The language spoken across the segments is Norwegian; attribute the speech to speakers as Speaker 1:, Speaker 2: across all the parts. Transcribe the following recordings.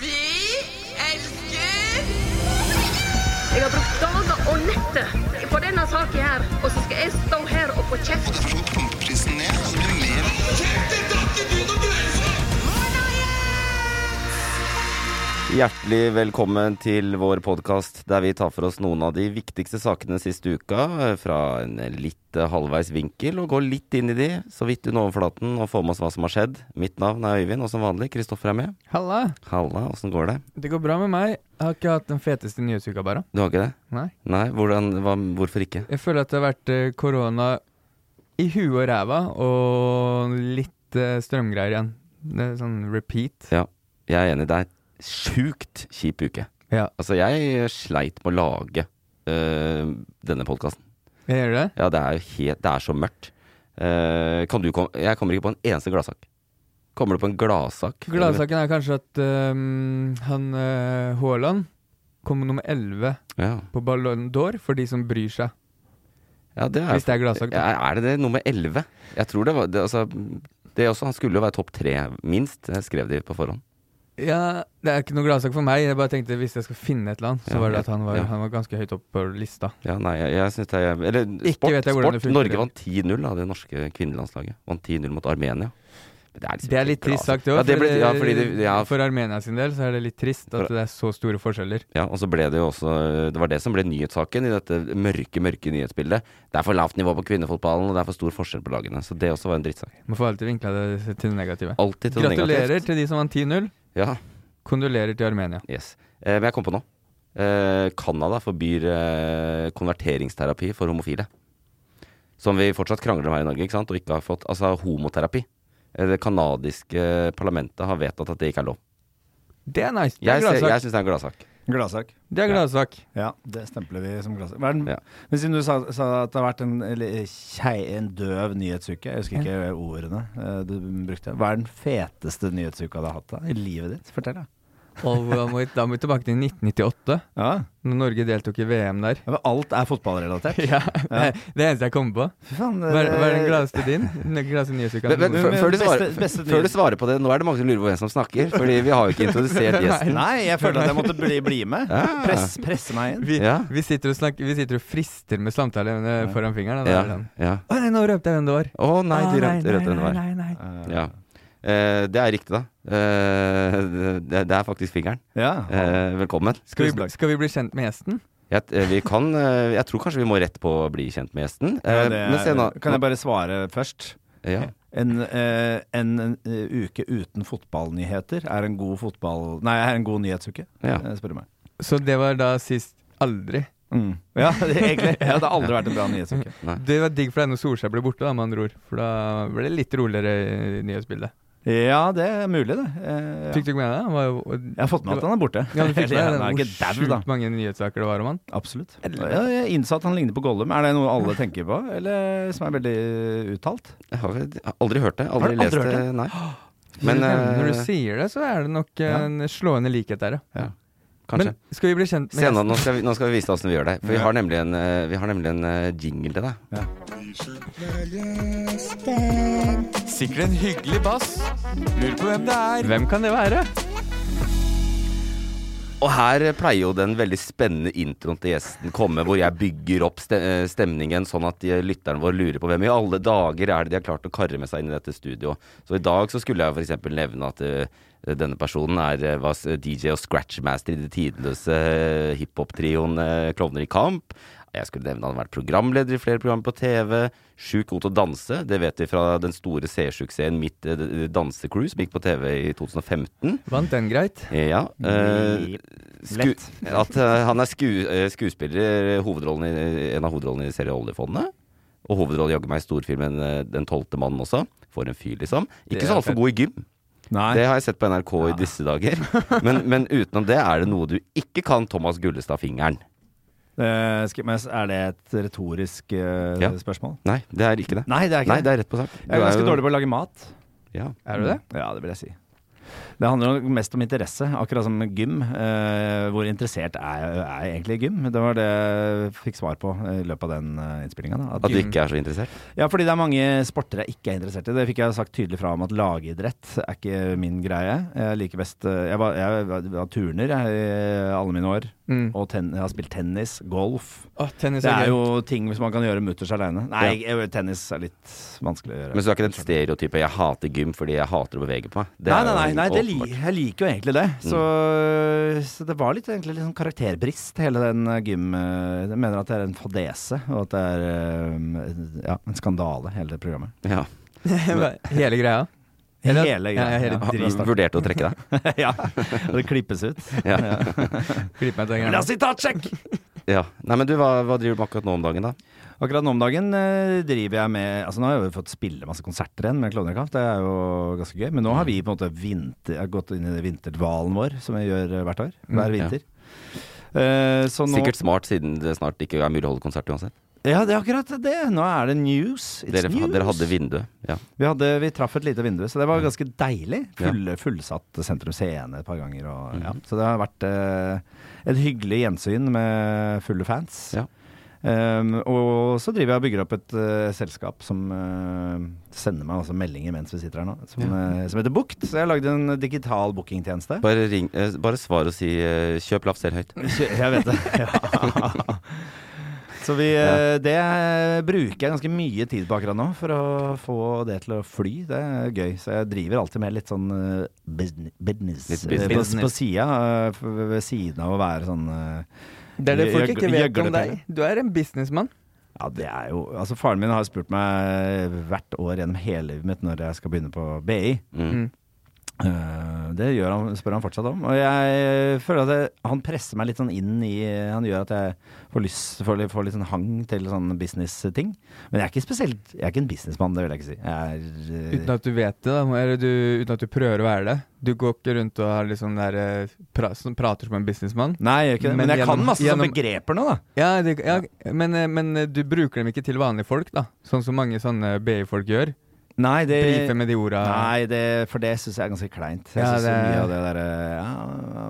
Speaker 1: Vi elsker Jeg har brukt dager og netter på denne saken her, og så skal jeg stå her og få kjeft.
Speaker 2: pumpeprisen ned. Så blir det mer.
Speaker 3: Hjertelig velkommen til vår podkast der vi tar for oss noen av de viktigste sakene siste uka eh, fra en litt eh, halvveis vinkel, og går litt inn i de, så vidt under overflaten, og får med oss hva som har skjedd. Mitt navn er Øyvind, og som vanlig, Kristoffer er med.
Speaker 4: Halla.
Speaker 3: Halla, åssen går det?
Speaker 4: Det går bra med meg. Jeg har ikke hatt den feteste nyhetsuka, bare.
Speaker 3: Du har ikke det?
Speaker 4: Nei.
Speaker 3: Nei, hvordan, hva, hvorfor ikke?
Speaker 4: Jeg føler at det har vært eh, korona i huet og ræva, og litt eh, strømgreier igjen. Det er sånn repeat.
Speaker 3: Ja, jeg er enig. Det er en sjukt kjip uke.
Speaker 4: Ja.
Speaker 3: Altså, jeg sleit med å lage øh, denne podkasten.
Speaker 4: Jeg gjør det.
Speaker 3: Ja, det er jo helt Det er så mørkt. Eh, kan du komme Jeg kommer ikke på en eneste gladsak. Kommer du på en gladsak?
Speaker 4: Gladsaken er kanskje at ehm, han eh, Haaland kom nummer 11
Speaker 3: Ja.
Speaker 4: på Ballon d'Or for de som bryr seg.
Speaker 3: ja, det er
Speaker 4: Hvis det er gladsak, da.
Speaker 3: Ja, er det det? Nummer elleve? Jeg tror det var det, Altså, det også. Han skulle jo være topp tre, minst. Jeg skrev de på forhånd.
Speaker 4: Ja, det er ikke noe gladsak for meg. Jeg bare tenkte hvis jeg skal finne et eller annet, så
Speaker 3: Ja,
Speaker 4: var det
Speaker 3: ja,
Speaker 4: at han var,
Speaker 3: ja.
Speaker 4: han var ganske høyt opp på lista.
Speaker 3: Ja, nei, jeg, jeg syns det er Eller sport.
Speaker 4: vet jeg hvordan
Speaker 3: sport.
Speaker 4: det funker.
Speaker 3: Norge vant 10-0 av det norske kvinnelandslaget. Vant 10-0 mot Armenia. Men Det er, liksom
Speaker 4: Det er
Speaker 3: ikke
Speaker 4: litt
Speaker 3: bra,
Speaker 4: trist
Speaker 3: altså.
Speaker 4: sagt, det òg.
Speaker 3: Ja, det ble, ja, fordi det, ja,
Speaker 4: For Armenia sin del så er det litt trist at
Speaker 3: For-
Speaker 4: det er så store forskjeller.
Speaker 3: ja, og så ble det jo også Det var det som ble nyhetssaken i dette mørke, mørke nyhetsbildet. Det er for lavt nivå på kvinnefotballen, og det er for stor forskjell på lagene. Så det også var en drittsak.
Speaker 4: Man får alltid vinkla det til det negative.
Speaker 3: Alltid til det
Speaker 4: Gratulerer
Speaker 3: negativt.
Speaker 4: til de som vant 10-0.
Speaker 3: Ja,
Speaker 4: Kondolerer til Armenia.
Speaker 3: yes. Eh, men jeg kom på noe. Eh, Canada forbyr eh, konverteringsterapi for homofile. Som vi fortsatt krangler om her i Norge, ikke sant? og ikke har fått. Altså homoterapi. Eh, Det canadiske parlamentet har vedtatt at det ikke er lov.
Speaker 4: Det er nice. Det er
Speaker 3: Jeg, ser- jeg
Speaker 4: gladsak.
Speaker 3: syns det er en gladsak.
Speaker 5: Gladsak.
Speaker 4: Det er gladsak.
Speaker 5: Ja, det stempler vi som gladsak. Hva er den-
Speaker 3: Ja.
Speaker 5: Men siden du sa, sa at det har vært en, eller, kjei, en døv nyhetsuke, jeg husker ikke ordene eh, du brukte. Hva er den feteste nyhetsuka du har hatt da, i livet ditt? Fortell, da.
Speaker 4: Og da må vi- da må vi tilbake til 1998,
Speaker 5: Ja.
Speaker 4: når Norge deltok i VM der.
Speaker 5: men Alt er fotballrelatert.
Speaker 4: Ja, Det det eneste jeg kommer på.
Speaker 5: Fy faen.
Speaker 4: Hva er, hva er den
Speaker 5: eh,
Speaker 4: gladeste din? Den gladeste nyhetsuka?
Speaker 3: Men, men,
Speaker 5: Men-
Speaker 3: før,
Speaker 5: men
Speaker 3: før, du svarer,
Speaker 5: beste- beste
Speaker 3: før du
Speaker 5: nyhet.
Speaker 3: svarer på det, nå er det mange som lurer på hvem som snakker. Fordi vi har jo ikke introdusert gjesten.
Speaker 5: Nei, jeg følte at jeg måtte bli, bli med.
Speaker 3: Ja.
Speaker 5: Press, presse meg inn.
Speaker 4: Ah. vi,
Speaker 3: Ja.
Speaker 4: vi, sitter og snakker, vi sitter og frister med samtaleevne foran fingeren. da. Det
Speaker 3: Ja,
Speaker 4: er den.
Speaker 3: ja.
Speaker 4: Å nei, nå røpte jeg hvem det var.
Speaker 3: Å nei,
Speaker 4: Å,
Speaker 3: de rømte rødt under
Speaker 4: nei, nei, nei.
Speaker 5: Eh,
Speaker 3: Ja. Eh, det er riktig, da. Eh, det, det er faktisk fingeren.
Speaker 5: ja.
Speaker 3: Eh, velkommen.
Speaker 4: Skal vi,
Speaker 5: Tusen
Speaker 4: bli-
Speaker 5: takk.
Speaker 4: skal vi bli kjent med gjesten?
Speaker 3: Jeg, eh, vi kan, eh, jeg tror kanskje vi må rett på å bli kjent med gjesten. Eh,
Speaker 5: Ja, det,
Speaker 3: men se nå.
Speaker 5: Kan jeg bare svare først?
Speaker 3: ja.
Speaker 5: En, eh, en, eh, uke uten fotballnyheter er en god fotball... Nei, er en god nyhetsuke,
Speaker 3: Ja.
Speaker 5: eh, spør du meg.
Speaker 4: Så det var da sist aldri.
Speaker 5: Mm. Ja, det, egentlig. Ja, det har aldri vært en bra nyhetsuke.
Speaker 4: Det var digg for deg når Solskjær ble borte, da, med andre ord. For da ble det litt roligere i nyhetsbildet.
Speaker 5: Ja, det er mulig, det. Eh, ja.
Speaker 4: Fikk du ikke med deg det? Han var jo-
Speaker 5: Jeg har fått med at han er borte.
Speaker 4: Ja, du fikk med
Speaker 5: Eller,
Speaker 4: deg
Speaker 5: han er
Speaker 4: den,
Speaker 5: ikke
Speaker 4: hvor
Speaker 5: dau, da.
Speaker 4: sjukt mange nyhetssaker det var om han?
Speaker 5: Absolutt. Ja, jeg innså at han ligner på Gollum. Er det noe alle tenker på, eller som er veldig eh, uttalt?
Speaker 3: Jeg har vel- jeg har aldri hørt det. Aldri,
Speaker 5: Har du aldri
Speaker 3: lest
Speaker 5: hørt
Speaker 3: det.
Speaker 5: det?
Speaker 3: Nei.
Speaker 4: Men,
Speaker 3: Men eh,
Speaker 4: når du sier det, så er det nok eh,
Speaker 5: ja.
Speaker 4: en slående likhet der, ja.
Speaker 3: kanskje.
Speaker 4: Men skal vi bli kjent med
Speaker 3: Senere,
Speaker 4: gjesten?
Speaker 3: nå, skal vi, nå skal vi vise deg åssen vi gjør det. For vi har nemlig en, eh, vi har nemlig en eh, jingle til deg.
Speaker 4: Sikkert en hyggelig bass. Lurer på hvem det er. Hvem kan det være?
Speaker 3: Og her pleier jo den veldig spennende introen til gjesten komme, hvor jeg bygger opp ste eh, stemningen sånn at de- lytteren vår lurer på hvem i alle dager er det de har klart å karre med seg inn i dette studioet. Så i dag så skulle jeg f.eks. nevne at eh, denne personen er, eh, var s- DJ og scratchmaster i det tidløse eh, hiphop-trioen eh, Klovner i kamp. Jeg skulle nevne at han har vært programleder i flere programmer på TV. Sjukt god til å danse. Det vet vi fra den store seersuksessen Mitt eh, dansecrew, som gikk på TV i 2015.
Speaker 4: Vant den greit?
Speaker 3: Ja. eh, sku
Speaker 5: Lett.
Speaker 3: at eh, han er sku eh, skuespiller, eh, hovedrollen i, en av hovedrollene i serien Oljefondet. Og hovedrollen jaggu meg i storfilmen eh, Den tolvte mannen også. For en fyr, liksom.
Speaker 4: Det
Speaker 3: Ikke
Speaker 4: er
Speaker 3: så altfor
Speaker 4: fett.
Speaker 3: god i gym.
Speaker 5: Nei.
Speaker 3: Det har jeg sett på NRK i disse dager. Men, men utenom det er det noe du ikke kan Thomas Gullestad-fingeren.
Speaker 5: Eh, skal, men er det et retorisk eh,
Speaker 3: Ja.
Speaker 5: spørsmål?
Speaker 3: Nei, det er ikke det.
Speaker 5: Nei, det er ikke
Speaker 3: Nei, det er rett på sak.
Speaker 5: Jeg er ganske dårlig på å lage mat. Mm.
Speaker 3: Ja.
Speaker 4: Er du det?
Speaker 5: Ja, det vil jeg si. Det handler jo mest om interesse, akkurat som gym. Eh, hvor interessert er jeg, er jeg egentlig i gym? Det var det jeg fikk svar på eh, i løpet av den eh, innspillinga.
Speaker 3: At du ikke er så interessert?
Speaker 5: Ja, fordi det er mange sporter jeg ikke er interessert i. Det fikk jeg sagt tydelig fra om at lagidrett er ikke min greie. Jeg liker best eh, Jeg var, jeg var, var turner jeg, i alle mine år.
Speaker 4: Mm.
Speaker 5: Og ten, jeg har spilt tennis, golf.
Speaker 4: Å, tennis
Speaker 5: Det er
Speaker 4: gøy.
Speaker 5: jo ting som man kan gjøre mutters aleine. Nei, jeg- tennis er litt vanskelig å gjøre.
Speaker 3: Men så er ikke den stereotypen 'jeg hater gym fordi jeg hater å bevege på meg'. Det
Speaker 5: nei,
Speaker 3: er
Speaker 5: nei,
Speaker 3: jo
Speaker 5: nei, nei det
Speaker 3: åpenbart. Mm.
Speaker 5: li, jeg liker jo egentlig det. Så, så det var litt, egentlig litt sånn karakterbrist, hele den eh, gym... eh, Jeg mener at det er en fadese, og at det er eh, ja, en skandale, hele det programmet.
Speaker 3: Ja.
Speaker 4: Hele greia? Eller-
Speaker 5: Hele
Speaker 4: Ja, hele
Speaker 5: greia.
Speaker 4: driten.
Speaker 5: Ja,
Speaker 3: Vurderte å trekke deg.
Speaker 5: ja, og det klippes ut.
Speaker 3: Ja.
Speaker 4: Klipp meg til den
Speaker 5: La
Speaker 4: greia.
Speaker 5: oss ta et sjekk!
Speaker 3: ja. Nei, men du, hva, hva driver du med akkurat nå om dagen, da?
Speaker 5: Akkurat nå om dagen eh, driver jeg med Altså Nå har jeg jo fått spille masse konserter igjen med Klovner i Kamp, det er jo ganske gøy. Men nå har vi på en måte vinter, har gått inn i vinterdvalen vår, som vi gjør eh, hvert år. Hver
Speaker 3: Mm, ja.
Speaker 5: vinter. Eh, så nå,
Speaker 3: Sikkert smart, siden det snart ikke er mulig å holde konsert uansett.
Speaker 5: Ja, det er akkurat det. Nå er det news. It's
Speaker 3: Dere,
Speaker 5: news.
Speaker 3: dere hadde vindu. Ja.
Speaker 5: vi, hadde, vi traff et lite vindu, så det var ganske deilig.
Speaker 3: Ja. Mhm.
Speaker 5: Full, Fullsatt Sentrum Scene et par ganger. Og, ja. Så det har vært eh, et hyggelig gjensyn med fulle fans.
Speaker 3: Ja.
Speaker 5: Um, og så driver jeg og bygger opp et eh, selskap som eh, sender meg også meldinger mens vi sitter her nå, som, eh, som heter Bukt. Så jeg har lagd en digital bookingtjeneste.
Speaker 3: Bare, ring, eh, bare svar og si eh, 'kjøp lapp, selv høyt'.
Speaker 5: Kjø- Jeg vet det. Ja. Så vi, eh, det bruker jeg ganske mye tid på akkurat nå, for å få det til å fly. Det er gøy. Så jeg driver alltid med litt sånn eh, business, business,
Speaker 3: Litt business.
Speaker 5: eh, på, på sida, eh, f- ved siden av å være sånn eh,
Speaker 4: Det er det folk
Speaker 5: gjøg-
Speaker 4: ikke vet om
Speaker 5: gjøglepelle.
Speaker 4: deg. Du er en businessmann.
Speaker 5: Ja, det er jo Altså, faren min har spurt meg hvert år gjennom hele livet mitt når jeg skal begynne på BI.
Speaker 3: Mm.
Speaker 5: Eh, det gjør han, spør han fortsatt om. Og jeg føler at jeg, han presser meg litt sånn inn i Han gjør at jeg får lyst Får litt, får litt sånn hang til sånne business-ting. Men jeg er ikke spesielt Jeg er ikke en businessmann, det vil jeg ikke si. Jeg er
Speaker 4: Uten
Speaker 5: eh,
Speaker 4: at du vet det, da. Eller du, uten at du prøver å være det. Du går ikke rundt og har liksom der, eh, pra, som prater som en businessmann.
Speaker 5: Nei, jeg gjør ikke det. Men,
Speaker 4: Men
Speaker 5: jeg
Speaker 4: gjennom-
Speaker 5: kan masse sånne
Speaker 4: gjennom-
Speaker 5: begreper nå, da.
Speaker 4: Ja, det, ja men, eh, men eh, du bruker dem ikke til vanlige folk, da. Sånn som mange sånne BI-folk gjør.
Speaker 5: Nei, det
Speaker 4: Brife med de orda.
Speaker 5: Nei, det, for det syns jeg er ganske kleint. Jeg
Speaker 4: Ja,
Speaker 5: synes
Speaker 4: det-
Speaker 5: mye av det derre ja,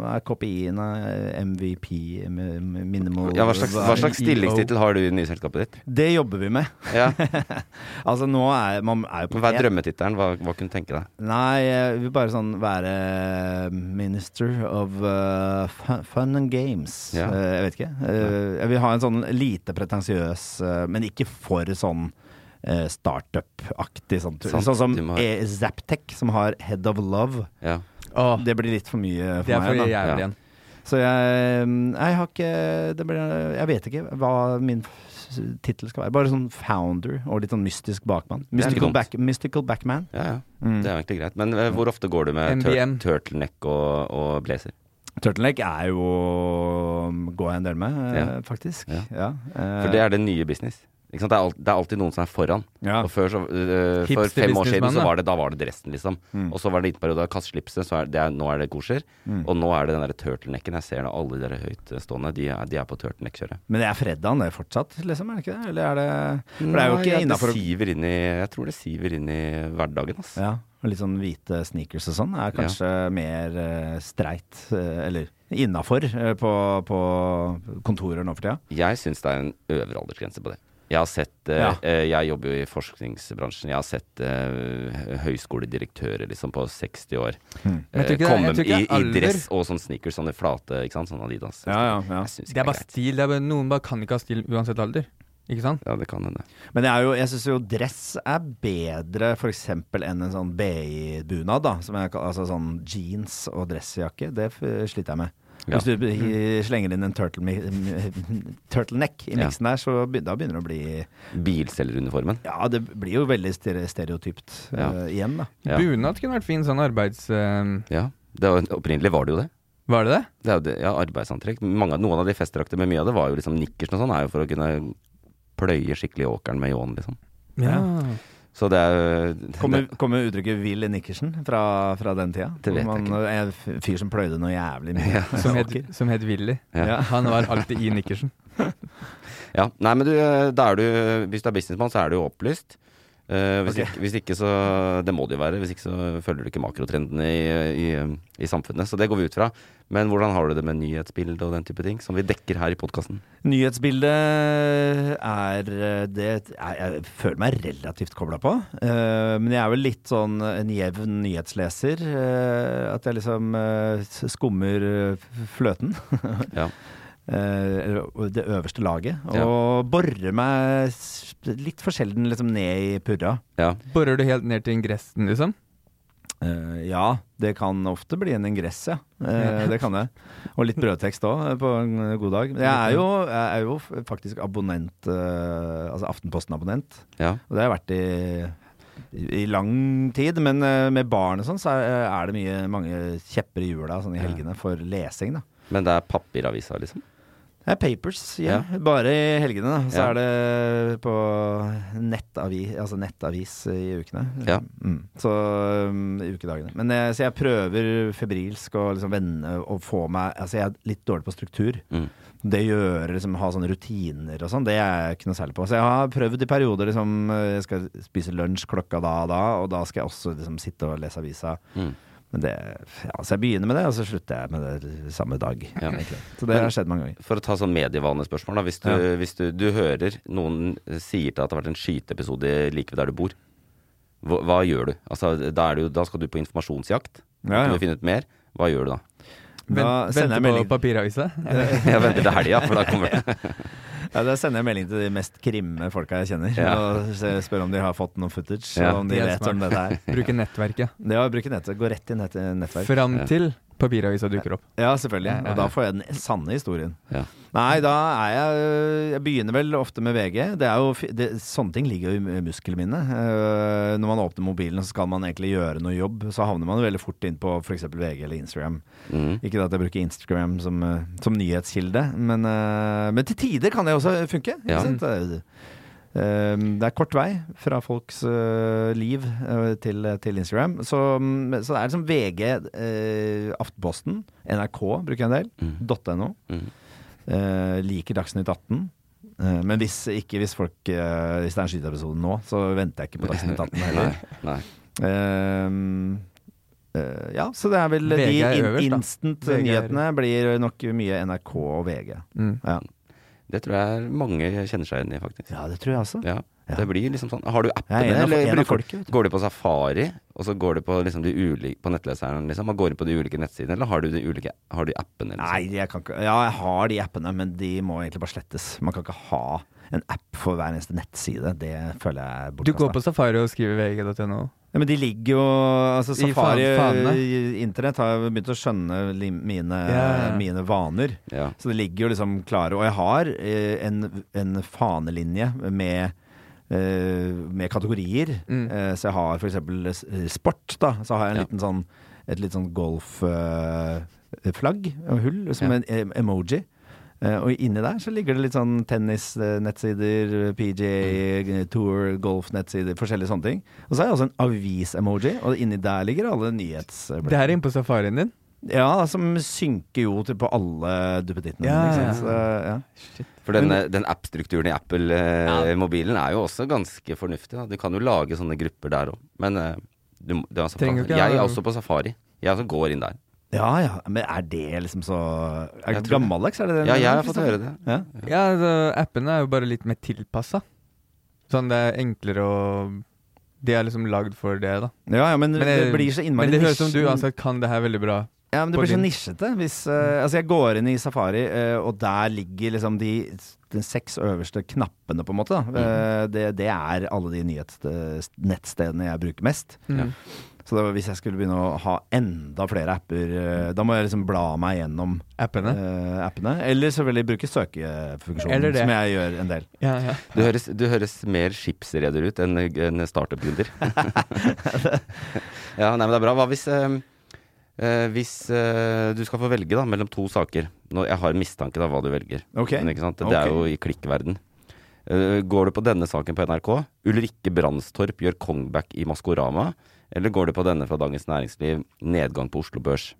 Speaker 5: hva er KPI-en, eh, MVP, eh, minimal E
Speaker 3: Ja, hva slags, hva slags
Speaker 4: EO?
Speaker 3: stillingstittel har du i det nye selskapet ditt?
Speaker 5: Det jobber vi med.
Speaker 3: Ja.
Speaker 5: Altså, nå er man er jo på
Speaker 3: Hva er drømmetittelen? Hva, hva kunne du tenke deg?
Speaker 5: Nei, jeg vil bare sånn være eh, minister of uh, fun, fun and games.
Speaker 3: Ja.
Speaker 5: Eh, jeg vet ikke. Eh, jeg vil ha en sånn lite pretensiøs, eh, men ikke for sånn eh, startup-aktig. Sånn,
Speaker 3: Sant,
Speaker 5: sånn som
Speaker 3: du må ha-
Speaker 5: eh, Zaptec, som har Head of Love.
Speaker 3: Ja.
Speaker 4: Åh,
Speaker 5: Det blir litt for mye for
Speaker 4: det er for
Speaker 5: meg. da.
Speaker 4: jævlig
Speaker 3: Ja.
Speaker 4: igjen.
Speaker 5: Så jeg, mm, jeg har ikke det blir, Jeg vet ikke hva min f- tittel skal være. Bare sånn founder og litt sånn mystisk bakmann.
Speaker 3: er ikke
Speaker 5: Mystical,
Speaker 3: dumt.
Speaker 5: back, mystical backman.
Speaker 3: Ja, ja.
Speaker 5: Mm.
Speaker 3: Det er jo egentlig greit. Men eh, hvor ofte går du med tur
Speaker 4: MBM.
Speaker 3: turtleneck og, og blazer?
Speaker 5: Turtleneck er jo Går jeg en del med, eh,
Speaker 3: Ja.
Speaker 5: faktisk.
Speaker 3: Ja.
Speaker 5: Ja. eh,
Speaker 3: For det er den nye business. Ikke sant? Det, er alt, det er alltid noen som er foran.
Speaker 5: Ja.
Speaker 3: Og før så, eh, for
Speaker 4: Hipster
Speaker 3: fem år siden
Speaker 4: businessman,
Speaker 3: så
Speaker 4: da.
Speaker 3: var det, da var det dressen, liksom.
Speaker 5: Mm.
Speaker 3: Og så var det en liten periode av kastslipset, så er det, nå er det kosher. Og nå er det den der turtlenecken. Jeg ser det alle de der høytstående. De er, de er på turtleneck-kjøret.
Speaker 5: Men det er fredagen det fortsatt, liksom? Er det ikke det? Eller er det For det er jo
Speaker 3: Nei,
Speaker 5: ikke
Speaker 3: det
Speaker 5: innafor
Speaker 3: siver inn i, Jeg tror det siver inn i hverdagen, ass.
Speaker 5: ja, og Litt sånn hvite sneakers og sånn er kanskje mer eh, streit, eh, eller innafor, eh, på, på kontorer nå for tida.
Speaker 3: Jeg syns det er en øvre aldersgrense på det. Jeg har sett eh,
Speaker 5: Ja.
Speaker 3: eh, Jeg jobber jo i forskningsbransjen. Jeg har sett eh, høyskoledirektører liksom på 60 år eh,
Speaker 5: Hmm.
Speaker 4: Men jeg tror ikke det-
Speaker 3: komme
Speaker 4: jeg tror ikke
Speaker 3: i,
Speaker 4: det er
Speaker 3: i
Speaker 4: alder.
Speaker 3: dress og sånn sneakers, sånne flate, ikke sant? Sånn Adidas.
Speaker 5: Ja, ja, ja.
Speaker 3: Jeg syns ikke
Speaker 4: Det er bare
Speaker 3: greit.
Speaker 4: stil. Det er bare, noen bare kan ikke ha stil uansett alder. Ikke sant?
Speaker 3: Ja, det kan hende.
Speaker 5: Men det er jo, jeg syns jo dress er bedre f.eks. enn en sånn BI-bunad, da. Som jeg, kal- altså sånn jeans og dressjakke. Det f- sliter jeg med.
Speaker 3: Ja. Mm.
Speaker 5: Hvis du b- slenger inn en turtle, mi- m- turtleneck i
Speaker 3: Ja.
Speaker 5: miksen der, så be- da begynner det å bli
Speaker 3: Bilselgeruniformen.
Speaker 5: Ja, det blir jo veldig stere- stereotypt
Speaker 3: Ja.
Speaker 5: eh, igjen, da.
Speaker 3: Ja.
Speaker 4: Bunad kunne vært fin sånn arbeids... eh,
Speaker 3: Ja. Det var, opprinnelig var det jo det.
Speaker 4: var det det?
Speaker 3: Det er jo det, ja, arbeidsantrekk. Mange, av- noen av de festdraktene, men mye av det var jo liksom nikkersen og sånn, er jo for å kunne pløye skikkelig åkeren med ljåen, liksom.
Speaker 4: Ja.
Speaker 3: Så det er jo
Speaker 5: Kommer, kommer uttrykket Will Nickersen fra, fra den tida?
Speaker 3: Det vet jeg
Speaker 5: Man,
Speaker 3: ikke.
Speaker 5: En f- fyr som pløyde noe jævlig mye.
Speaker 3: Ja.
Speaker 4: Som, het, som het Willy.
Speaker 3: Ja.
Speaker 5: Ja.
Speaker 4: Han var alltid i nikkersen.
Speaker 3: Ja. Nei, men du, eh, da er du Hvis du er businessmann, så er du jo opplyst. Eh, hvis,
Speaker 5: Ok.
Speaker 3: ikke, hvis ikke, så Det må det jo være. Hvis ikke, så følger du ikke makrotrendene i, i, i samfunnet. Så det går vi ut fra. Men hvordan har du det med nyhetsbildet og den type ting, som vi dekker her i podkasten?
Speaker 5: Nyhetsbildet er eh, det jeg, jeg føler meg relativt kobla på. Eh, men jeg er vel litt sånn en jevn nyhetsleser. eh, at jeg liksom eh, s- skummer eh, f- fløten.
Speaker 3: Ja.
Speaker 5: Eh, eller det øverste laget. Og
Speaker 3: Ja.
Speaker 5: borer meg s- litt for sjelden liksom ned i purra.
Speaker 3: ja.
Speaker 4: Borer du helt ned til ingressen, liksom?
Speaker 5: Eh, ja, det kan ofte bli en ingress, ja. Eh, det kan det. Og litt brødtekst òg, på en eh, god dag. Jeg er jo, jeg er jo f- faktisk abonnent, eh, altså Aftenposten-abonnent.
Speaker 3: ja.
Speaker 5: Og det har jeg vært i, i lang tid. Men eh, med barn og sånn, så er, er det mye, mange kjepper i hjula sånn i helgene for lesing, da.
Speaker 3: Men det er papiravisa, liksom?
Speaker 5: Det er papers, ja. Bare i helgene, da. Så
Speaker 3: Ja.
Speaker 5: er det på nettavis, altså nettavis i ukene.
Speaker 3: Ja.
Speaker 5: Mm. Så um, i ukedagene. Men jeg, så jeg prøver febrilsk å liksom vende og få meg Altså jeg er litt dårlig på struktur.
Speaker 3: Mm.
Speaker 5: Det gjør liksom ha sånne rutiner og sånn, det er jeg ikke noe særlig på. Så jeg har prøvd i perioder liksom Jeg skal spise lunsj klokka da og da, og da skal jeg også liksom sitte og lese avisa.
Speaker 3: Mm.
Speaker 5: Men det Ja, så jeg begynner med det, og så slutter jeg med det samme dag.
Speaker 3: Ja.
Speaker 5: egentlig. Så det har skjedd mange ganger.
Speaker 3: For å ta sånn medievanespørsmål, da. Hvis du,
Speaker 5: Ja.
Speaker 3: hvis du, du hører noen sier til deg at det har vært en skyteepisode like ved der du bor, hva, hva gjør du? Altså, da, er du, da skal du på informasjonsjakt.
Speaker 5: Ja, ja.
Speaker 3: Du vil finne ut mer. Hva gjør du da?
Speaker 4: Vent,
Speaker 5: Da
Speaker 4: venter
Speaker 5: sender jeg
Speaker 4: på
Speaker 5: melding.
Speaker 4: papiravisa?
Speaker 3: Jeg venter til helga, for da kommer det.
Speaker 5: Ja, Da sender jeg melding til de mest krimme folka jeg kjenner,
Speaker 3: Ja.
Speaker 5: og se- spør om de har fått noe footage,
Speaker 3: Ja.
Speaker 5: og om de
Speaker 4: Det er
Speaker 5: vet om
Speaker 4: smart.
Speaker 5: dette er.
Speaker 4: Bruke nettverket.
Speaker 5: Det å bruke nettet, gå rett i nett, nettverk.
Speaker 4: Fram
Speaker 3: Ja.
Speaker 4: til papiravisa dukker opp.
Speaker 5: Ja, selvfølgelig.
Speaker 4: Ja, ja,
Speaker 5: Og da får jeg den sanne historien.
Speaker 3: Ja.
Speaker 5: Nei, da er jeg Jeg begynner vel ofte med VG. Det er jo, fi- det, sånne ting ligger jo i musklene mine. Eh, når man åpner mobilen og så skal man egentlig gjøre noe jobb, så havner man jo veldig fort inn på f.eks. VG eller Instagram.
Speaker 3: Mm.
Speaker 5: Ikke at jeg bruker Instagram som, eh, som nyhetskilde, men, eh, men til tider kan det også funke. Ikke
Speaker 3: Ja.
Speaker 5: sant? Det er- eh, det er kort vei fra folks eh, liv eh, til, til Instagram. Så, mm, så det er liksom VG, eh, Aftenposten, NRK bruker jeg en del,
Speaker 3: Mm.
Speaker 5: .no.
Speaker 3: Mm.
Speaker 5: Eh, liker Dagsnytt 18. Eh, men hvis, ikke hvis, folk, eh, hvis det er en skyteepisode nå, så venter jeg ikke på Dagsnytt 18 heller.
Speaker 3: Nei, nei.
Speaker 5: Ehm, eh, ja, så det er vel
Speaker 4: VG er
Speaker 5: de in
Speaker 4: øverst, da. VG er-
Speaker 5: instant-nyhetene blir nok mye NRK og VG.
Speaker 4: Mm.
Speaker 5: Ja.
Speaker 3: Det tror jeg mange kjenner seg igjen i, faktisk.
Speaker 5: det tror jeg også.
Speaker 3: Ja.
Speaker 5: Ja.
Speaker 3: Det blir liksom sånn Har du appen
Speaker 5: Jeg er en
Speaker 3: din,
Speaker 5: av-
Speaker 3: eller
Speaker 5: en av
Speaker 3: bruker,
Speaker 5: folket, vet du.
Speaker 3: går du på Safari, og så går du på, liksom, de uli- på nettleseren, liksom? Og går inn på de ulike nettsidene, eller har du de ulike har du appene? Liksom?
Speaker 5: Nei, jeg kan ikke Ja, jeg har de appene, men de må egentlig bare slettes. Man kan ikke ha en app for hver eneste nettside. Det føler jeg er
Speaker 4: Du
Speaker 5: bortkastet.
Speaker 4: går på safari og skriver vg.no.
Speaker 5: Ja, men de ligger jo Altså,
Speaker 4: I
Speaker 5: Safari
Speaker 4: fan- fanene.
Speaker 5: i- Internett har jo begynt å skjønne li- mine,
Speaker 4: Ja, ja.
Speaker 5: mine vaner.
Speaker 3: Ja.
Speaker 5: Så det ligger jo liksom klare. Og jeg har eh, en, en fanelinje med eh, med kategorier.
Speaker 4: Mm.
Speaker 5: Eh, så jeg har for eksempel s- eh, sport, da. Så har jeg en
Speaker 3: Ja.
Speaker 5: liten sånn, et litt sånn golfflagg og hull, som
Speaker 3: Ja.
Speaker 5: en em- emoji. Eh, og inni der så ligger det litt sånn tennisnettsider,
Speaker 3: Mm.
Speaker 5: PGA eh, Tour, golfnettsider, forskjellige sånne ting. Og så har jeg også en avis-emoji, og inni der ligger alle nyhets...
Speaker 4: Det her er inne på safarien din.
Speaker 5: Ja, som synker jo til på alle duppedittene.
Speaker 4: Ja,
Speaker 5: ikke
Speaker 4: ja,
Speaker 5: sant? Så, ja.
Speaker 3: For den, den app-strukturen i Apple-mobilen er jo også ganske fornuftig. Da. Du kan jo lage sånne grupper der òg. Men eh, du, må- det er
Speaker 4: Trenger
Speaker 3: safari.
Speaker 4: jo ikke
Speaker 3: jeg er
Speaker 4: ha-
Speaker 3: også på safari. Jeg også går inn der.
Speaker 5: ja ja, men er det liksom så er
Speaker 3: Jeg tror det.
Speaker 5: Gammaldags, er det det?
Speaker 3: Ja, jeg har fått høre det.
Speaker 5: Ja.
Speaker 4: Ja, altså, Appene er jo bare litt mer tilpassa. Sånn det er enklere å De er liksom lagd for det, da.
Speaker 5: Ja, ja, men,
Speaker 4: eh,
Speaker 5: det blir så innmari
Speaker 4: men det høres ut som du
Speaker 5: nisjen.
Speaker 4: uansett kan det her veldig bra.
Speaker 5: Ja, men det
Speaker 4: på
Speaker 5: blir så
Speaker 4: din-
Speaker 5: nisjete. Hvis, eh, altså jeg går inn i Safari, eh, og der ligger liksom de, de seks øverste knappene, på en måte. Da.
Speaker 4: Mm.
Speaker 5: Eh, det, det er alle de nyhetsnettstedene jeg bruker mest.
Speaker 4: Mm.
Speaker 5: Så da, hvis jeg skulle begynne å ha enda flere apper, eh, da må jeg liksom bla meg gjennom
Speaker 4: Appene.
Speaker 5: eh, appene. Eller så vil jeg bruke søkefunksjonen,
Speaker 4: Eller det.
Speaker 5: som jeg gjør en del.
Speaker 4: Ja, ja.
Speaker 3: Du høres, du høres mer skipsreder ut enn en startup-gründer. ja, nei, men det er bra. Hva hvis, eh, eh, hvis eh, du skal få velge da, mellom to saker Nå, Jeg har en mistanke da hva du velger.
Speaker 5: Ok.
Speaker 3: Men, ikke sant? Det
Speaker 5: Ok.
Speaker 3: er jo i klikkverden. Eh, går du på denne saken på NRK? Ulrikke Brandstorp gjør comeback i Maskorama. Eller går du på denne fra Dagens Næringsliv? Nedgang på Oslo Børs.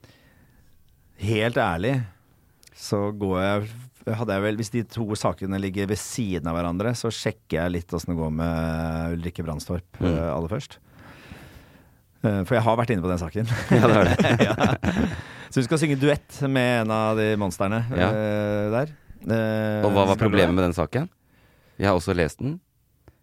Speaker 5: Helt ærlig så går jeg hadde jeg vel, Hvis de to sakene ligger ved siden av hverandre, så sjekker jeg litt åssen det går med eh, Ulrikke Brandstorp
Speaker 3: Mm.
Speaker 5: eh, aller først. Eh, For jeg har vært inne på den saken.
Speaker 3: Ja, det er det.
Speaker 5: ja. Så hun skal synge duett med en av de monstrene
Speaker 3: Ja.
Speaker 5: eh, der. Eh,
Speaker 3: Og hva var
Speaker 5: skal du-
Speaker 3: problemet med den saken? Jeg har også lest den.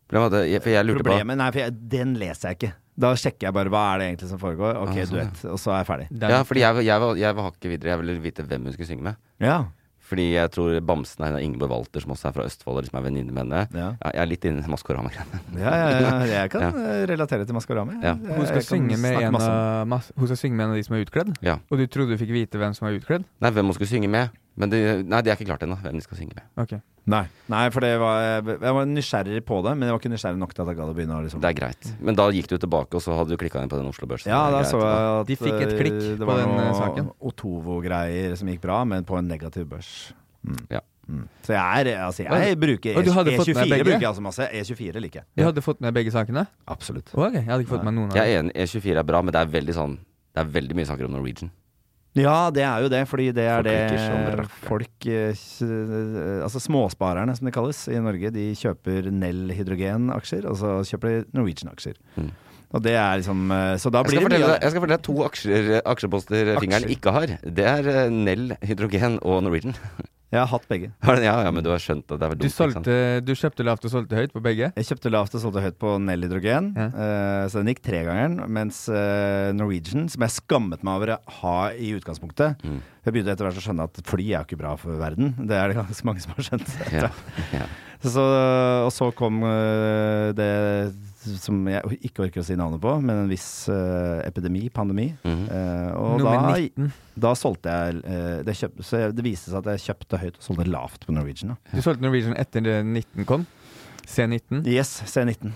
Speaker 3: Problemet var at jeg- For jeg lurte på
Speaker 5: Problemet, Nei, for jeg, den leser jeg ikke. Da sjekker jeg bare hva er det egentlig som foregår. Ok,
Speaker 3: Ah, sånn,
Speaker 5: duett. Og så er jeg ferdig.
Speaker 4: Det er-
Speaker 3: Ja, fordi jeg, jeg, var, jeg var hakket videre. Jeg ville vite hvem hun skulle synge med.
Speaker 5: Ja.
Speaker 3: Fordi jeg tror Bamsen er en av Ingeborg Walter, som også er fra Østfold, og liksom er venninne med henne.
Speaker 5: Ja.
Speaker 3: Ja, jeg er litt inne i Maskorama-greiene.
Speaker 5: Ja, ja, ja, jeg kan eh, relatere til Maskorama. jeg.
Speaker 3: Ja.
Speaker 5: Jeg-
Speaker 4: Hun skal,
Speaker 5: jeg kan
Speaker 4: synge med
Speaker 5: snakke
Speaker 4: en eh,
Speaker 5: masse om det.
Speaker 4: av, masse, hun skal synge med en av de som er utkledd?
Speaker 3: Ja.
Speaker 4: Og du trodde du fikk vite hvem som var utkledd?
Speaker 3: Nei, hvem hun skulle synge med. Men det, nei, det er ikke klart ennå, hvem de skal synge med.
Speaker 4: Ok.
Speaker 5: Nei, Nei for det var, jeg var nysgjerrig på det, men jeg var ikke nysgjerrig nok til at jeg gadd å begynne. å Liksom.
Speaker 3: Det er greit. Men da gikk du tilbake, og så hadde du klikka inn på den Oslo Børs.
Speaker 5: Ja, da
Speaker 3: Det er
Speaker 5: så
Speaker 3: greit,
Speaker 5: jeg at
Speaker 4: De fikk et
Speaker 5: eh,
Speaker 4: klikk på
Speaker 5: det var
Speaker 4: den, eh,
Speaker 5: noe
Speaker 4: saken.
Speaker 5: Otovo-greier som gikk bra, men på en negativ børs. Mm.
Speaker 3: Ja.
Speaker 5: Mm. Så jeg er altså,
Speaker 4: Oi.
Speaker 5: jeg bruker
Speaker 4: Og du hadde
Speaker 5: E24
Speaker 4: fått med begge?
Speaker 5: bruker jeg altså masse. E24 liker jeg.
Speaker 4: Du hadde fått med begge sakene?
Speaker 5: Absolutt.
Speaker 4: Å, ok, jeg hadde ikke fått med noen av
Speaker 3: Jeg er
Speaker 4: dem.
Speaker 3: enig, E24 er bra, men det er veldig sånn Det er veldig mye saker om Norwegian.
Speaker 5: Ja, det er jo det, fordi det er
Speaker 3: Folk liker sånn som
Speaker 5: det folk eh, kj- eh, Altså småsparerne, som det kalles i Norge, de kjøper Nell Hydrogen-aksjer, og så kjøper de Norwegian-aksjer.
Speaker 3: Mm.
Speaker 5: Og det er liksom eh, Så da
Speaker 3: Jeg skal,
Speaker 5: blir det
Speaker 3: fortelle,
Speaker 5: mye
Speaker 3: deg- jeg skal fortelle deg to aksjer, aksjeposter fingeren ikke har. Det er eh, Nell, Hydrogen og Norwegian.
Speaker 5: Jeg har hatt begge.
Speaker 3: Ja, ja, men du har skjønt at det er vel
Speaker 4: Du,
Speaker 3: dumt. ikke sant?
Speaker 4: solgte, du kjøpte lavt og solgte høyt på begge?
Speaker 5: Jeg kjøpte lavt og solgte høyt på Nell Hydrogen,
Speaker 4: Ja.
Speaker 5: eh, så den gikk tregangeren. Mens eh, Norwegian, som jeg skammet meg over å ha i utgangspunktet
Speaker 3: Mm.
Speaker 5: Jeg begynte etter hvert å skjønne at fly er jo ikke bra for verden. Det er det ganske mange som har skjønt.
Speaker 3: Ja, ja.
Speaker 5: Så, og så kom eh, det som jeg ikke orker å si navnet på, men en viss eh, epidemi, pandemi.
Speaker 3: Mhm.
Speaker 5: Eh, og
Speaker 4: Nummer
Speaker 5: da,
Speaker 4: 19.
Speaker 5: da solgte jeg eh, det, kjøp, Så jeg- det viste seg at jeg kjøpte høyt og solgte lavt på Norwegian. Da.
Speaker 4: Du solgte Norwegian etter det 19 kom? C19?
Speaker 5: Yes, C19.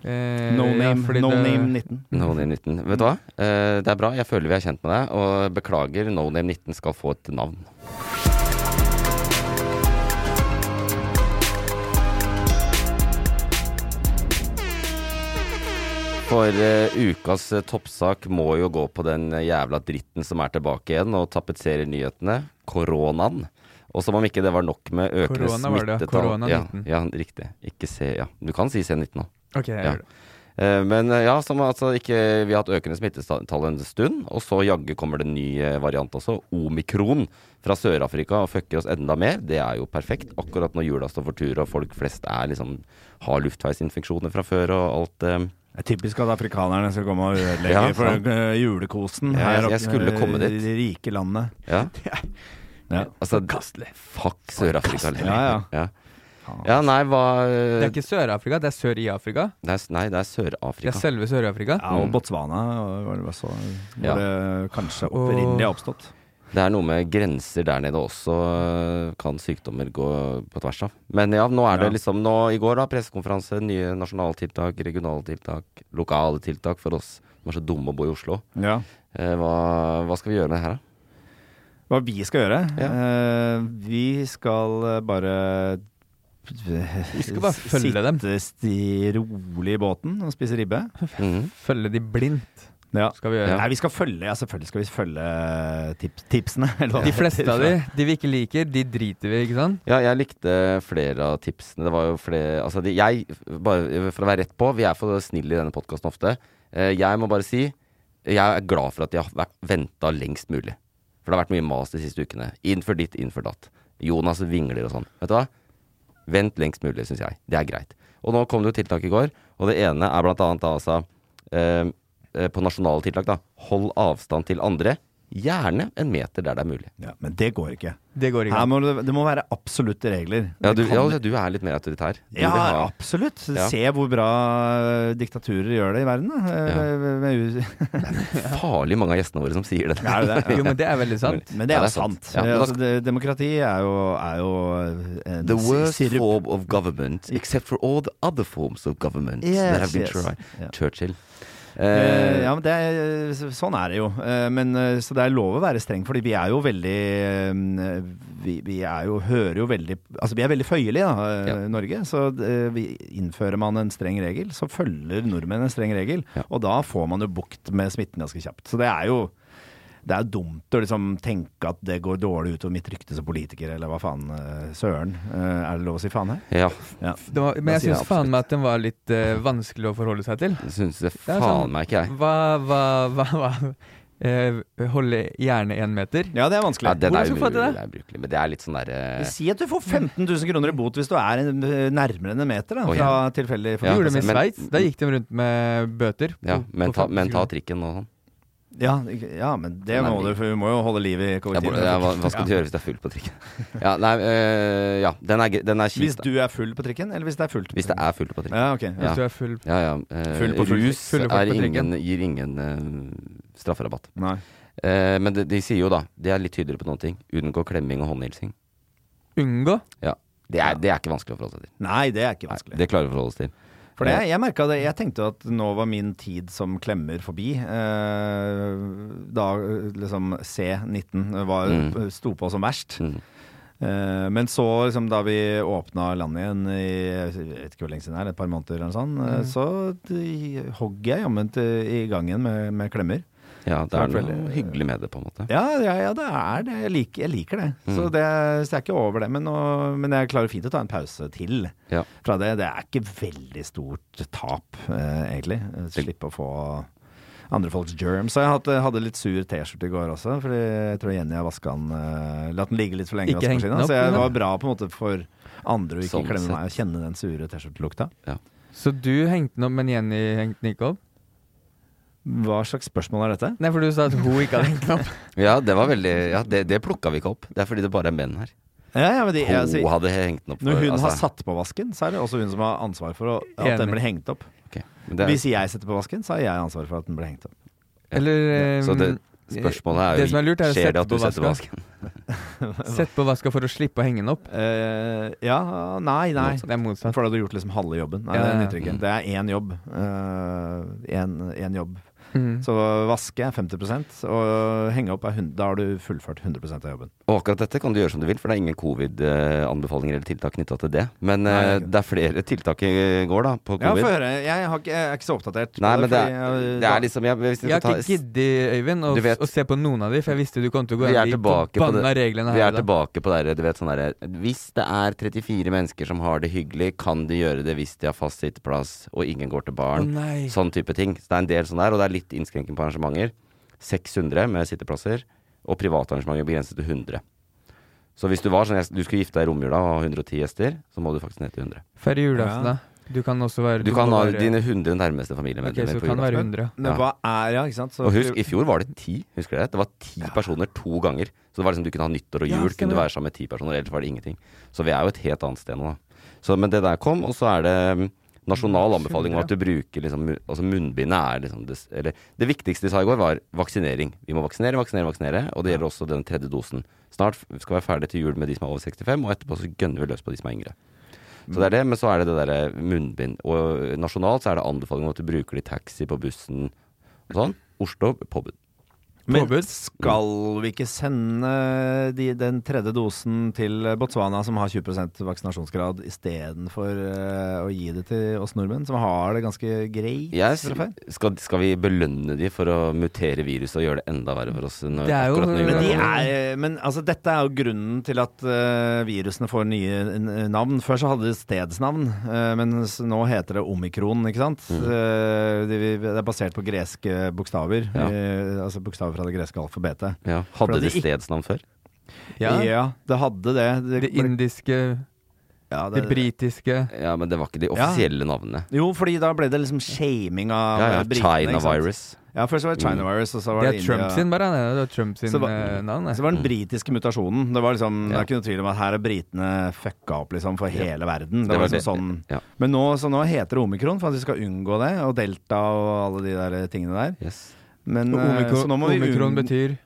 Speaker 4: Eh,
Speaker 5: No
Speaker 4: ja,
Speaker 5: name,
Speaker 4: fordi
Speaker 5: no
Speaker 4: det-
Speaker 5: name 19.
Speaker 3: No Name 19. Vet du hva? Eh, det er bra. Jeg føler vi er kjent med deg. Og beklager, No Name 19 skal få et navn. For eh, ukas eh, toppsak må jo gå på den eh, jævla dritten som er tilbake igjen og tapetserer nyhetene. Koronaen. Og som om ikke det var nok med økende
Speaker 4: Korona var det, ja.
Speaker 3: smittetall.
Speaker 4: Korona
Speaker 3: ja,
Speaker 4: 19.
Speaker 3: ja, riktig. Ikke C, ja. Du kan si C19 nå.
Speaker 4: Ok, jeg
Speaker 3: Ja.
Speaker 4: gjør det.
Speaker 3: Eh, Men eh, ja, som altså ikke, vi har hatt økende smittetall en stund, og så jaggu kommer det en ny eh, variant også. Omikron fra Sør-Afrika og fucker oss enda mer. Det er jo perfekt. Akkurat når jula står for tur og folk flest er liksom, har luftveisinfeksjoner fra før og alt. eh.
Speaker 5: Det er typisk at afrikanerne skal komme og ødelegge
Speaker 3: Ja,
Speaker 5: for
Speaker 3: sant.
Speaker 5: øh, julekosen
Speaker 3: Ja,
Speaker 5: her
Speaker 3: jeg-
Speaker 5: oppe
Speaker 3: jeg skulle komme
Speaker 5: i
Speaker 3: dit.
Speaker 5: det rike landet.
Speaker 3: Ja.
Speaker 5: Ja.
Speaker 3: Altså, fuck Sør-Afrika. liksom.
Speaker 5: Ja,
Speaker 3: ja. Ja, nei, hva
Speaker 4: Det
Speaker 3: eh,
Speaker 4: er ikke Sør-Afrika, det er sør i Afrika.
Speaker 3: det er, Nei, det er
Speaker 4: Det er
Speaker 3: Sør-Afrika.
Speaker 4: selve Sør-Afrika.
Speaker 5: Ja, og Botswana var det også, hvor
Speaker 3: mm. Ja.
Speaker 5: det kanskje opprinnelig har oppstått.
Speaker 3: Det er noe med grenser der nede også, øh, kan sykdommer gå på tvers av. Men ja, nå er det
Speaker 5: Ja.
Speaker 3: liksom nå i går, da. Pressekonferanse, nye nasjonale tiltak, regionale tiltak, lokale tiltak for oss som er så dumme å bo i Oslo.
Speaker 5: Ja.
Speaker 3: Eh, hva, hva skal vi gjøre med det her, da?
Speaker 5: Hva vi skal gjøre?
Speaker 3: Ja.
Speaker 5: Eh, vi skal eh, bare Vi
Speaker 4: skal bare følge dem.
Speaker 5: Sitte sti rolig i båten og spise ribbe.
Speaker 3: Mhm.
Speaker 4: Følge de blindt,
Speaker 5: Ja.
Speaker 4: skal vi gjøre.
Speaker 5: Nei, vi skal følge Ja, selvfølgelig skal vi følge eh, tips, tipsene. eller
Speaker 4: De
Speaker 5: hva det heter.
Speaker 4: fleste av de, de vi ikke liker, de driter vi i, ikke sant?
Speaker 3: Ja, jeg likte flere av tipsene. Det var jo flere Altså, de, jeg Bare for å være rett på, vi er for snille i denne podkasten ofte. Eh, jeg må bare si jeg er glad for at jeg har venta lengst mulig. For det har vært mye mas de siste ukene. Innenfor ditt, innenfor datt. Jonas vingler og sånn. Vet du hva? Vent lengst mulig, syns jeg. Det er greit. Og nå kom det jo tiltak i går, og det ene er blant annet da altså eh, eh, På nasjonale tiltak, da. Hold avstand til andre. Gjerne en meter der det er mulig.
Speaker 5: Ja, men det går ikke.
Speaker 4: Det går ikke.
Speaker 5: Her må det, det må være absolutte regler.
Speaker 3: Ja,
Speaker 5: Det
Speaker 3: du,
Speaker 5: kan-
Speaker 3: ja, du er litt mer autoritær. Du
Speaker 5: Ja,
Speaker 3: vil ha-
Speaker 5: absolutt.
Speaker 3: Ja.
Speaker 5: Se hvor bra eh, diktaturer gjør det i verden. Da. Eh,
Speaker 3: Ja.
Speaker 5: med- med US-
Speaker 3: farlig mange av gjestene våre som sier det.
Speaker 5: Er det det?
Speaker 4: Jo, men det er veldig sant.
Speaker 5: Men det er
Speaker 3: Ja,
Speaker 5: jo sant.
Speaker 3: Ja, men da
Speaker 5: altså, det, demokrati er jo, er jo en
Speaker 3: The worst
Speaker 5: sirup.
Speaker 3: form of government, except for all the other forms of government
Speaker 5: Yes,
Speaker 3: that have been
Speaker 5: yes.
Speaker 3: tried.
Speaker 5: Ja.
Speaker 3: Churchill.
Speaker 5: Eh,
Speaker 3: Eh,
Speaker 5: ja, men det er, sånn er det jo. Eh, men, eh, så det er lov å være streng, fordi vi er jo veldig eh, Vi, vi er jo, hører jo veldig Altså, vi er veldig føyelige, da, eh,
Speaker 3: Ja.
Speaker 5: Norge. Så eh, vi, innfører man en streng regel, så følger nordmenn en streng regel.
Speaker 3: Ja.
Speaker 5: Og da får man jo bukt med smitten ganske kjapt. Så det er jo det er jo dumt å liksom tenke at det går dårlig utover mitt rykte som politiker, eller hva faen. eh, Søren. Eh, Er det lov å si faen her?
Speaker 3: ja.
Speaker 5: Ja.
Speaker 4: Det var, men
Speaker 3: Da
Speaker 4: jeg
Speaker 3: sier jeg
Speaker 4: syns faen
Speaker 3: absolutt.
Speaker 4: meg at den var litt eh, vanskelig å forholde seg til.
Speaker 3: Det syns jeg
Speaker 4: er
Speaker 3: faen
Speaker 4: sånn-
Speaker 3: meg ikke, jeg.
Speaker 4: Hva, hva, hva, hva eh, Holde gjerne én meter?
Speaker 5: Ja, det er vanskelig.
Speaker 3: Ja, den
Speaker 4: Hvordan
Speaker 3: er
Speaker 4: skal vi få til
Speaker 3: umulig,
Speaker 4: det?
Speaker 3: det er ubrukelig. Men det er litt sånn derre
Speaker 5: Si at du får 15 000 kroner i bot hvis du er en, eh, nærmere enn en meter da,
Speaker 3: Å,
Speaker 5: fra tilfeldig
Speaker 3: Ja,
Speaker 4: Gjorde de i
Speaker 3: Altså, men-
Speaker 4: Sveits? Da gikk de rundt med bøter.
Speaker 3: ja,
Speaker 4: på-
Speaker 3: men,
Speaker 4: på
Speaker 3: ta, men ta
Speaker 4: 50 kroner.
Speaker 3: trikken og sånn.
Speaker 5: Ja, ikke- ja, men det
Speaker 3: Nei,
Speaker 5: må
Speaker 3: vi-
Speaker 5: du, for vi må jo holde liv i
Speaker 3: Ja,
Speaker 5: kollektivet.
Speaker 3: hva, ja, hva hva skal du gjøre hvis du er full på trikken? Ja, nei, eh, ja den er, gre- den er
Speaker 5: Hvis
Speaker 3: kjip. da.
Speaker 5: du er full på trikken, eller hvis det er fullt? på
Speaker 3: Hvis det
Speaker 5: trikken?
Speaker 3: er fullt på trikken.
Speaker 5: Ja, ok.
Speaker 4: Hvis du er full
Speaker 3: Ja, ja. eh,
Speaker 5: Full på full-
Speaker 3: rus
Speaker 4: fulle folk
Speaker 3: er
Speaker 4: på
Speaker 3: ingen,
Speaker 4: trikken.
Speaker 3: gir ingen eh, strafferabatt.
Speaker 5: Nei.
Speaker 3: Eh, men de, de sier jo da, de er litt tydeligere på noen ting, unngå klemming og håndhilsing.
Speaker 4: Unngå.
Speaker 3: Ja. Det er, det er ikke vanskelig å forholde seg til.
Speaker 5: Nei, det er ikke
Speaker 3: Nei,
Speaker 5: vanskelig.
Speaker 3: det klarer vi å forholde oss til. Eh,
Speaker 5: For det, jeg merket det, jeg tenkte at nå var min tid som klemmer forbi. Eh, da eh, liksom C19 var,
Speaker 3: Mm.
Speaker 5: sto på som verst.
Speaker 3: Mm.
Speaker 5: Eh, Men så, liksom, da vi åpna landet igjen i jeg vet ikke hvor lenge siden det er, et par måneder, eller noe sånt,
Speaker 3: Mm.
Speaker 5: eh, så de- hogg jeg jammen til- i gangen med, med klemmer.
Speaker 3: Ja, det er
Speaker 5: Selvfølgelig.
Speaker 3: noe hyggelig med det, på en måte.
Speaker 5: Ja, ja, ja det er det. Jeg liker, jeg liker det. Så
Speaker 3: Mm.
Speaker 5: det. Så jeg er ikke over det. Men, nå- men jeg klarer fint å ta en pause til
Speaker 3: Ja.
Speaker 5: fra det. Det er ikke veldig stort tap, eh, egentlig. Eh, Slippe å få andre folks germs. Så jeg hadde, hadde litt sur T-skjorte i går også, fordi jeg tror Jenny har vaska den eh, Latt den ligge litt for lenge i
Speaker 4: Ikke hengt
Speaker 5: vaskemaskinen.
Speaker 4: den
Speaker 5: Så
Speaker 4: opp,
Speaker 5: jeg
Speaker 4: liksom.
Speaker 5: var bra på en måte for andre å ikke
Speaker 3: Sånn
Speaker 5: klemme meg og kjenne den sure T-skjortelukta.
Speaker 4: Så du hengte den opp, men Jenny hengte den ikke opp?
Speaker 5: Hva slags spørsmål er dette?
Speaker 4: Nei, for du sa at hun ikke hadde hengt den opp.
Speaker 3: Ja, det var veldig Ja, det, det plukka vi ikke opp. Det er fordi det bare er menn her.
Speaker 5: Ja, ja, men de,
Speaker 3: Hun
Speaker 5: altså,
Speaker 3: hadde hengt den opp.
Speaker 5: når hun
Speaker 3: altså,
Speaker 5: har satt på vasken, så er det også hun som har ansvar for å, at
Speaker 4: Enig.
Speaker 5: den blir hengt opp.
Speaker 3: ok, men det, er-
Speaker 5: Hvis jeg setter på vasken, så har jeg ansvaret for at den ble hengt opp.
Speaker 4: Eller
Speaker 3: Så
Speaker 5: um,
Speaker 3: det,
Speaker 4: eh,
Speaker 3: spørsmålet er jo
Speaker 4: det som er lurt, er å
Speaker 3: Skjer
Speaker 4: sette
Speaker 3: det at du
Speaker 4: på
Speaker 3: setter
Speaker 4: vaska.
Speaker 3: vasken?
Speaker 4: Sett på vaska for å slippe å henge den opp.
Speaker 5: Eh, ja, nei, nei.
Speaker 4: Det er motsatt.
Speaker 5: For da hadde du gjort liksom halve jobben. Nei,
Speaker 4: Ja,
Speaker 5: Det
Speaker 4: ja, ja.
Speaker 5: nytter ikke. Det er én jobb. Eh, Én én jobb.
Speaker 4: Mm.
Speaker 5: Så vaske er 50 og henge opp er 100 Da har du fullført 100 av jobben.
Speaker 3: Og akkurat dette kan du gjøre som du vil, for det er ingen covid-anbefalinger eller tiltak knytta til det. Men
Speaker 5: Nei,
Speaker 3: eh,
Speaker 5: det er ikke.
Speaker 3: det er flere tiltak i går, da, på
Speaker 5: Ja,
Speaker 3: covid.
Speaker 5: få høre. Jeg, har ikke, jeg er ikke så oppdatert. på
Speaker 3: Nei, men det
Speaker 5: fordi
Speaker 3: er,
Speaker 5: jeg-
Speaker 3: det er liksom jeg, Hvis vi skal
Speaker 4: Jeg har
Speaker 3: ta
Speaker 4: ikke giddet, Øyvind, å,
Speaker 3: Du vet-
Speaker 4: å se på noen av de, for jeg visste du kom til å gå
Speaker 3: Vi er
Speaker 4: inn i de
Speaker 3: tilbake på det-
Speaker 4: forbanna reglene
Speaker 3: Vi er
Speaker 4: her. i dag.
Speaker 3: tilbake på det der, du vet sånn derre Hvis det er 34 mennesker som har det hyggelig, kan de gjøre det hvis de har fast sitteplass og ingen går til
Speaker 4: Å
Speaker 3: baren.
Speaker 4: nei.
Speaker 3: sånn type ting. Så det er en del sånn der, og det er litt innskrenking på arrangementer. 600 med sitteplasser, og private arrangementer begrenset til 100. Så hvis du var sånn, du skulle gifte deg i romjula og ha 110 gjester, så må du faktisk ned til 100.
Speaker 4: Færre julaften,
Speaker 5: Ja.
Speaker 4: da. Du kan også være
Speaker 3: Du kan
Speaker 4: må
Speaker 3: ha
Speaker 4: være-
Speaker 3: dine 100 nærmeste
Speaker 4: Ok,
Speaker 3: familiemedlemmer på
Speaker 4: så kan det
Speaker 3: julaften.
Speaker 4: være 100.
Speaker 5: Men hva er Ja, ikke sant. Så-
Speaker 3: Og husk, i fjor var det ti, husker dere det? Det var ti personer to ganger. Så det var liksom du kunne ha nyttår og
Speaker 4: Ja,
Speaker 3: jul, kunne
Speaker 4: stemmer.
Speaker 3: du være sammen med ti personer, ellers var det ingenting. Så vi er jo et helt annet sted nå, da. Så, men det der kom, og så er det mm, nasjonal anbefaling om at du bruker liksom mu- Altså munnbindet er liksom det, s- eller, det viktigste de sa i går, var vaksinering. Vi må vaksinere, vaksinere, vaksinere. Og det gjelder også den tredje dosen. Snart f- skal vi være ferdig til jul med de som er over 65, og etterpå så gønner vi løs på de som er yngre. Så det er det, men så er det det derre munnbind. Og nasjonalt så er det anbefaling om at du bruker det i taxi, på bussen og sånn. Oslo påbud.
Speaker 5: Men skal vi ikke sende de, den tredje dosen til Botswana, som har 20 vaksinasjonsgrad, istedenfor uh, å gi det til oss nordmenn, som har det ganske greit?
Speaker 3: Jeg
Speaker 5: fra før?
Speaker 3: s- skal, skal vi belønne de for å mutere viruset og gjøre det enda verre for oss? Når,
Speaker 4: Det er jo-
Speaker 3: akkurat når vi
Speaker 5: Men,
Speaker 3: gjør
Speaker 5: de
Speaker 3: det?
Speaker 5: er, men altså, dette er jo grunnen til at eh, virusene får nye eh, navn. Før så hadde de stedsnavn, eh, men s- nå heter det omikron, ikke sant? Eh, det, vi- det er basert på greske bokstaver,
Speaker 3: Ja.
Speaker 5: eh, altså bokstaver fra det greske alfabetet.
Speaker 3: ja.
Speaker 5: For
Speaker 3: Hadde
Speaker 5: at
Speaker 3: de
Speaker 5: de ikke-
Speaker 3: stedsnavn før?
Speaker 4: Ja.
Speaker 5: det hadde det.
Speaker 4: Det indiske
Speaker 5: Ja,
Speaker 4: De
Speaker 5: det,
Speaker 4: britiske
Speaker 3: Ja, men det var ikke de offisielle navnene.
Speaker 5: jo, fordi da ble det liksom shaming av
Speaker 3: Ja, ja,
Speaker 5: britene,
Speaker 3: China
Speaker 5: ikke sant?
Speaker 3: virus.
Speaker 5: Ja, først var det China virus, og så var
Speaker 4: Det er
Speaker 5: det, India.
Speaker 4: Trump sin, bare. Det det er Trump sin
Speaker 5: Så hva-
Speaker 4: eh, navn. det.
Speaker 5: Så var den britiske mutasjonen. Det var liksom, det
Speaker 3: Ja.
Speaker 5: er ikke noe tvil om at her er britene fucka opp liksom for hele verden. Det
Speaker 3: Det var
Speaker 5: var liksom sånn
Speaker 3: det, ja.
Speaker 5: Men nå, så nå heter det omikron for at vi skal unngå det, og delta og alle de der tingene der.
Speaker 3: Yes.
Speaker 5: Men,
Speaker 4: Og
Speaker 5: eh, så
Speaker 4: Omikron,
Speaker 5: nå må vi
Speaker 4: omikron
Speaker 5: unng-
Speaker 4: betyr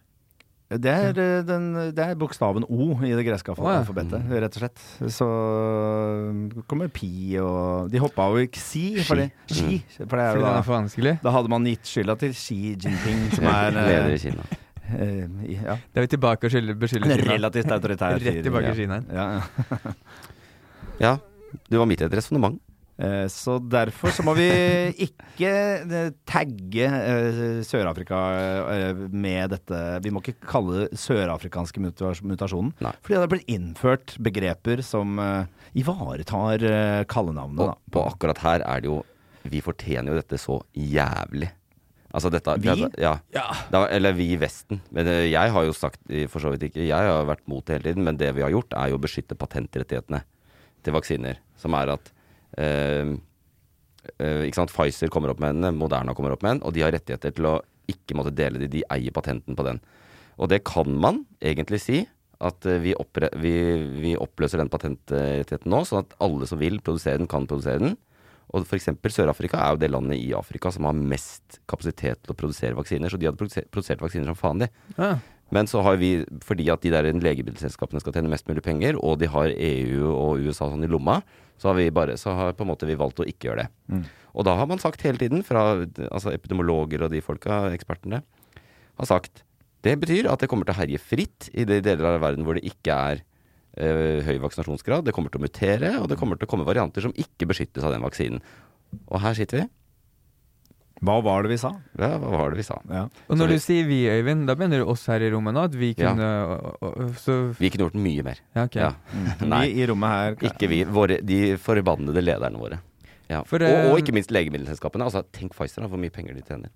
Speaker 5: det er, eh, den, det er bokstaven O i det greske
Speaker 4: Å, ja. Mm.
Speaker 5: alfabetet, rett og slett. Så eh, kommer pi og De hoppa over xi, fordi, xi, for det er
Speaker 4: Mm. Fordi
Speaker 5: jo
Speaker 4: den
Speaker 5: da
Speaker 4: er for vanskelig.
Speaker 5: da hadde man gitt skylda til Xi Jinping, som
Speaker 3: Ja,
Speaker 5: er eh,
Speaker 3: Leder i Kina.
Speaker 5: eh, i- ja,
Speaker 4: Det er vi tilbake og skylder-
Speaker 5: en
Speaker 4: beskylder Kina.
Speaker 5: relativt autoritær
Speaker 4: Rett
Speaker 5: fyr.
Speaker 4: tilbake
Speaker 5: Ja.
Speaker 4: i Kina.
Speaker 5: Ja, ja.
Speaker 3: Ja, du var midt i et resonnement.
Speaker 5: Eh, Så derfor så må vi ikke eh, tagge eh, Sør-Afrika eh, med dette Vi må ikke kalle det sørafrikanske mutas- mutasjonen.
Speaker 3: Nei.
Speaker 5: Fordi det har blitt innført begreper som eh, ivaretar eh, kallenavnet,
Speaker 3: Og,
Speaker 5: da.
Speaker 3: og akkurat her er det jo Vi fortjener jo dette så jævlig. Altså dette
Speaker 5: Vi?
Speaker 3: dette- Ja. Det var, eller vi i Vesten. Men eh, jeg har jo sagt i- for så vidt ikke Jeg har vært mot det hele tiden, men det vi har gjort, er jo å beskytte patentrettighetene til vaksiner. Som er at eh, eh, ikke sant? Pfizer kommer opp med en, Moderna kommer opp med en, og de har rettigheter til å ikke måtte dele de. De eier patenten på den. Og det kan man egentlig si, at eh, vi, oppre vi, vi oppløser den patentrettigheten nå, sånn at alle som vil produsere den, kan produsere den. Og f.eks. Sør-Afrika er jo det landet i Afrika som har mest kapasitet til å produsere vaksiner, så de hadde produse- produsert vaksiner som faen, de.
Speaker 4: Ja.
Speaker 3: Men så har vi, fordi at de der legemiddelselskapene skal tjene mest mulig penger, og de har EU og USA sånn i lomma, så har vi bare, så har på en måte vi valgt å ikke gjøre det. Og da har man sagt hele tiden, fra altså epidemiologer og de folka, ekspertene, har sagt det betyr at det kommer til å herje fritt i de deler av verden hvor det ikke er eh, høy vaksinasjonsgrad. Det kommer til å mutere, og det kommer til å komme varianter som ikke beskyttes av den vaksinen. Og her sitter vi.
Speaker 5: Hva var det vi sa?
Speaker 3: Ja, hva var det vi sa?
Speaker 5: Ja.
Speaker 4: Og
Speaker 3: Så
Speaker 4: når du sier vi, Øyvind, da mener du oss her i rommet nå? At vi
Speaker 3: Ja.
Speaker 4: kunne å- å- å- Så
Speaker 3: Vi kunne gjort mye mer.
Speaker 4: Ja, ok.
Speaker 3: Ja. Nei,
Speaker 5: Mm. Vi i rommet her
Speaker 3: ikke vi. Våre, de forbannede lederne våre. Ja.
Speaker 4: For,
Speaker 3: og,
Speaker 4: eh,
Speaker 3: og ikke minst legemiddelselskapene. Altså, tenk Pfizer, da, hvor mye penger de tjener.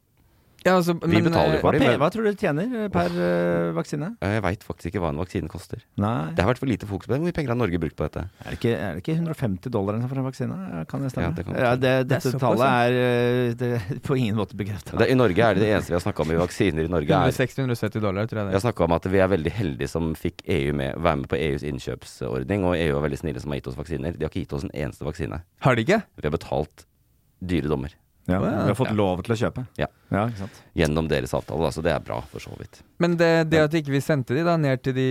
Speaker 4: ja, altså, men,
Speaker 3: betaler
Speaker 4: eh,
Speaker 3: for
Speaker 5: hva,
Speaker 3: det,
Speaker 5: pe-
Speaker 3: men-
Speaker 5: hva tror du det tjener per eh, vaksine?
Speaker 3: Eh, Jeg veit faktisk ikke hva en vaksine koster.
Speaker 5: Nei
Speaker 3: Det har vært for lite fokus på det. Hvor mye penger har Norge brukt på dette?
Speaker 5: Er det ikke, er det ikke 150 dollar eller noe for en vaksine? Ja, Kan det
Speaker 3: Ja,
Speaker 5: stemme?
Speaker 3: det kan
Speaker 5: Ja,
Speaker 3: stemme.
Speaker 5: det,
Speaker 4: Det er
Speaker 5: dette
Speaker 4: såpass,
Speaker 5: tallet
Speaker 4: ja.
Speaker 5: er eh, det, på ingen måte bekrefta.
Speaker 3: Det, I Norge er det det eneste vi har snakka om i vaksiner i Norge. er
Speaker 4: 160-170 dollar, tror jeg
Speaker 3: Vi
Speaker 4: det
Speaker 3: har snakka om at vi er veldig heldige som fikk EU med, være med på EUs innkjøpsordning, og EU er veldig snille som har gitt oss vaksiner. De har ikke gitt oss en eneste vaksine.
Speaker 4: er. Har de ikke?
Speaker 3: Vi har betalt dyre dommer
Speaker 5: Ja, vi har fått lov til å kjøpe.
Speaker 3: Ja.
Speaker 5: ikke sant?
Speaker 3: gjennom deres avtale, da, så det er bra, for så vidt.
Speaker 4: Men det, det at ikke vi sendte de da ned til de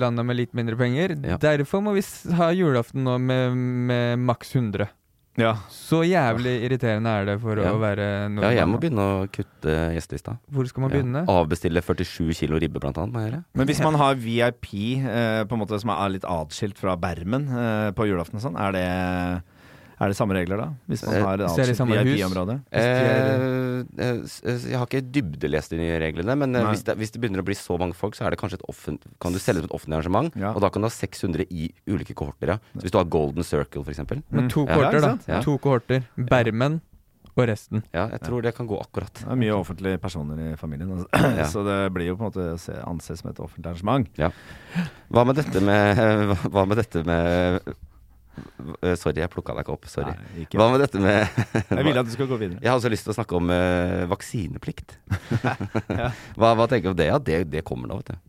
Speaker 4: landene med litt mindre penger
Speaker 3: Ja.
Speaker 4: Derfor må vi s- ha julaften nå med, med maks 100.
Speaker 5: Ja.
Speaker 4: Så jævlig irriterende er det for
Speaker 3: Ja.
Speaker 4: å være nordmann.
Speaker 3: Ja, jeg må begynne å kutte gjestelista.
Speaker 4: Hvor skal man
Speaker 3: Ja.
Speaker 4: begynne?
Speaker 3: Avbestille 47 kilo ribbe, blant annet, må jeg gjøre.
Speaker 5: Men hvis man har VIP eh, på en måte som er litt atskilt fra bermen eh, på julaften og sånn, er det, er det samme regler da? Hvis man
Speaker 3: Eh,
Speaker 5: har et
Speaker 4: så er det
Speaker 5: atskilt
Speaker 4: samme hus?
Speaker 5: VIP-område?
Speaker 3: Eh, eh, s- eh, jeg har ikke dybdelest de nye reglene, men eh,
Speaker 5: Nei.
Speaker 3: hvis det, hvis det begynner å bli så mange folk, så er det kanskje et offent, kan du selge det som et offentlig arrangement.
Speaker 5: Ja.
Speaker 3: Og da kan du ha 600 i ulike kohorter. Ja. Så hvis du har Golden Circle, f.eks.
Speaker 4: Med to
Speaker 3: Ja,
Speaker 4: kohorter,
Speaker 5: ikke
Speaker 4: da.
Speaker 5: sant?
Speaker 3: Ja.
Speaker 4: To kohorter. Bermen og resten.
Speaker 3: Ja, jeg tror det kan gå akkurat.
Speaker 5: Det er mye offentlige personer i familien, altså.
Speaker 3: Ja.
Speaker 5: så det blir jo på en måte å se- anses som et offentlig arrangement.
Speaker 3: Hva med dette med hva- Hva med dette med eh, Sorry, jeg plukka deg ikke opp. Sorry.
Speaker 5: Nei, ikke.
Speaker 3: Hva med dette med
Speaker 5: Jeg ville at du skulle gå videre.
Speaker 3: Jeg har også lyst til å snakke om eh, vaksineplikt. hva, hva tenker du om det? Ja, det, det kommer nå, vet du.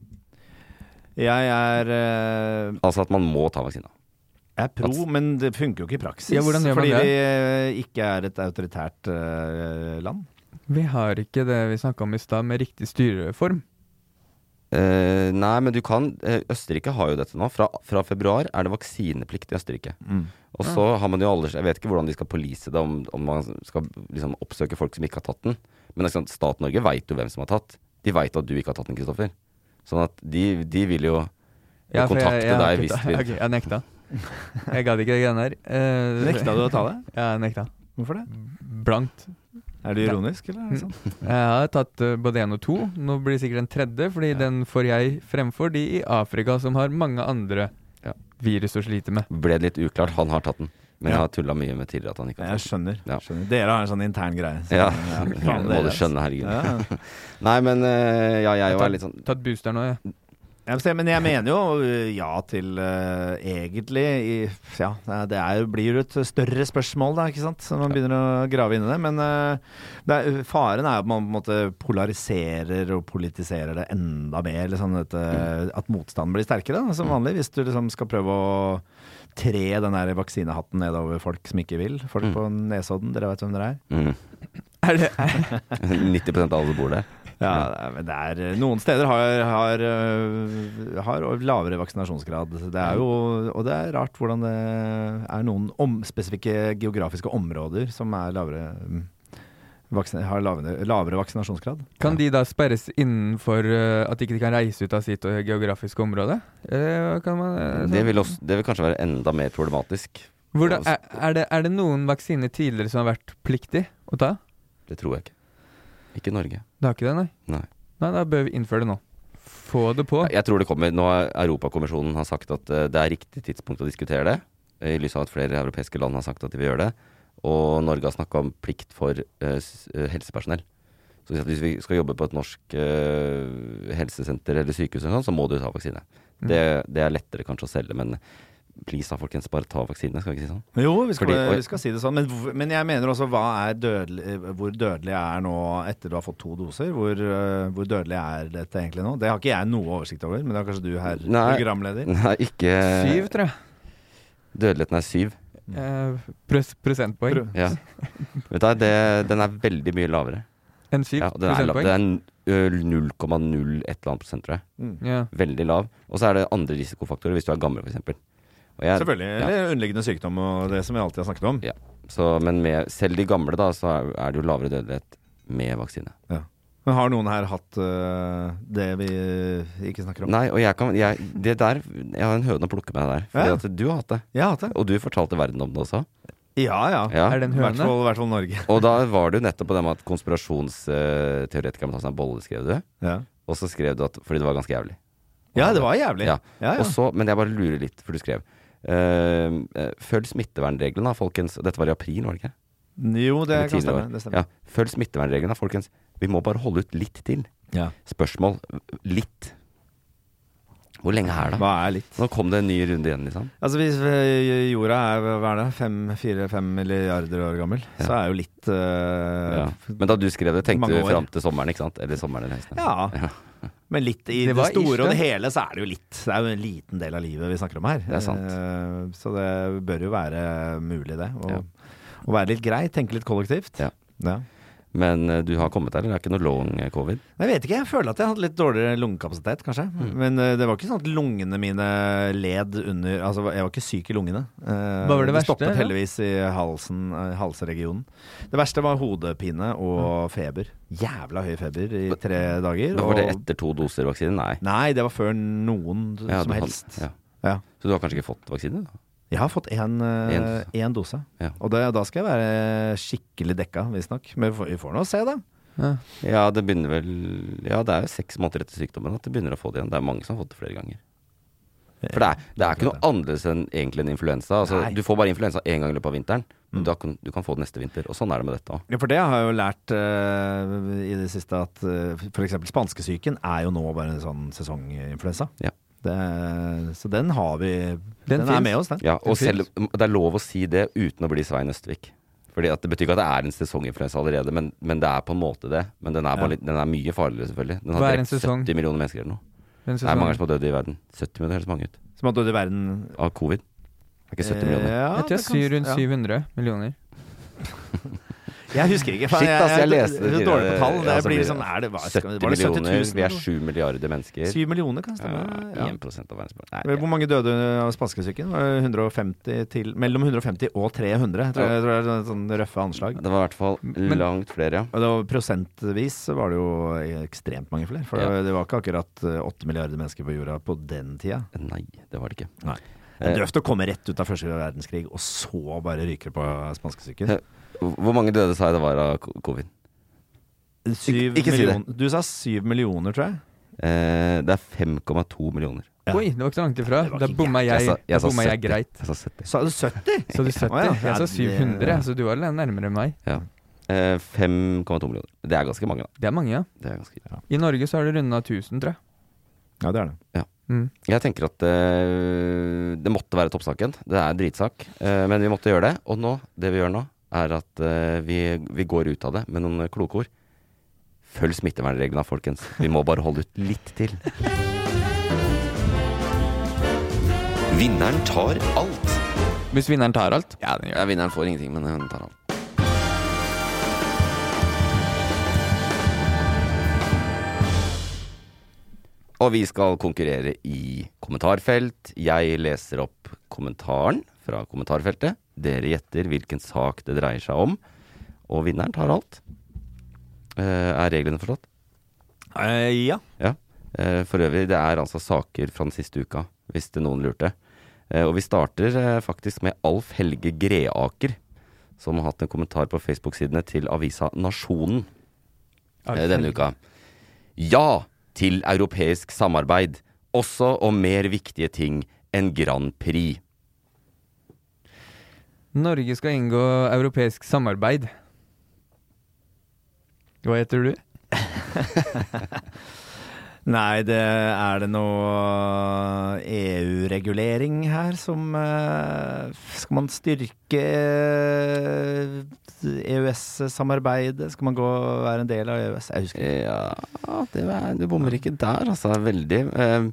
Speaker 5: Jeg er, eh,
Speaker 3: Altså at man må ta vaksina.
Speaker 5: jeg er pro,
Speaker 3: At-
Speaker 5: men det funker jo ikke i praksis.
Speaker 4: Ja, hvordan gjør man
Speaker 5: fordi
Speaker 4: det?
Speaker 5: vi eh, ikke er et autoritært eh, land.
Speaker 4: Vi har ikke det vi snakka om i stad, med riktig styreform.
Speaker 3: Eh, nei, men du kan eh, Østerrike har jo dette nå. Fra, fra februar er det vaksineplikt i Østerrike. Og så har man jo aldri Jeg vet ikke hvordan de skal police det, om, om man skal liksom, oppsøke folk som ikke har tatt den. Men ikke sant, staten Norge veit jo hvem som har tatt. De veit at du ikke har tatt den, Kristoffer. Sånn at de, de vil jo
Speaker 4: Ja, for jeg-
Speaker 3: kontakte
Speaker 4: jeg har
Speaker 3: deg
Speaker 4: ikke-
Speaker 3: hvis vi
Speaker 4: Ok, Jeg nekta. Jeg gadd ikke de greiene der. Eh,
Speaker 5: Nekta du å ta det?
Speaker 4: Ja, jeg nekta.
Speaker 5: Hvorfor det?
Speaker 4: Blankt.
Speaker 5: Er du ironisk, eller? er det sånn?
Speaker 4: Jeg har tatt eh, både én og to. Nå blir det sikkert en tredje, fordi den får jeg fremfor de i Afrika som har mange andre
Speaker 3: Ja.
Speaker 4: virus å slite med.
Speaker 3: Ble det litt uklart. Han har tatt den. Men
Speaker 5: Ja.
Speaker 3: jeg har tulla mye med tidligere at han ikke har
Speaker 5: Jeg
Speaker 3: tatt den.
Speaker 5: skjønner.
Speaker 3: Ja.
Speaker 5: skjønner. Dere har en sånn intern greie. så-
Speaker 3: Ja,
Speaker 5: faen
Speaker 3: må
Speaker 5: dere,
Speaker 3: du
Speaker 5: altså.
Speaker 3: skjønne, herregud.
Speaker 5: Ja.
Speaker 3: Nei, men eh, ja, jeg er jo
Speaker 4: tar-
Speaker 3: litt sånn
Speaker 4: Tatt booster nå, jeg.
Speaker 5: Ja, men se, men jeg mener jo øh, ja til øh, egentlig i, Ja, det er, blir jo et større spørsmål, da, ikke sant? Så man begynner å grave inn i det. Men øh, det er, faren er jo at man på en måte polariserer og politiserer det enda mer. Eller sånn at,
Speaker 4: Mm.
Speaker 5: øh, at motstanden blir sterkere, da, som vanlig. Hvis du liksom skal prøve å tre den der vaksinehatten nedover folk som ikke vil. Folk på Nesodden, dere vet hvem dere er.
Speaker 3: Mm.
Speaker 4: Mm. Er det, er,
Speaker 3: 90 av alle som bor der.
Speaker 5: Ja, det er- men det er eh, Noen steder har, har, øh, har lavere vaksinasjonsgrad. Det er jo, og det er rart hvordan det er noen om, spesifikke geografiske områder som er lavere mm, vaksin, har lavere, lavere vaksinasjonsgrad.
Speaker 4: kan de da sperres innenfor eh, at de ikke kan reise ut av sitt eh, geografiske område? Eller kan man, eh,
Speaker 3: Det
Speaker 4: sånn-
Speaker 3: vil, også, det vil kanskje være enda mer problematisk.
Speaker 4: Hvordan,
Speaker 3: Altså-
Speaker 4: er, er, det, er det noen vaksiner tidligere som har vært pliktig å ta?
Speaker 3: Det tror jeg ikke. Ikke i Norge.
Speaker 4: Det har ikke det, nei?
Speaker 3: Nei.
Speaker 4: Nei, da bør vi innføre det nå. Få det på.
Speaker 3: Jeg tror det kommer. Nå har Europakommisjonen har sagt at eh, det er riktig tidspunkt å diskutere det. I lys av at flere europeiske land har sagt at de vil gjøre det. Og Norge har snakka om plikt for eh, s- eh, helsepersonell. Så hvis vi skal jobbe på et norsk eh, helsesenter eller sykehus, eller sånn, så må du ta vaksine. Det, det er lettere kanskje å selge, men please da, folkens, bare ta vaksine. Skal vi ikke si sånn?
Speaker 5: Jo, vi skal,
Speaker 3: Fordi- og-
Speaker 5: vi skal si det sånn. Men, hvor- men jeg mener også hva er dødelig, hvor dødelig er nå etter du har fått to doser? Hvor, øh, hvor dødelig er dette egentlig nå? Det har ikke jeg noe oversikt over, men det har kanskje du herr
Speaker 3: Nei.
Speaker 5: programleder.
Speaker 3: Nei, ikke
Speaker 4: Syv, tror jeg.
Speaker 3: Dødeligheten er syv.
Speaker 4: Eh, pros prosentpoeng.
Speaker 5: Pro-
Speaker 3: Ja. Vet du, hva, det, den er veldig mye lavere.
Speaker 4: En syv
Speaker 3: Ja, den er, lav.
Speaker 4: prosentpoeng.
Speaker 3: Den er øh, ø, 0,0 et eller annet prosent, tror jeg.
Speaker 4: Ja.
Speaker 3: Veldig lav. Og så er det andre risikofaktorer hvis du er gammel, f.eks.
Speaker 5: Selvfølgelig.
Speaker 3: Ja.
Speaker 5: Eller underliggende sykdom og det som vi alltid har snakket om.
Speaker 3: Så, men med, selv de gamle, da, så er, er det jo lavere dødelighet med vaksine.
Speaker 5: Men har noen her hatt øh, det vi ikke snakker om?
Speaker 3: Nei, og jeg kan jeg, Det der Jeg har en høne å plukke med der. Fordi
Speaker 5: Ja.
Speaker 3: at du har hatt det.
Speaker 5: Jeg har hatt det.
Speaker 3: Og du fortalte verden om det også.
Speaker 5: Ja ja.
Speaker 3: Ja.
Speaker 4: Er det en
Speaker 5: I hvert
Speaker 4: høne?
Speaker 5: fall, i hvert fall Norge.
Speaker 3: Og da var det jo nettopp på det med at konspirasjonsteoretikere må ta seg en bolle, skrev du.
Speaker 5: Ja.
Speaker 3: Og så skrev du at fordi det var ganske jævlig.
Speaker 5: ja, det var jævlig.
Speaker 3: Ja.
Speaker 5: ja, ja.
Speaker 3: Og så, men jeg bare lurer litt, for du skrev ehm, eh, Følg smittevernreglene, da, folkens. Dette var i april, var det ikke?
Speaker 5: Jo, det
Speaker 3: Eller
Speaker 5: kan
Speaker 3: tidligere
Speaker 5: stemme.
Speaker 3: år.
Speaker 5: Det stemmer.
Speaker 3: Ja. Følg smittevernreglene, da, folkens. Vi må bare holde ut litt til.
Speaker 5: Ja.
Speaker 3: Spørsmål eh, litt. Hvor lenge er det?
Speaker 5: Hva er litt?
Speaker 3: Nå kom det en ny runde igjen, liksom.
Speaker 5: Altså hvis eh, jorda er hva er det, fem, fire, fem milliarder år gammel,
Speaker 3: Ja.
Speaker 5: så er jo litt
Speaker 3: Ja.
Speaker 5: eh,
Speaker 3: Men da du skrev det, tenkte
Speaker 5: Mange
Speaker 3: du
Speaker 5: år.
Speaker 3: fram til sommeren, ikke sant? Eller sommeren eller høsten.
Speaker 5: Ja. Men litt i
Speaker 4: Det
Speaker 5: det,
Speaker 4: var ish,
Speaker 5: store og det
Speaker 4: det.
Speaker 5: hele så er det jo litt. Det er jo en liten del av livet vi snakker om her.
Speaker 3: Det er sant.
Speaker 5: Eh, Så det bør jo være mulig, det. Å,
Speaker 3: Ja.
Speaker 5: å være litt grei, tenke litt kollektivt.
Speaker 3: Ja.
Speaker 5: Ja.
Speaker 3: Men eh, du har kommet deg, eller? Det er ikke noe long eh, covid?
Speaker 5: Jeg vet ikke, jeg føler at jeg hadde litt dårligere lungekapasitet, kanskje.
Speaker 3: Mm.
Speaker 5: Men eh, det var ikke sånn at lungene mine led under Altså, jeg var ikke syk i lungene. Eh,
Speaker 4: Hva var det verste,
Speaker 5: stoppet
Speaker 4: da?
Speaker 5: heldigvis i halsen, eh, halsregionen. Det verste var hodepine og feber. Jævla høy feber i tre dager.
Speaker 3: Da Mm. var det
Speaker 5: og-
Speaker 3: etter to doser vaksine? Nei.
Speaker 5: Nei, det var før noen
Speaker 3: Ja, du
Speaker 5: som
Speaker 3: hadde-
Speaker 5: helst.
Speaker 3: ja.
Speaker 5: Ja.
Speaker 3: Så du har kanskje ikke fått vaksine? da?
Speaker 5: Jeg har fått én
Speaker 3: En
Speaker 5: dose.
Speaker 3: Ja.
Speaker 5: Og det, da skal jeg være skikkelig dekka, visstnok. Men vi får- vi får nå se, da.
Speaker 4: Ja.
Speaker 3: Ja, det begynner vel Ja, det er jo seks måneder etter sykdommen at det begynner å få det igjen. Det er mange som har fått det flere ganger. For det er, det er ikke noe annerledes enn egentlig en influensa. Altså,
Speaker 5: Nei.
Speaker 3: du får bare influensa én gang i løpet av vinteren, men da kan, du kan få det neste vinter. Og sånn er det med dette òg.
Speaker 5: Ja, for det har jeg jo lært eh, i det siste at uh, f.eks. spanskesyken er jo nå bare en sånn sesonginfluensa.
Speaker 3: Ja.
Speaker 5: Det, så den har vi Den,
Speaker 4: finnes.
Speaker 5: er med oss, den.
Speaker 3: Ja, og
Speaker 4: Det er
Speaker 3: selv, det er lov å si det uten å bli Svein Østvik. Fordi at Det betyr ikke at det er en sesonginfluensa allerede, men, men det er på en måte det. Men den er, bare,
Speaker 5: Ja.
Speaker 3: litt, den er mye farligere, selvfølgelig. Den har
Speaker 4: Hva er en
Speaker 3: drept
Speaker 4: sesong?
Speaker 3: 70 millioner mennesker eller noe.
Speaker 4: En
Speaker 3: Det er mange
Speaker 4: sesong.
Speaker 3: som har dødd i verden. 70 millioner høres mange ut.
Speaker 5: Som har dødd i verden
Speaker 3: Av covid. Det er ikke
Speaker 5: Eh,
Speaker 3: 70 millioner.
Speaker 5: Ja,
Speaker 4: Jeg tror jeg
Speaker 5: det kan-
Speaker 4: syr rundt
Speaker 5: ja.
Speaker 4: 700 millioner.
Speaker 5: Jeg husker ikke.
Speaker 3: Shit, ass, jeg
Speaker 5: er
Speaker 3: leste det
Speaker 5: så Dårlig på
Speaker 3: tidligere.
Speaker 5: tall.
Speaker 3: Ja,
Speaker 5: Det
Speaker 3: så blir
Speaker 5: blir
Speaker 3: det
Speaker 5: sånn er det, hva, skal,
Speaker 3: 70
Speaker 5: Var det 70
Speaker 3: millioner,
Speaker 5: 000?
Speaker 3: vi er 7 milliarder mennesker.
Speaker 5: 7 millioner, kan
Speaker 3: ja,
Speaker 5: stemme. Ja.
Speaker 3: 1 av verdens
Speaker 5: Men Hvor
Speaker 3: befolkning. Nei,
Speaker 5: mange døde av spanskesyken? Var det 150 til, mellom 150 og 300, tror jeg, tror jeg er sånn røffe anslag.
Speaker 3: Det var i hvert fall
Speaker 4: Men-
Speaker 3: langt flere, ja.
Speaker 5: Og det var prosentvis så var det jo ekstremt mange flere. For
Speaker 3: Ja.
Speaker 5: det var ikke akkurat eh, 8 milliarder mennesker på jorda på den tida.
Speaker 3: Nei, det var det ikke.
Speaker 5: Nei.
Speaker 3: Eh,
Speaker 5: Drøft å komme rett ut av første verdenskrig, og så bare ryker det på spanskesyken.
Speaker 3: Eh, Hvor mange døde sa jeg det var av ko- covid?
Speaker 5: Syv
Speaker 3: ikke si det.
Speaker 5: million- Du sa syv millioner, tror jeg.
Speaker 3: Eh, det er 5,2 millioner.
Speaker 5: Ja.
Speaker 4: Oi, det var ikke så langt ifra.
Speaker 5: Det var
Speaker 4: Da
Speaker 5: ikke
Speaker 4: bomma jeg,
Speaker 3: sa-
Speaker 4: da
Speaker 3: sa
Speaker 4: bomma jeg
Speaker 3: 70.
Speaker 4: greit.
Speaker 3: Jeg sa 70.
Speaker 5: Sa du 70?
Speaker 4: Så du 70?
Speaker 5: Å ja, ja,
Speaker 4: Jeg sa
Speaker 5: det-
Speaker 4: 700, så du var litt nærmere enn meg.
Speaker 3: Ja. Eh, 5,2 millioner. Det er ganske mange, da.
Speaker 4: Det er mange, ja.
Speaker 3: Det er ganske
Speaker 4: I Norge så har det runda 1000, tror jeg.
Speaker 5: Ja, det er det.
Speaker 4: Mm.
Speaker 3: Jeg tenker at eh, det måtte være toppsaken. Det er dritsak, eh, men vi måtte gjøre det. Og nå, det vi gjør nå, er at eh, vi, vi går ut av det med noen kloke ord. Følg smittevernreglene, folkens. Vi må bare holde ut litt til. Vinneren tar alt.
Speaker 4: Hvis vinneren tar alt? Ja, den
Speaker 3: Ja, vinneren får ingenting, men hun tar alt. Og vi skal konkurrere i kommentarfelt. Jeg leser opp kommentaren fra kommentarfeltet. Dere gjetter hvilken sak det dreier seg om. Og vinneren tar alt. Eh, er reglene forstått?
Speaker 5: ja.
Speaker 3: Ja. Eh, for øvrig, det er altså saker fra den siste uka, hvis det noen lurte. Eh, og vi starter eh, faktisk med Alf Helge Greaker, som har hatt en kommentar på Facebook-sidene til avisa Nasjonen eh, denne uka. Ja til europeisk samarbeid, også om mer viktige ting enn Grand Prix.
Speaker 4: Norge skal inngå europeisk samarbeid. Hva heter du?
Speaker 5: Nei, det er det noe EU-regulering her som eh, Skal man styrke eh, EØS-samarbeidet? Skal man gå og være en del av EØS? Jeg husker ikke.
Speaker 3: Ja, det er, du bommer ikke der, altså. Veldig. Eh,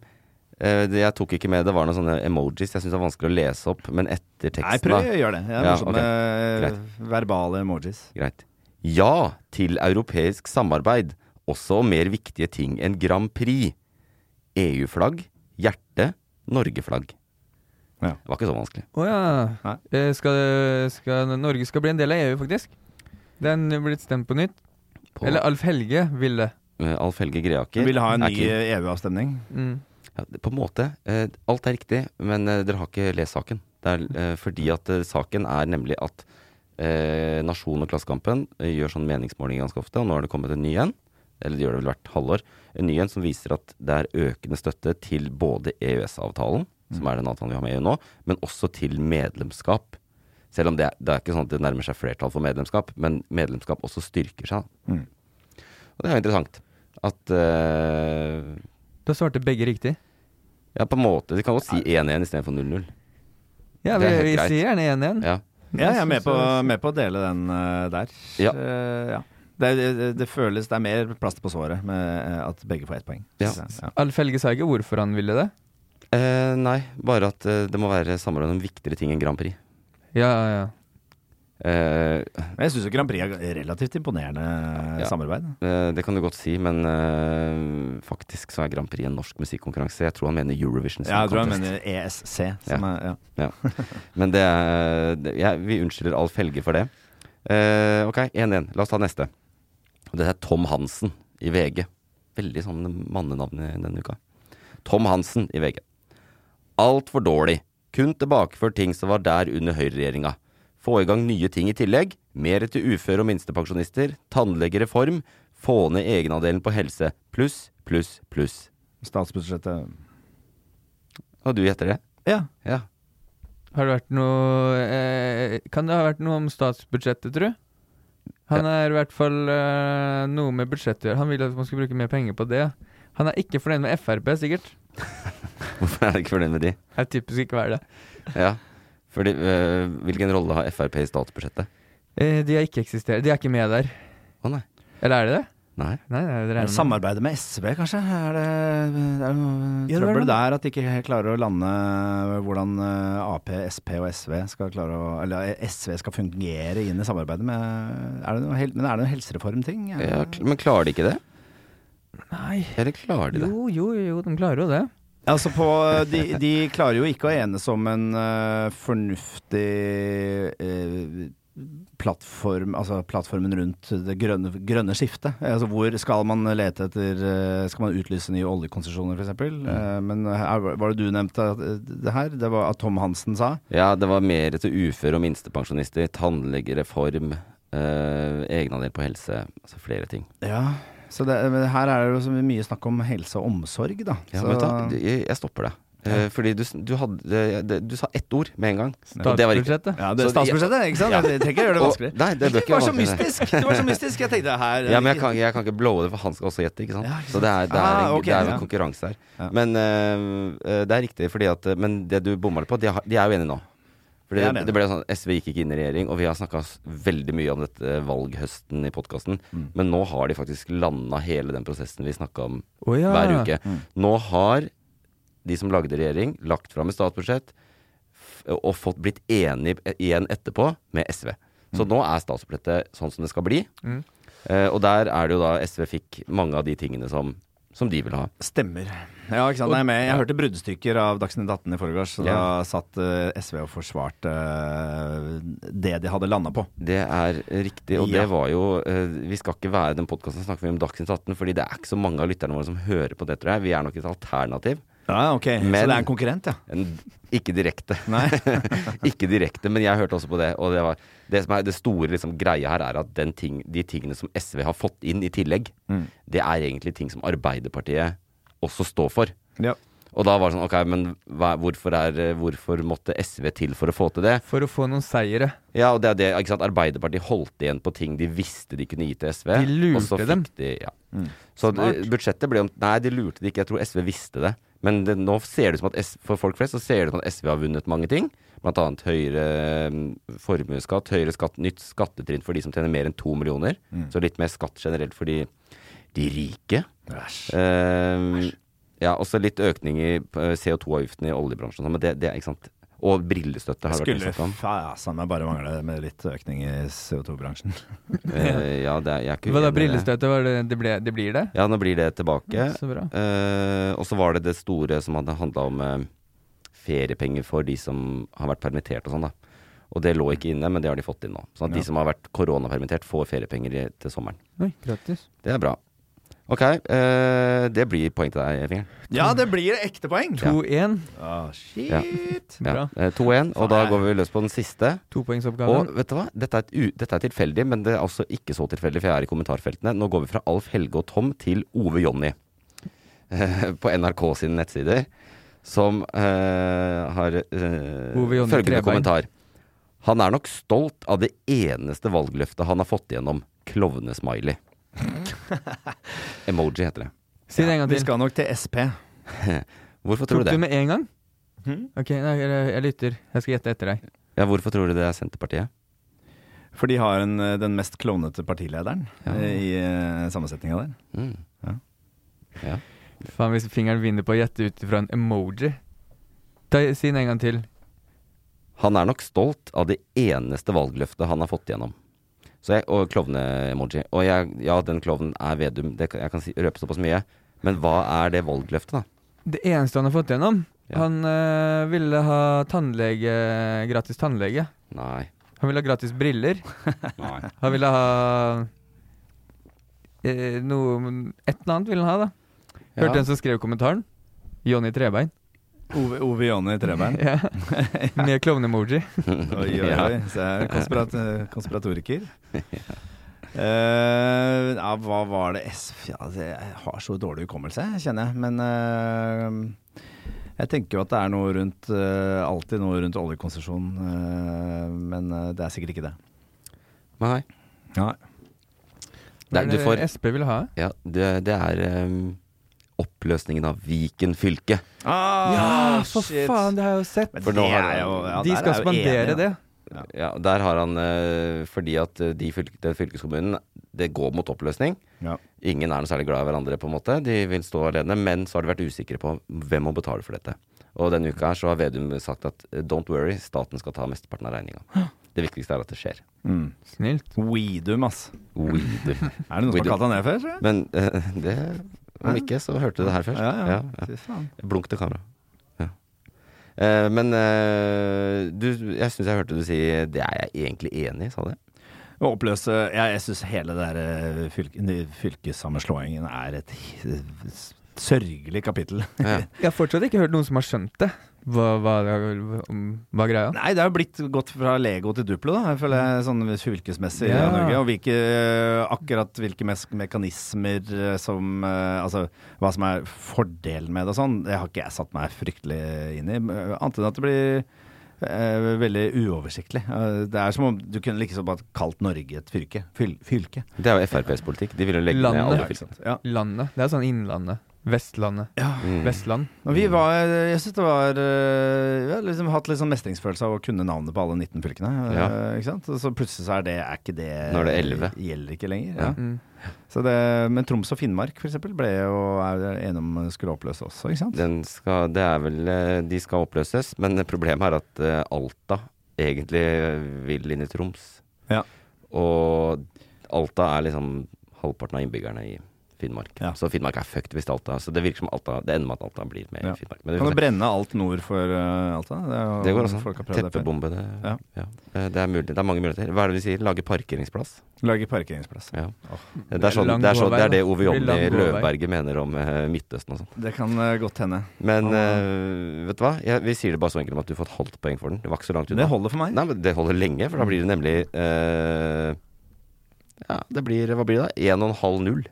Speaker 3: eh, det jeg tok ikke med, det var noen sånne emojis. Jeg syns det er vanskelig å lese opp, men etter teksten
Speaker 5: Nei, prøv å gjøre det. Det er
Speaker 3: Ja,
Speaker 5: morsomt med verbale emojis.
Speaker 3: Greit. Ja til europeisk samarbeid, også om mer viktige ting enn Grand Prix. EU-flagg, hjerte, Norge-flagg.
Speaker 5: Ja.
Speaker 3: Det var ikke så vanskelig.
Speaker 4: Å ja.
Speaker 5: Nei.
Speaker 4: Eh, Skal, skal, Norge skal bli en del av EU, faktisk. Den er blitt stemt på nytt.
Speaker 3: På,
Speaker 4: Eller Alf Helge ville.
Speaker 3: eh, Alf Helge Greaker
Speaker 5: Vi vil ha en
Speaker 3: er
Speaker 5: ny E
Speaker 3: keen.
Speaker 5: EU-avstemning.
Speaker 4: Mm.
Speaker 3: ja, det- På en måte. eh, Alt er riktig, men eh, dere har ikke lest saken. Det er eh, fordi at eh, saken er nemlig at eh, Nasjon og Klassekampen eh, gjør sånn meningsmåling ganske ofte, og nå har det kommet en ny en. Eller det gjør det vel hvert halvår. En ny en som viser at det er økende støtte til både EØS-avtalen, som er den avtalen vi har med EU nå, men også til medlemskap. Selv om det, det er ikke sånn at det nærmer seg flertall for medlemskap, men medlemskap også styrker seg.
Speaker 5: Mm.
Speaker 3: Og det er jo interessant at eh,
Speaker 4: Da svarte begge riktig.
Speaker 3: ja, på en måte. De kan godt si 1-1 istedenfor 0-0.
Speaker 4: Ja,
Speaker 3: Det
Speaker 4: vi,
Speaker 3: er helt
Speaker 4: vi
Speaker 3: greit.
Speaker 4: sier gjerne 1-1.
Speaker 3: Ja.
Speaker 5: Ja, jeg er med på, med på å dele den eh, der.
Speaker 3: Ja.
Speaker 5: Eh, ja. Det, det, det føles Det er mer plaster på såret med eh, at begge får ett poeng.
Speaker 3: Ja.
Speaker 5: Så, ja.
Speaker 4: Alf Helge sa ikke hvorfor han ville det.
Speaker 3: Eh, nei, bare at eh, det må være samarbeid om viktigere ting enn Grand Prix.
Speaker 4: Ja, ja, ja.
Speaker 3: Eh,
Speaker 5: Men jeg syns Grand Prix er relativt imponerende
Speaker 3: Ja.
Speaker 5: samarbeid.
Speaker 3: eh, det kan du godt si, men eh, faktisk så er Grand Prix en norsk musikkonkurranse. Jeg tror han mener Eurovision. Song
Speaker 5: Ja, jeg tror han
Speaker 3: Contest.
Speaker 5: mener ESC. Som er, ja.
Speaker 3: Men det er det, jeg- Vi unnskylder Alf Helge for det. Eh, ok, 1-1. La oss ta neste. Og Det er Tom Hansen i VG. Veldig sånn mannenavn i denne uka. Tom Hansen i VG. Altfor dårlig. Kun tilbakeført ting som var der under høyreregjeringa. Få i gang nye ting i tillegg. Mer til uføre og minstepensjonister. Tannlegereform. Få ned egenandelen på helse. Pluss, pluss, pluss.
Speaker 5: Statsbudsjettet
Speaker 3: Og du gjetter det?
Speaker 5: Ja.
Speaker 3: Ja.
Speaker 4: Har det vært noe eh, Kan det ha vært noe om statsbudsjettet, tru? Han er i hvert fall eh, noe med budsjettet å gjøre. Han ville at man skulle bruke mer penger på det. Han er ikke fornøyd med Frp, sikkert.
Speaker 3: Hvorfor er jeg ikke fornøyd med de?
Speaker 4: Er typisk ikke å være det.
Speaker 3: Ja, fordi øh, Hvilken rolle har Frp i statsbudsjettet?
Speaker 4: Eh, de er ikke eksisterer. De er ikke med der.
Speaker 3: Å nei.
Speaker 4: Eller er de det?
Speaker 3: Nei.
Speaker 4: Nei, nei, det
Speaker 5: Er
Speaker 4: regner
Speaker 5: det
Speaker 4: med.
Speaker 5: Samarbeidet med SV, kanskje? Er det, det er noe
Speaker 4: Ja, det var det.
Speaker 5: trøbbel der at de ikke helt klarer å lande hvordan eh, Ap, Sp og SV skal klare å Eller eh, SV skal fungere inn i samarbeidet med er det noe, hel- Men er det noen helsereformting? Er
Speaker 3: Ja,
Speaker 5: det-
Speaker 3: kl- men klarer de ikke det?
Speaker 4: Nei.
Speaker 3: Eller klarer de det?
Speaker 4: Jo, jo, jo, de klarer jo det.
Speaker 5: Altså på, de, de klarer jo ikke å enes om en eh, fornuftig eh, plattform, altså plattformen rundt det grønne, grønne skiftet. Altså hvor skal man lete etter eh, Skal man utlyse nye oljekonsesjoner f.eks.? eksempel? Eh, men her, var- var det du nevnte at, eh, det her? Det var at Tom Hansen sa?
Speaker 3: Ja, det var mer til uføre og minstepensjonister. Tannlegereform. øh, egenandel på helse. Altså flere ting.
Speaker 5: Ja. Så det, men her er det jo så mye snakk om helse og omsorg, da.
Speaker 3: Ja,
Speaker 5: så,
Speaker 3: men vet du, hva? jeg, jeg stopper deg. Eh, fordi du, s- du, hadde, eh, det- du sa ett ord med en gang. Og det var riktig.
Speaker 4: Statsbudsjettet.
Speaker 5: Ja, det,
Speaker 3: Så-
Speaker 5: statsbudsjettet, ikke sant?
Speaker 3: Ja.
Speaker 5: Jeg trenger ikke gjøre det
Speaker 3: Og-
Speaker 5: vanskeligere.
Speaker 3: Nei, det bør
Speaker 5: Det
Speaker 3: ikke
Speaker 5: var så
Speaker 3: være vanskelig.
Speaker 5: mystisk! Det var så mystisk, jeg tenkte her
Speaker 3: Ja, men jeg kan, jeg kan ikke blowe det, for han skal også gjette, ikke sant.
Speaker 5: Ja, ikke
Speaker 3: Så det er, det er,
Speaker 5: Ah,
Speaker 3: en,
Speaker 5: ok,
Speaker 3: det er
Speaker 5: ja.
Speaker 3: en konkurranse her.
Speaker 5: Ja.
Speaker 3: Men eh, eh, det er riktig, fordi at eh, Men det du bomma litt på, de, har, de er jo enige nå. Fordi
Speaker 5: De er
Speaker 3: det,
Speaker 5: enige.
Speaker 3: det ble sånn SV gikk ikke inn i regjering, og vi har snakka veldig mye om dette valghøsten i podkasten. Men nå har de faktisk landa hele den prosessen vi snakka om
Speaker 4: Å ja.
Speaker 3: hver uke. Nå har de som lagde regjering, lagt fram et statsbudsjett f- og fått blitt enig igjen etterpå med SV. Så nå er statsbudsjettet sånn som det skal bli.
Speaker 4: Mm.
Speaker 3: Eh, og der er det jo da SV fikk mange av de tingene som, som de vil ha.
Speaker 5: Stemmer. Ja, ikke sant. Nei, men jeg hørte bruddstykker av Dagsnytt 18 i forgårs, så
Speaker 3: Ja.
Speaker 5: da satt eh, SV og forsvarte eh, det de hadde landa på.
Speaker 3: Det er eh, riktig, og
Speaker 5: Ja.
Speaker 3: det var jo eh, Vi skal ikke være den podkasten snakker vi om Dagsnytt 18, fordi det er ikke så mange av lytterne våre som hører på det, tror jeg. Vi er nok et alternativ.
Speaker 5: Ja, ok.
Speaker 3: Men-
Speaker 5: så det er en konkurrent, ja.
Speaker 3: En, ikke direkte.
Speaker 5: Nei.
Speaker 3: ikke direkte, men jeg hørte også på det. Og det, var, det, som er, det store liksom, greia her er at den ting, de tingene som SV har fått inn i tillegg,
Speaker 5: Mm.
Speaker 3: det er egentlig ting som Arbeiderpartiet også står for.
Speaker 5: ja.
Speaker 3: Og da var det sånn Ok, men hva, hvorfor, er, eh, hvorfor måtte SV til for å få til det?
Speaker 4: For å få noen seire.
Speaker 3: Ja, og det er det, ikke sant? Arbeiderpartiet holdt igjen på ting de visste de kunne gi til SV.
Speaker 4: De lurte
Speaker 3: og så fikk
Speaker 4: dem. Mm.
Speaker 3: De, ja. Så
Speaker 4: Smart.
Speaker 3: det- budsjettet ble om Nei, de lurte det ikke. Jeg tror SV visste det. Men det, nå ser det ut som at S, for folk flest så ser det ut som at SV har vunnet mange ting. Blant annet høyere mm, formuesskatt, høyere skatt, nytt skattetrinn for de som tjener mer enn to millioner.
Speaker 4: Mm.
Speaker 3: Så litt mer skatt generelt for de, de rike.
Speaker 5: Æsj.
Speaker 3: Ehm, ja, også litt økning i eh, CO2-avgiften i oljebransjen. og sånn, Men det, det er ikke sant. Og brillestøtte har
Speaker 5: Det
Speaker 3: det vært
Speaker 5: skulle
Speaker 3: mye snakk om.
Speaker 5: faen meg bare mangle med litt økning i CO2-bransjen.
Speaker 3: Eh, ja, det er, jeg er ikke uenig
Speaker 4: Hva da,
Speaker 3: i det.
Speaker 4: brillestøtet? Var det, det, ble, det blir det?
Speaker 3: Ja, nå blir det tilbake.
Speaker 4: Så bra.
Speaker 3: Eh, og så var det det store som hadde handla om eh, feriepenger for de som har vært permittert og sånn, da. Og det lå ikke inne, men det har de fått inn nå. Sånn at de som har vært koronapermittert, får feriepenger i, til sommeren.
Speaker 4: Oi, grattis.
Speaker 3: Det er bra. Ok, eh, det blir poeng til deg, Fingeren.
Speaker 5: Ja, det blir ekte poeng!
Speaker 4: 2-1.
Speaker 5: Ah, shit.
Speaker 3: Ja.
Speaker 4: Bra.
Speaker 3: Ja. Eh, 2-1, og da
Speaker 5: Faen.
Speaker 3: går vi løs på den siste. Og
Speaker 4: Topoengsoppgaven.
Speaker 3: vet du hva? Dette er, et u dette er tilfeldig, men det er også ikke så tilfeldig, for jeg er i kommentarfeltene. Nå går vi fra Alf Helge og Tom til Ove Jonny eh, på NRK sine nettsider, som eh, har eh,
Speaker 4: Ove Jonny
Speaker 3: følgende
Speaker 4: Trebein.
Speaker 3: kommentar. Han er nok stolt av det eneste valgløftet han har fått igjennom. Klovnesmiley. Emoji heter det.
Speaker 4: Si det en gang
Speaker 5: Vi
Speaker 4: til.
Speaker 5: skal nok til SP.
Speaker 3: Hvorfor tror
Speaker 4: Tok
Speaker 3: du det?
Speaker 4: du med en gang?
Speaker 3: Hmm?
Speaker 4: Ok, nei, jeg, jeg lytter. Jeg skal gjette etter deg.
Speaker 3: Ja, hvorfor tror du det er Senterpartiet?
Speaker 5: For de har en, eh, den mest klovnete partilederen eh, i eh, sammensetninga der.
Speaker 3: Mm.
Speaker 5: Ja.
Speaker 3: Ja.
Speaker 4: Faen, hvis fingeren vinner på å gjette ut ifra en emoji Ta, Si den en gang til.
Speaker 3: Han er nok stolt av det eneste valgløftet han har fått igjennom. Så jeg, og klovne-emoji. Og jeg, ja, den klovnen er Vedum. Det, kan- jeg kan si, røpe såpass mye. Men hva er det valgløftet, da?
Speaker 4: Det eneste han har fått gjennom
Speaker 3: Ja.
Speaker 4: Han eh, ville ha tannlege, gratis tannlege.
Speaker 3: Nei.
Speaker 4: Han ville ha gratis briller.
Speaker 3: Nei.
Speaker 4: Han ville ha eh, noe Et eller annet ville han ha, da. Hørte en som skrev i kommentaren. Jonny Trebein.
Speaker 5: Ove, Ove Jonny Trebein.
Speaker 4: Ja. Med klovnemoji.
Speaker 5: Oi, oi,
Speaker 3: Ja.
Speaker 5: oi. Så jeg er konspirat konspiratoriker. Eh, ja, hva var det S... Ja, altså, jeg har så dårlig hukommelse, kjenner jeg. Men eh, jeg tenker jo at det er noe rundt eh, Alltid noe rundt oljekonsesjon. eh, men eh, det er sikkert ikke det.
Speaker 3: Nei.
Speaker 5: Nei.
Speaker 4: Hva
Speaker 3: Nei,
Speaker 4: er
Speaker 3: du
Speaker 4: det
Speaker 3: får-
Speaker 4: eh, SP vil ha?
Speaker 3: Ja, det, det er ehm, oppløsningen av Viken fylke.
Speaker 4: Ja, for faen, det har jeg jo sett!
Speaker 5: Ah, Men
Speaker 3: For
Speaker 5: det
Speaker 3: nå har-
Speaker 5: er jo, ja,
Speaker 4: De
Speaker 5: der
Speaker 4: skal
Speaker 5: er jeg jo
Speaker 4: spandere
Speaker 5: enig, da.
Speaker 4: det.
Speaker 3: Ja, der har han eh, Fordi at eh, de fylke, den fylkeskommunen, det går mot oppløsning.
Speaker 5: Ja.
Speaker 3: Ingen er noe særlig glad i hverandre, på en måte. De vil stå alene. Men så har de vært usikre på hvem må betale for dette. Og denne uka her så har Vedum sagt at eh, don't worry, staten skal ta mesteparten av regninga. Det viktigste er at det skjer.
Speaker 5: Mm.
Speaker 4: Snilt.
Speaker 5: Weedum, ass.
Speaker 3: Weedum.
Speaker 5: Er det noen
Speaker 3: Weedum.
Speaker 5: som har kalt han det før? tror jeg?
Speaker 3: Men eh, det Om ikke, så hørte du det her først.
Speaker 5: Ja, ja.
Speaker 3: Ja,
Speaker 5: Fy faen.
Speaker 3: ja. Blunk til kamera. Ja. Eh, men eh, du, jeg syns jeg hørte du si det er jeg egentlig enig i, sa du det?
Speaker 5: Å oppløse Jeg, jeg syns hele det der eh, fylke, de fylkessammenslåingen er et hi- sørgelig kapittel.
Speaker 3: Ja.
Speaker 4: Jeg har fortsatt ikke hørt noen som har skjønt det. Hva, hva, om- hva er greia?
Speaker 5: Nei, det er jo blitt gått fra Lego til Duplo, da. Jeg føler jeg sånn fylkesmessig
Speaker 4: Ja.
Speaker 5: i Norge. Og hvilke, eh, akkurat hvilke mes- mekanismer eh, som eh, Altså hva som er fordelen med det og sånn, det har ikke jeg satt meg fryktelig inn i. Eh, Annet enn at det blir eh, veldig uoversiktlig. Eh, det er som om du kunne liksom bare kalt Norge et fylke. Fyl, fylke.
Speaker 3: Det er jo FrPs politikk. De vil jo legge
Speaker 4: Landet.
Speaker 3: ned alle
Speaker 4: Ja,
Speaker 5: ikke
Speaker 3: fylker.
Speaker 5: sant? Ja.
Speaker 4: Landet. Det er sånn Innlandet. Vestlandet.
Speaker 3: Mm.
Speaker 4: Vestland.
Speaker 5: Og vi var, jeg syns det var øh, Vi har liksom hatt litt sånn mestringsfølelse av å kunne navnet på alle 19 fylkene. øh,
Speaker 3: Ja.
Speaker 5: Ikke sant? Og Så plutselig så er det er ikke det
Speaker 3: Nå er det 11.
Speaker 5: Gjelder ikke lenger.
Speaker 3: Ja.
Speaker 5: Ja.
Speaker 4: Mm.
Speaker 5: Så det, men Troms og Finnmark for eksempel, ble jo er enige om skulle oppløse også, ikke sant?
Speaker 3: Den skal, det er vel eh, De skal oppløses, men problemet er at eh, Alta egentlig eh, vil inn i Troms.
Speaker 5: Ja.
Speaker 3: Og Alta er liksom halvparten av innbyggerne i Finnmark.
Speaker 5: Ja.
Speaker 3: Så Finnmark er fucked hvis Alta Så det virker som Alta Det ender med at Alta blir med
Speaker 5: Ja.
Speaker 3: i Finnmark. Men vi får
Speaker 5: Kan
Speaker 3: se.
Speaker 5: du brenne alt nord for øh, Alta? Det, er jo-
Speaker 3: det går
Speaker 5: folk har
Speaker 3: også.
Speaker 5: prøvd det før.
Speaker 3: Teppebombe. Det,
Speaker 5: Ja.
Speaker 3: ja. Eh, det, er mulig, det er mange muligheter. Hva er det vi sier? Lage parkeringsplass?
Speaker 5: Lage parkeringsplass.
Speaker 3: Ja.
Speaker 5: Åh.
Speaker 3: Det er, sånn,
Speaker 4: Lang
Speaker 3: det, er sånn,
Speaker 4: gåvei,
Speaker 3: det er det
Speaker 4: da.
Speaker 3: Ove
Speaker 4: Det blir
Speaker 3: Jonny
Speaker 4: lang gåvei.
Speaker 3: Løvberget mener om eh, Midtøsten og sånn.
Speaker 5: Det kan øh, godt hende.
Speaker 3: Men
Speaker 5: Han,
Speaker 3: eh, vet du hva? Jeg, vi sier det bare så enkelt om at du får et halvt poeng for den. Det var ikke så langt unna.
Speaker 5: Det holder for meg.
Speaker 3: Nei, men det holder lenge, for da blir det nemlig eh, Ja, det blir Hva blir det? da? 1,5-0.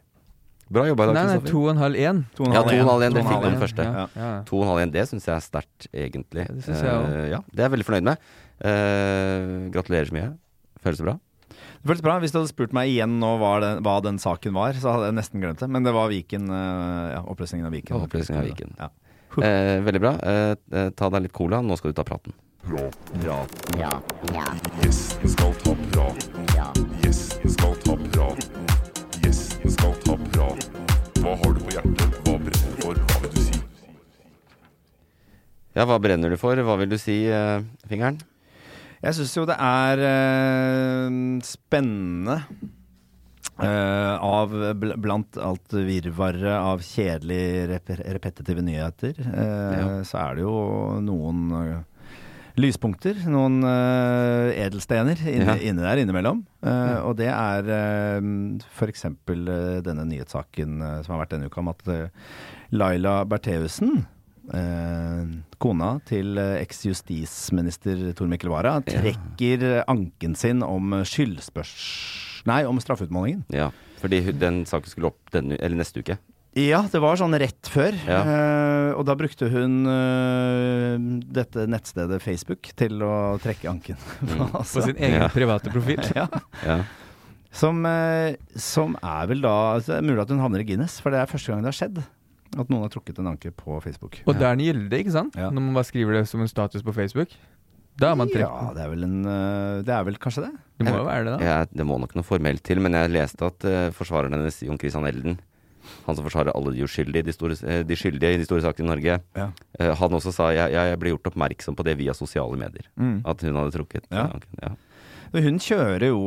Speaker 3: Bra jobba i dag,
Speaker 4: Nei, nei,
Speaker 3: Kristoffer.
Speaker 4: to og en halv én.
Speaker 5: To og en
Speaker 3: Ja, to og en
Speaker 5: halv igjen.
Speaker 3: halv igjen, det
Speaker 5: To og en
Speaker 3: fikk
Speaker 5: halv
Speaker 3: du
Speaker 5: igjen.
Speaker 3: den første.
Speaker 4: Ja, ja.
Speaker 3: 2,5-1, det syns jeg er sterkt, egentlig.
Speaker 4: Ja, det synes jeg også.
Speaker 3: Eh, ja, det er jeg veldig fornøyd med. Eh, gratulerer så mye. Føles det bra?
Speaker 5: Det føles bra. Hvis du hadde spurt meg igjen nå hva den, hva den saken var, så hadde jeg nesten glemt det. Men det var Viken, øh, ja, oppløsningen av Viken.
Speaker 3: Ja, oppløsningen av Viken.
Speaker 5: Ja.
Speaker 3: Eh, veldig bra. Eh, eh, ta deg litt cola, nå skal du ta praten.
Speaker 2: Gjesten skal ta praten. Gjesten skal ta praten. Gjesten skal ta praten. Hva har du på hjertet? Hva brenner du for? Hva vil du si?
Speaker 3: Ja, hva brenner du for? Hå vil du si, eh, fingeren?
Speaker 5: Jeg syns jo det er eh, spennende eh, av bl Blant alt virvaret av kjedelige rep repetitive nyheter, eh,
Speaker 3: Ja.
Speaker 5: så er det jo noen eh, lyspunkter. Noen eh, edelstener inne,
Speaker 3: Ja.
Speaker 5: inne der innimellom. Eh, Og det er eh, for eksempel eh, denne nyhetssaken eh, som har vært denne uka, om at eh, Laila Bertheussen eh, kona til eh, eks-justisminister Tor Mikkel Wara trekker eh, anken sin om eh, skyldspørs... Nei, om straffeutmålingen.
Speaker 3: Ja, fordi hu- den saken skulle opp denne, eller neste uke.
Speaker 5: Ja, det var sånn rett før.
Speaker 3: Ja.
Speaker 5: Eh, og da brukte hun eh, dette nettstedet Facebook til å trekke anken.
Speaker 4: Mm. På
Speaker 5: altså,
Speaker 4: sin egen
Speaker 3: Ja.
Speaker 4: private profil.
Speaker 5: ja.
Speaker 3: Ja.
Speaker 5: som, eh, som er vel da altså, Det er mulig at hun havner i Guinness, for det er første gang det har skjedd. At noen har trukket en anke på Facebook.
Speaker 4: Og da er den gyldig, ikke sant?
Speaker 5: Ja.
Speaker 4: Når man bare skriver det som en status på Facebook. Da har man trukket
Speaker 5: Ja, det er vel en eh, Det er vel kanskje det?
Speaker 4: Det må jo være det, da.
Speaker 3: Jeg, det må nok noe formelt til, men jeg leste at eh, forsvareren hennes, Jon Christian Elden, han som forsvarer alle de uskyldige, de, store, eh, de skyldige i de store sakene i Norge,
Speaker 5: Ja.
Speaker 3: eh, han også sa jeg, jeg, jeg ble gjort oppmerksom på det via sosiale medier. At hun hadde trukket
Speaker 5: Mm. Ja.
Speaker 3: eh, anken. Ja.
Speaker 5: Men Hun kjører jo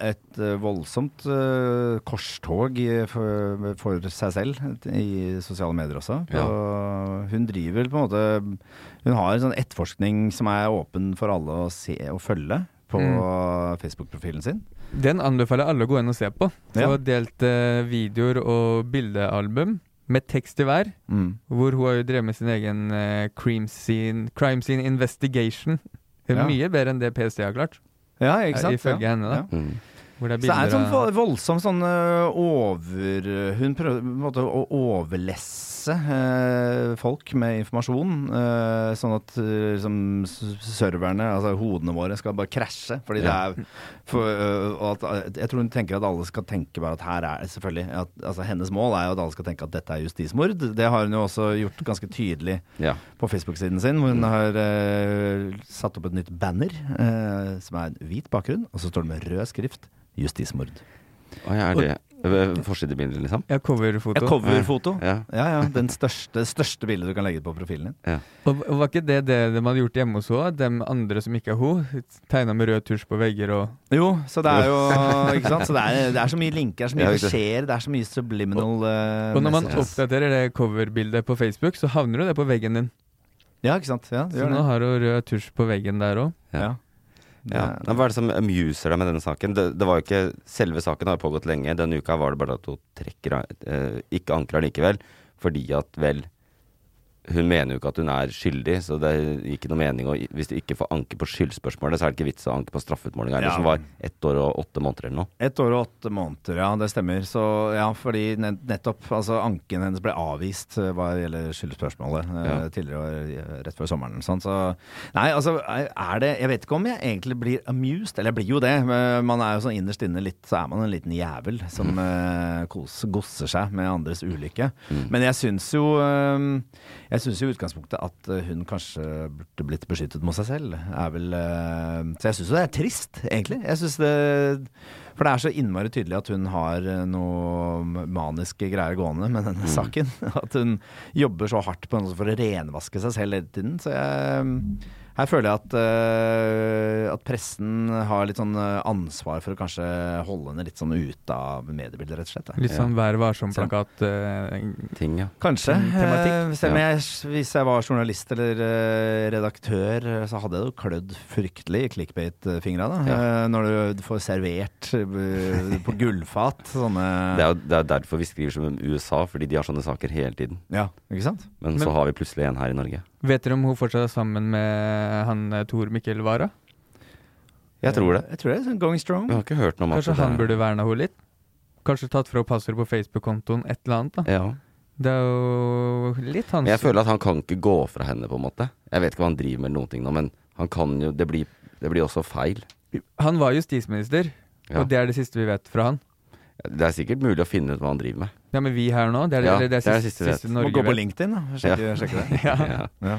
Speaker 5: et eh, voldsomt eh, korstog i- for, for seg selv i sosiale medier også.
Speaker 3: Ja.
Speaker 5: Og hun driver på en måte Hun har en sånn etterforskning som er åpen for alle å se og følge på
Speaker 4: Mm.
Speaker 5: Facebook-profilen sin.
Speaker 4: Den anbefaler alle å gå inn og se på. Så
Speaker 5: Ja.
Speaker 4: delte eh, videoer og bildealbum med tekst i hver, hvor hun har jo drevet med sin egen eh, crime, scene, crime scene investigation. Det er
Speaker 5: Ja.
Speaker 4: Mye bedre enn det PST har klart, eh,
Speaker 5: Ja, ikke sant?
Speaker 4: ifølge
Speaker 5: ja.
Speaker 4: henne, da.
Speaker 5: Ja.
Speaker 3: Mm.
Speaker 4: hvor det er
Speaker 5: Så det er en
Speaker 4: bilder
Speaker 5: sånn
Speaker 4: av
Speaker 5: vo- voldsom sånn ø, over Hun prøver på en måte å overlesse ø, folk med informasjon. ø, sånn at ø, liksom, s- serverne, altså hodene våre, skal bare krasje.
Speaker 3: Ja.
Speaker 5: Fordi det er for, ø, og at, eh, Jeg tror hun tenker at alle skal tenke bare at her er selvfølgelig at, altså Hennes mål er jo at alle skal tenke at dette er justismord. Det har hun jo også gjort ganske tydelig
Speaker 3: Ja.
Speaker 5: på Facebook-siden sin,
Speaker 3: Mm.
Speaker 5: hvor hun har eh, satt opp et nytt banner eh, som er en hvit bakgrunn, og så står det med rød skrift 'Justismord'.
Speaker 3: Å, ja, er det eh, Forsidebildet, liksom?
Speaker 4: ja, coverfoto.
Speaker 5: coverfoto.
Speaker 3: Ja.
Speaker 5: Ja, ja. Den største, største bildet du kan legge på profilen din.
Speaker 3: Ja.
Speaker 4: Og og var ikke det det de hadde gjort hjemme hos henne? De andre som ikke er hun, tegna med rød tusj på vegger og
Speaker 5: Jo, så det er jo Ikke sant? Så det er, det er så mye linker, det er så
Speaker 3: Ja,
Speaker 5: mye
Speaker 3: ikke sant.
Speaker 5: beskjeder, det er så mye subliminal eh,
Speaker 4: Og når man
Speaker 5: messages.
Speaker 4: oppdaterer det coverbildet på Facebook, så havner jo det på veggen din.
Speaker 5: Ja, ikke sant. Ja, det
Speaker 4: Så
Speaker 5: gjør
Speaker 4: nå
Speaker 5: det.
Speaker 4: har hun rød tusj på veggen der òg.
Speaker 5: Ja.
Speaker 3: Ja.
Speaker 5: Eh,
Speaker 3: Men Hva er det som amuser deg med denne saken? Det, det var jo ikke, selve saken har pågått lenge. Denne uka var det bare at hun trekker, eh, ikke anker likevel, fordi at vel hun mener jo ikke at hun er skyldig, så det er ikke noe mening å Hvis du ikke får anke på skyldspørsmålet, så er det ikke vits å anke på straffeutmålinga,
Speaker 5: Ja.
Speaker 3: eller som var ett år og åtte måneder eller noe.
Speaker 5: Ett år og åtte måneder, ja, det stemmer. Så ja, fordi nett- nettopp altså, anken hennes ble avvist eh, hva gjelder skyldspørsmålet eh,
Speaker 3: Ja.
Speaker 5: tidligere eh, rett før sommeren. Sånn, så nei, altså er det Jeg vet ikke om jeg egentlig blir amused, eller jeg blir jo det. men Man er jo sånn innerst inne litt Så er man en liten jævel som eh, kos, gosser seg med andres ulykke. Men jeg syns jo eh, Jeg syns jo i utgangspunktet at eh, hun kanskje burde blitt beskyttet mot seg selv. Er vel, eh, så jeg syns jo det er trist, egentlig. Jeg synes det For det er så innmari tydelig at hun har eh, noe maniske greier gående med denne saken. At hun jobber så hardt på noe for å renvaske seg selv hele tiden. Så jeg her føler jeg at, eh, at pressen har litt sånn eh, ansvar for å kanskje holde henne litt sånn ute av mediebildet, rett og slett. da.
Speaker 4: Litt sånn Vær eh, varsom-plakat.
Speaker 3: Ting, ja.
Speaker 5: Kanskje.
Speaker 4: Tem- tematikk.
Speaker 5: eh, Selv om jeg, hvis jeg var journalist eller eh, redaktør, eh, så hadde jeg jo klødd fryktelig i clickbait-fingra. da. Eh, Når du får servert eh, på gullfat sånne
Speaker 3: Det er jo det er derfor vi skriver som om USA, fordi de har sånne saker hele tiden.
Speaker 5: Ja, ikke sant?
Speaker 3: Men,
Speaker 4: Men-
Speaker 3: så har vi plutselig en her i Norge.
Speaker 4: Vet dere om hun fortsatt er sammen med han eh, Tor Mikkel Wara?
Speaker 3: Jeg tror det.
Speaker 5: Jeg tror det er sånn going strong.
Speaker 3: Vi har ikke hørt noe om at
Speaker 4: Kanskje
Speaker 3: det-
Speaker 4: han burde verna henne litt? Kanskje tatt fra passordet på Facebook-kontoen, et eller annet. da
Speaker 3: Ja.
Speaker 4: Det er jo litt hans
Speaker 3: Men jeg føler at han kan ikke gå fra henne, på en måte. Jeg vet ikke hva han driver med eller noen ting nå, men han kan jo Det blir, det blir også feil.
Speaker 4: Han var justisminister,
Speaker 3: Ja.
Speaker 4: og det er det siste vi vet fra han.
Speaker 3: Det er sikkert mulig å finne ut hva han driver med.
Speaker 4: Ja, men vi her nå, det er det,
Speaker 3: Ja,
Speaker 4: eller det, er siste,
Speaker 3: vi vet.
Speaker 4: siste
Speaker 5: Må
Speaker 4: Norge
Speaker 5: gå
Speaker 4: vet.
Speaker 5: på LinkedIn da, og sjekke, sjekke det.
Speaker 4: Ja.
Speaker 3: Ja.
Speaker 5: Ja,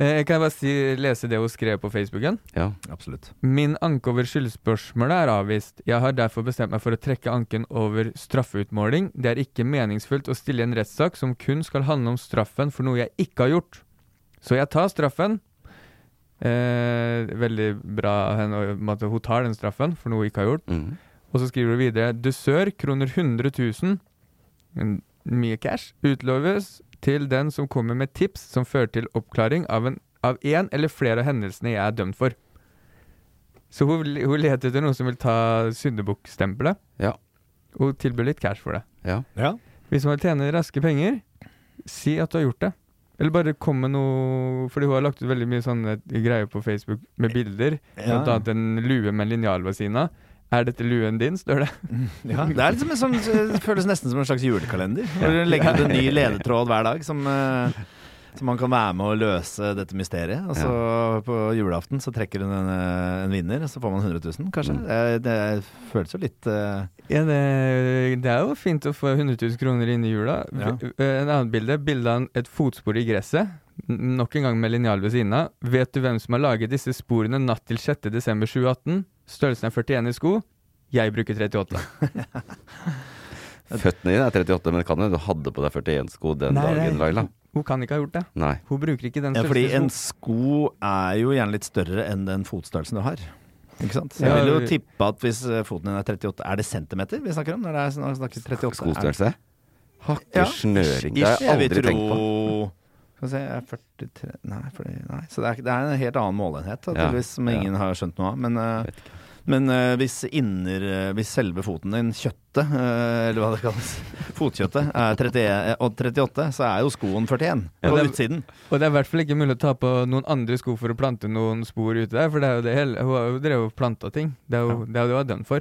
Speaker 4: Eh, kan jeg bare si, lese det hun skrev på Facebooken?
Speaker 3: ja.
Speaker 5: absolutt.
Speaker 4: Min anke over skyldspørsmålet er avvist. Jeg har derfor bestemt meg for å trekke anken over straffeutmåling. Det er ikke meningsfullt å stille i en rettssak som kun skal handle om straffen for noe jeg ikke har gjort. Så jeg tar straffen. Eh, veldig bra av henne, og på en måte, hun tar den straffen for noe hun ikke har gjort.
Speaker 3: Mm.
Speaker 4: Og så skriver du videre Dusør kroner 100 000 en- Mye cash Utloves til den som kommer med tips Som fører til oppklaring av en, av en eller flere av hendelsene jeg er dømt for Så hun, hun leter etter noen som vil ta syndebukkstempelet
Speaker 3: Ja.
Speaker 4: Og tilbyr litt cash for det
Speaker 3: ja.
Speaker 5: Ja.
Speaker 4: Hvis man vil tjene raske penger Si at du har gjort det eller bare kom med noe Fordi hun har lagt ut veldig mye sånne greier på Facebook Med bilder
Speaker 5: Ja.
Speaker 4: Blant annet en lue med en linjal ved siden av Er dette luen din, står det
Speaker 5: Det er liksom en sånn, det føles nesten som en slags julekalender. Hvor du legger ut en ny ledetråd hver dag som, eh, som man kan være med å løse dette mysteriet. Og så på julaften så trekker hun en, eh, en vinner, og så får man 100 000, kanskje. Eh, Det, føles jo litt eh,
Speaker 4: Ja, det, det er jo fint å få 100 000 kroner inn i jula.
Speaker 5: Ja.
Speaker 4: V- eh, En annet bilde. Bilde av en- et fotspor i gresset. N- Nok en gang med linjal ved siden av. Vet du hvem som har laget disse sporene natt til 6.12.2018? Størrelsen er 41 i sko. Jeg bruker 38.
Speaker 3: Føttene dine er 38, men kan hende du hadde på deg 41-sko den
Speaker 4: Nei, nei.
Speaker 3: dagen, Laila.
Speaker 4: Hun kan ikke ha gjort det.
Speaker 3: Nei.
Speaker 4: Hun bruker ikke den
Speaker 5: ja, Fordi en
Speaker 4: størrelsen. i sko.
Speaker 5: sko er jo gjerne litt større enn den fotstørrelsen du har. Ikke sant? Så jeg
Speaker 4: Ja,
Speaker 5: vil jo
Speaker 4: vi-
Speaker 5: tippe at hvis eh, foten din er 38 Er det centimeter vi snakker om? Når det er, når vi snakker 38,
Speaker 3: Skostørrelse?
Speaker 5: Ja.
Speaker 3: Hakke snøring. Det har jeg aldri tenkt på.
Speaker 5: Skal vi se, jeg er 43 Nei, 40, nei. Så det er, ikke- det er en helt annen målenhet, da,
Speaker 3: Ja,
Speaker 5: tydeligvis, som
Speaker 3: ja.
Speaker 5: ingen har skjønt noe av. Men, eh,
Speaker 3: Vet ikke.
Speaker 5: men eh, hvis, inner, eh, hvis selve foten din, kjøttet, eh, eller hva det kalles, fotkjøttet, er 31, og 38, så er jo skoen 41 på
Speaker 4: Ja.
Speaker 5: utsiden.
Speaker 4: Og det er i hvert fall ikke mulig å ta på noen andre sko for å plante noen spor ute der, for det er jo det hele Hun har jo drevet og planta ting. Det er jo det er jo det hun er dømt for.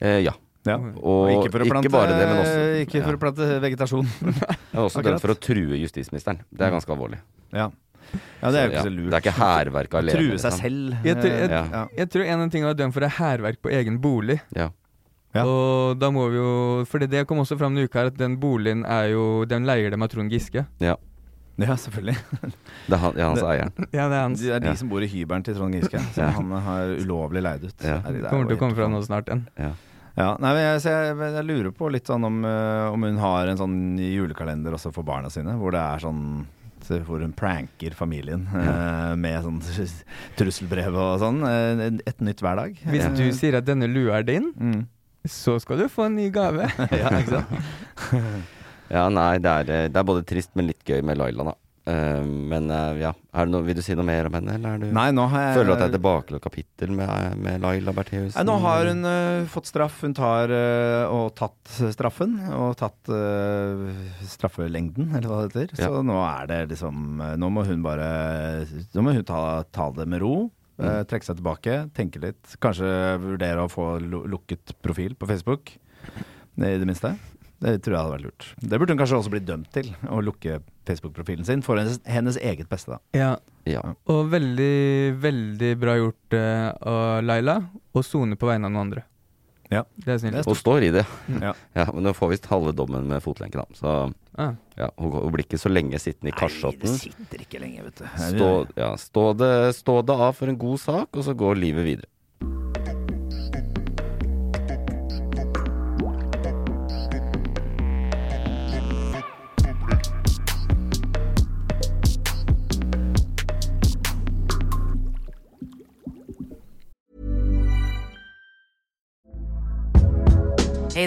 Speaker 3: Eh, ja.
Speaker 5: Ja.
Speaker 3: Og,
Speaker 5: ikke, for å plante,
Speaker 3: ikke bare det, men også,
Speaker 5: ikke for å plante vegetasjon.
Speaker 3: ja. Og også
Speaker 5: akkurat.
Speaker 3: den for å true justisministeren. Det er ganske alvorlig.
Speaker 5: Ja, ja det er jo
Speaker 3: Ja,
Speaker 5: ikke så lurt.
Speaker 3: Det er ikke hærverk alene.
Speaker 5: True seg
Speaker 3: liksom.
Speaker 5: selv.
Speaker 4: Jeg tror-
Speaker 5: eh,
Speaker 4: jeg-
Speaker 5: ja.
Speaker 4: Jeg tror en av tingene hun er dømt for, er hærverk på egen bolig.
Speaker 3: Ja.
Speaker 5: Ja.
Speaker 4: Og da må vi jo For det kom også fram denne uka, her, at den boligen er jo Den leier dem av Trond Giske.
Speaker 3: ja.
Speaker 5: ja, selvfølgelig.
Speaker 3: Det er han, det er han som er eieren.
Speaker 4: Ja, det er hans.
Speaker 5: Det er de
Speaker 3: Ja.
Speaker 5: som bor i hybelen til Trond Giske, som
Speaker 3: Ja.
Speaker 5: han har ulovlig leid ut.
Speaker 3: Ja.
Speaker 5: Nei, det er
Speaker 4: Kommer
Speaker 5: jo
Speaker 4: til å komme
Speaker 5: helt
Speaker 4: fram nå snart igjen.
Speaker 3: Ja.
Speaker 5: Ja, nei, men jeg, så jeg, men jeg lurer på litt sånn om, eh, om hun har en sånn julekalender også for barna sine, hvor det er sånn så hvor hun pranker familien eh, med sånn trusselbrev og sånn. eh, Et nytt hver dag.
Speaker 4: Hvis
Speaker 5: Eh,
Speaker 4: du sier at denne lua er din,
Speaker 5: mm.
Speaker 4: så skal du få en ny gave.
Speaker 5: Ja, ikke sant?
Speaker 3: ja, nei, det er, eh, det er både trist, men litt gøy med Laila, da. Eh, men eh, ja, er det noe, vil du si noe mer om henne, eller er du
Speaker 5: Nei, nå har jeg
Speaker 3: Føler du at det er et tilbakelagt kapittel med, eh, med Laila Bertheussen?
Speaker 5: Nei, nå har hun ø, fått straff. Hun tar ø, og tatt straffen. Og tatt ø, straffelengden, eller hva det heter.
Speaker 3: Ja.
Speaker 5: Så nå er det liksom ø, Nå må hun bare Nå må hun ta, ta det med ro. ø,
Speaker 3: Mm.
Speaker 5: trekke seg tilbake, tenke litt. Kanskje vurdere å få lu- lukket profil på Facebook. I det minste. Det tror jeg hadde vært lurt. Det burde hun kanskje også bli dømt til. Å lukke Facebook-profilen sin for hennes, hennes eget beste, da.
Speaker 4: Ja,
Speaker 3: Ja.
Speaker 4: og veldig, veldig bra gjort eh, av Laila å sone på vegne av noen andre.
Speaker 5: Ja.
Speaker 4: Det er snilt.
Speaker 3: Og står i det.
Speaker 5: Ja.
Speaker 3: Ja, men hun får visst halve dommen med fotlenke, da. Så
Speaker 4: Ah.
Speaker 3: ja, hun, hun blir ikke så lenge sittende i
Speaker 5: Nei,
Speaker 3: kasjotten.
Speaker 5: det sitter ikke lenge, vet du.
Speaker 3: Stå, ja, stå, det, stå det av for en god sak, og så går livet videre.
Speaker 6: Hey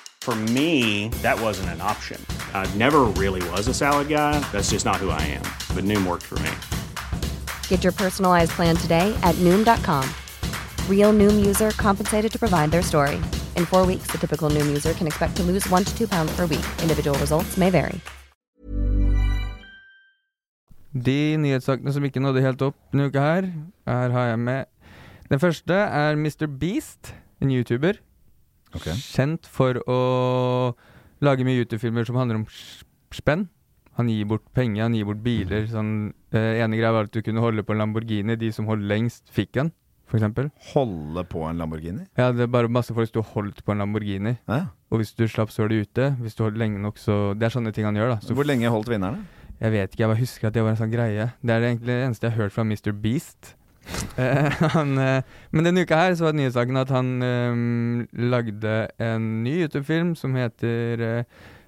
Speaker 7: For me, that wasn't an option. I never really was a salad guy. That's just not who I am. But Noom worked for me.
Speaker 8: Get your personalized plan today at Noom.com. Real Noom user compensated to provide their story. In four weeks, the typical Noom user can expect to lose one to two pounds per week. Individual results may vary.
Speaker 4: De nyhetssakene som ikke nådde helt opp denne uka her, her har jeg med Den første er Mr. Beast, en YouTuber.
Speaker 5: Ok.
Speaker 4: Kjent for å lage mye YouTube-filmer som handler om s- spenn. Han gir bort penger, han gir bort biler. Sånn, eh, ene greia var at du kunne holde på en Lamborghini. De som holdt lengst, fikk en, for eksempel.
Speaker 5: Holde på en Lamborghini?
Speaker 4: Ja, det er bare masse folk som sto og holdt på en Lamborghini.
Speaker 5: Ja, ja.
Speaker 4: Og hvis du slapp, så var du ute. Hvis du holdt lenge nok, så Det er sånne ting han gjør, da. Så
Speaker 5: Hvor lenge holdt vinnerne?
Speaker 4: Jeg vet ikke, jeg bare husker at det var en sånn greie. Det er det egentlig det eneste jeg har hørt fra Mr. Beast. Eh, han, eh, men denne uka her så var nyhetssaken at han eh, lagde en ny YouTube-film som heter eh,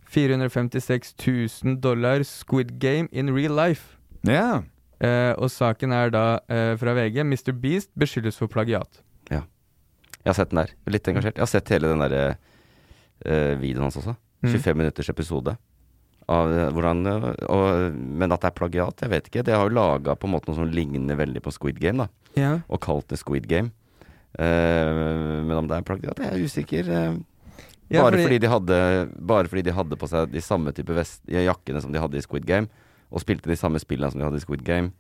Speaker 4: 456 000 dollar Squid Game in real life.
Speaker 5: Ja.
Speaker 4: Eh, og saken er da eh, fra VG. Mr. Beast beskyldes for plagiat.
Speaker 3: Jeg har sett den der. Litt engasjert. Jeg har sett hele den der eh, videoen hans også.
Speaker 4: Mm.
Speaker 3: 25 minutters episode. Av eh, hvordan eh, og, Men at det er plagiat, jeg vet ikke. Det har jo laga på en måte noe som ligner veldig på Squid Game, da.
Speaker 4: Ja.
Speaker 3: Og kalt det Squid Game. Eh, men om det er plagiat, jeg er usikker. eh.
Speaker 4: Ja,
Speaker 3: bare,
Speaker 4: fordi-
Speaker 3: fordi... de hadde, bare fordi de hadde på seg de samme type vest, jakkene som de hadde i Squid Game, og spilte de samme spillene som de hadde i Squid Game.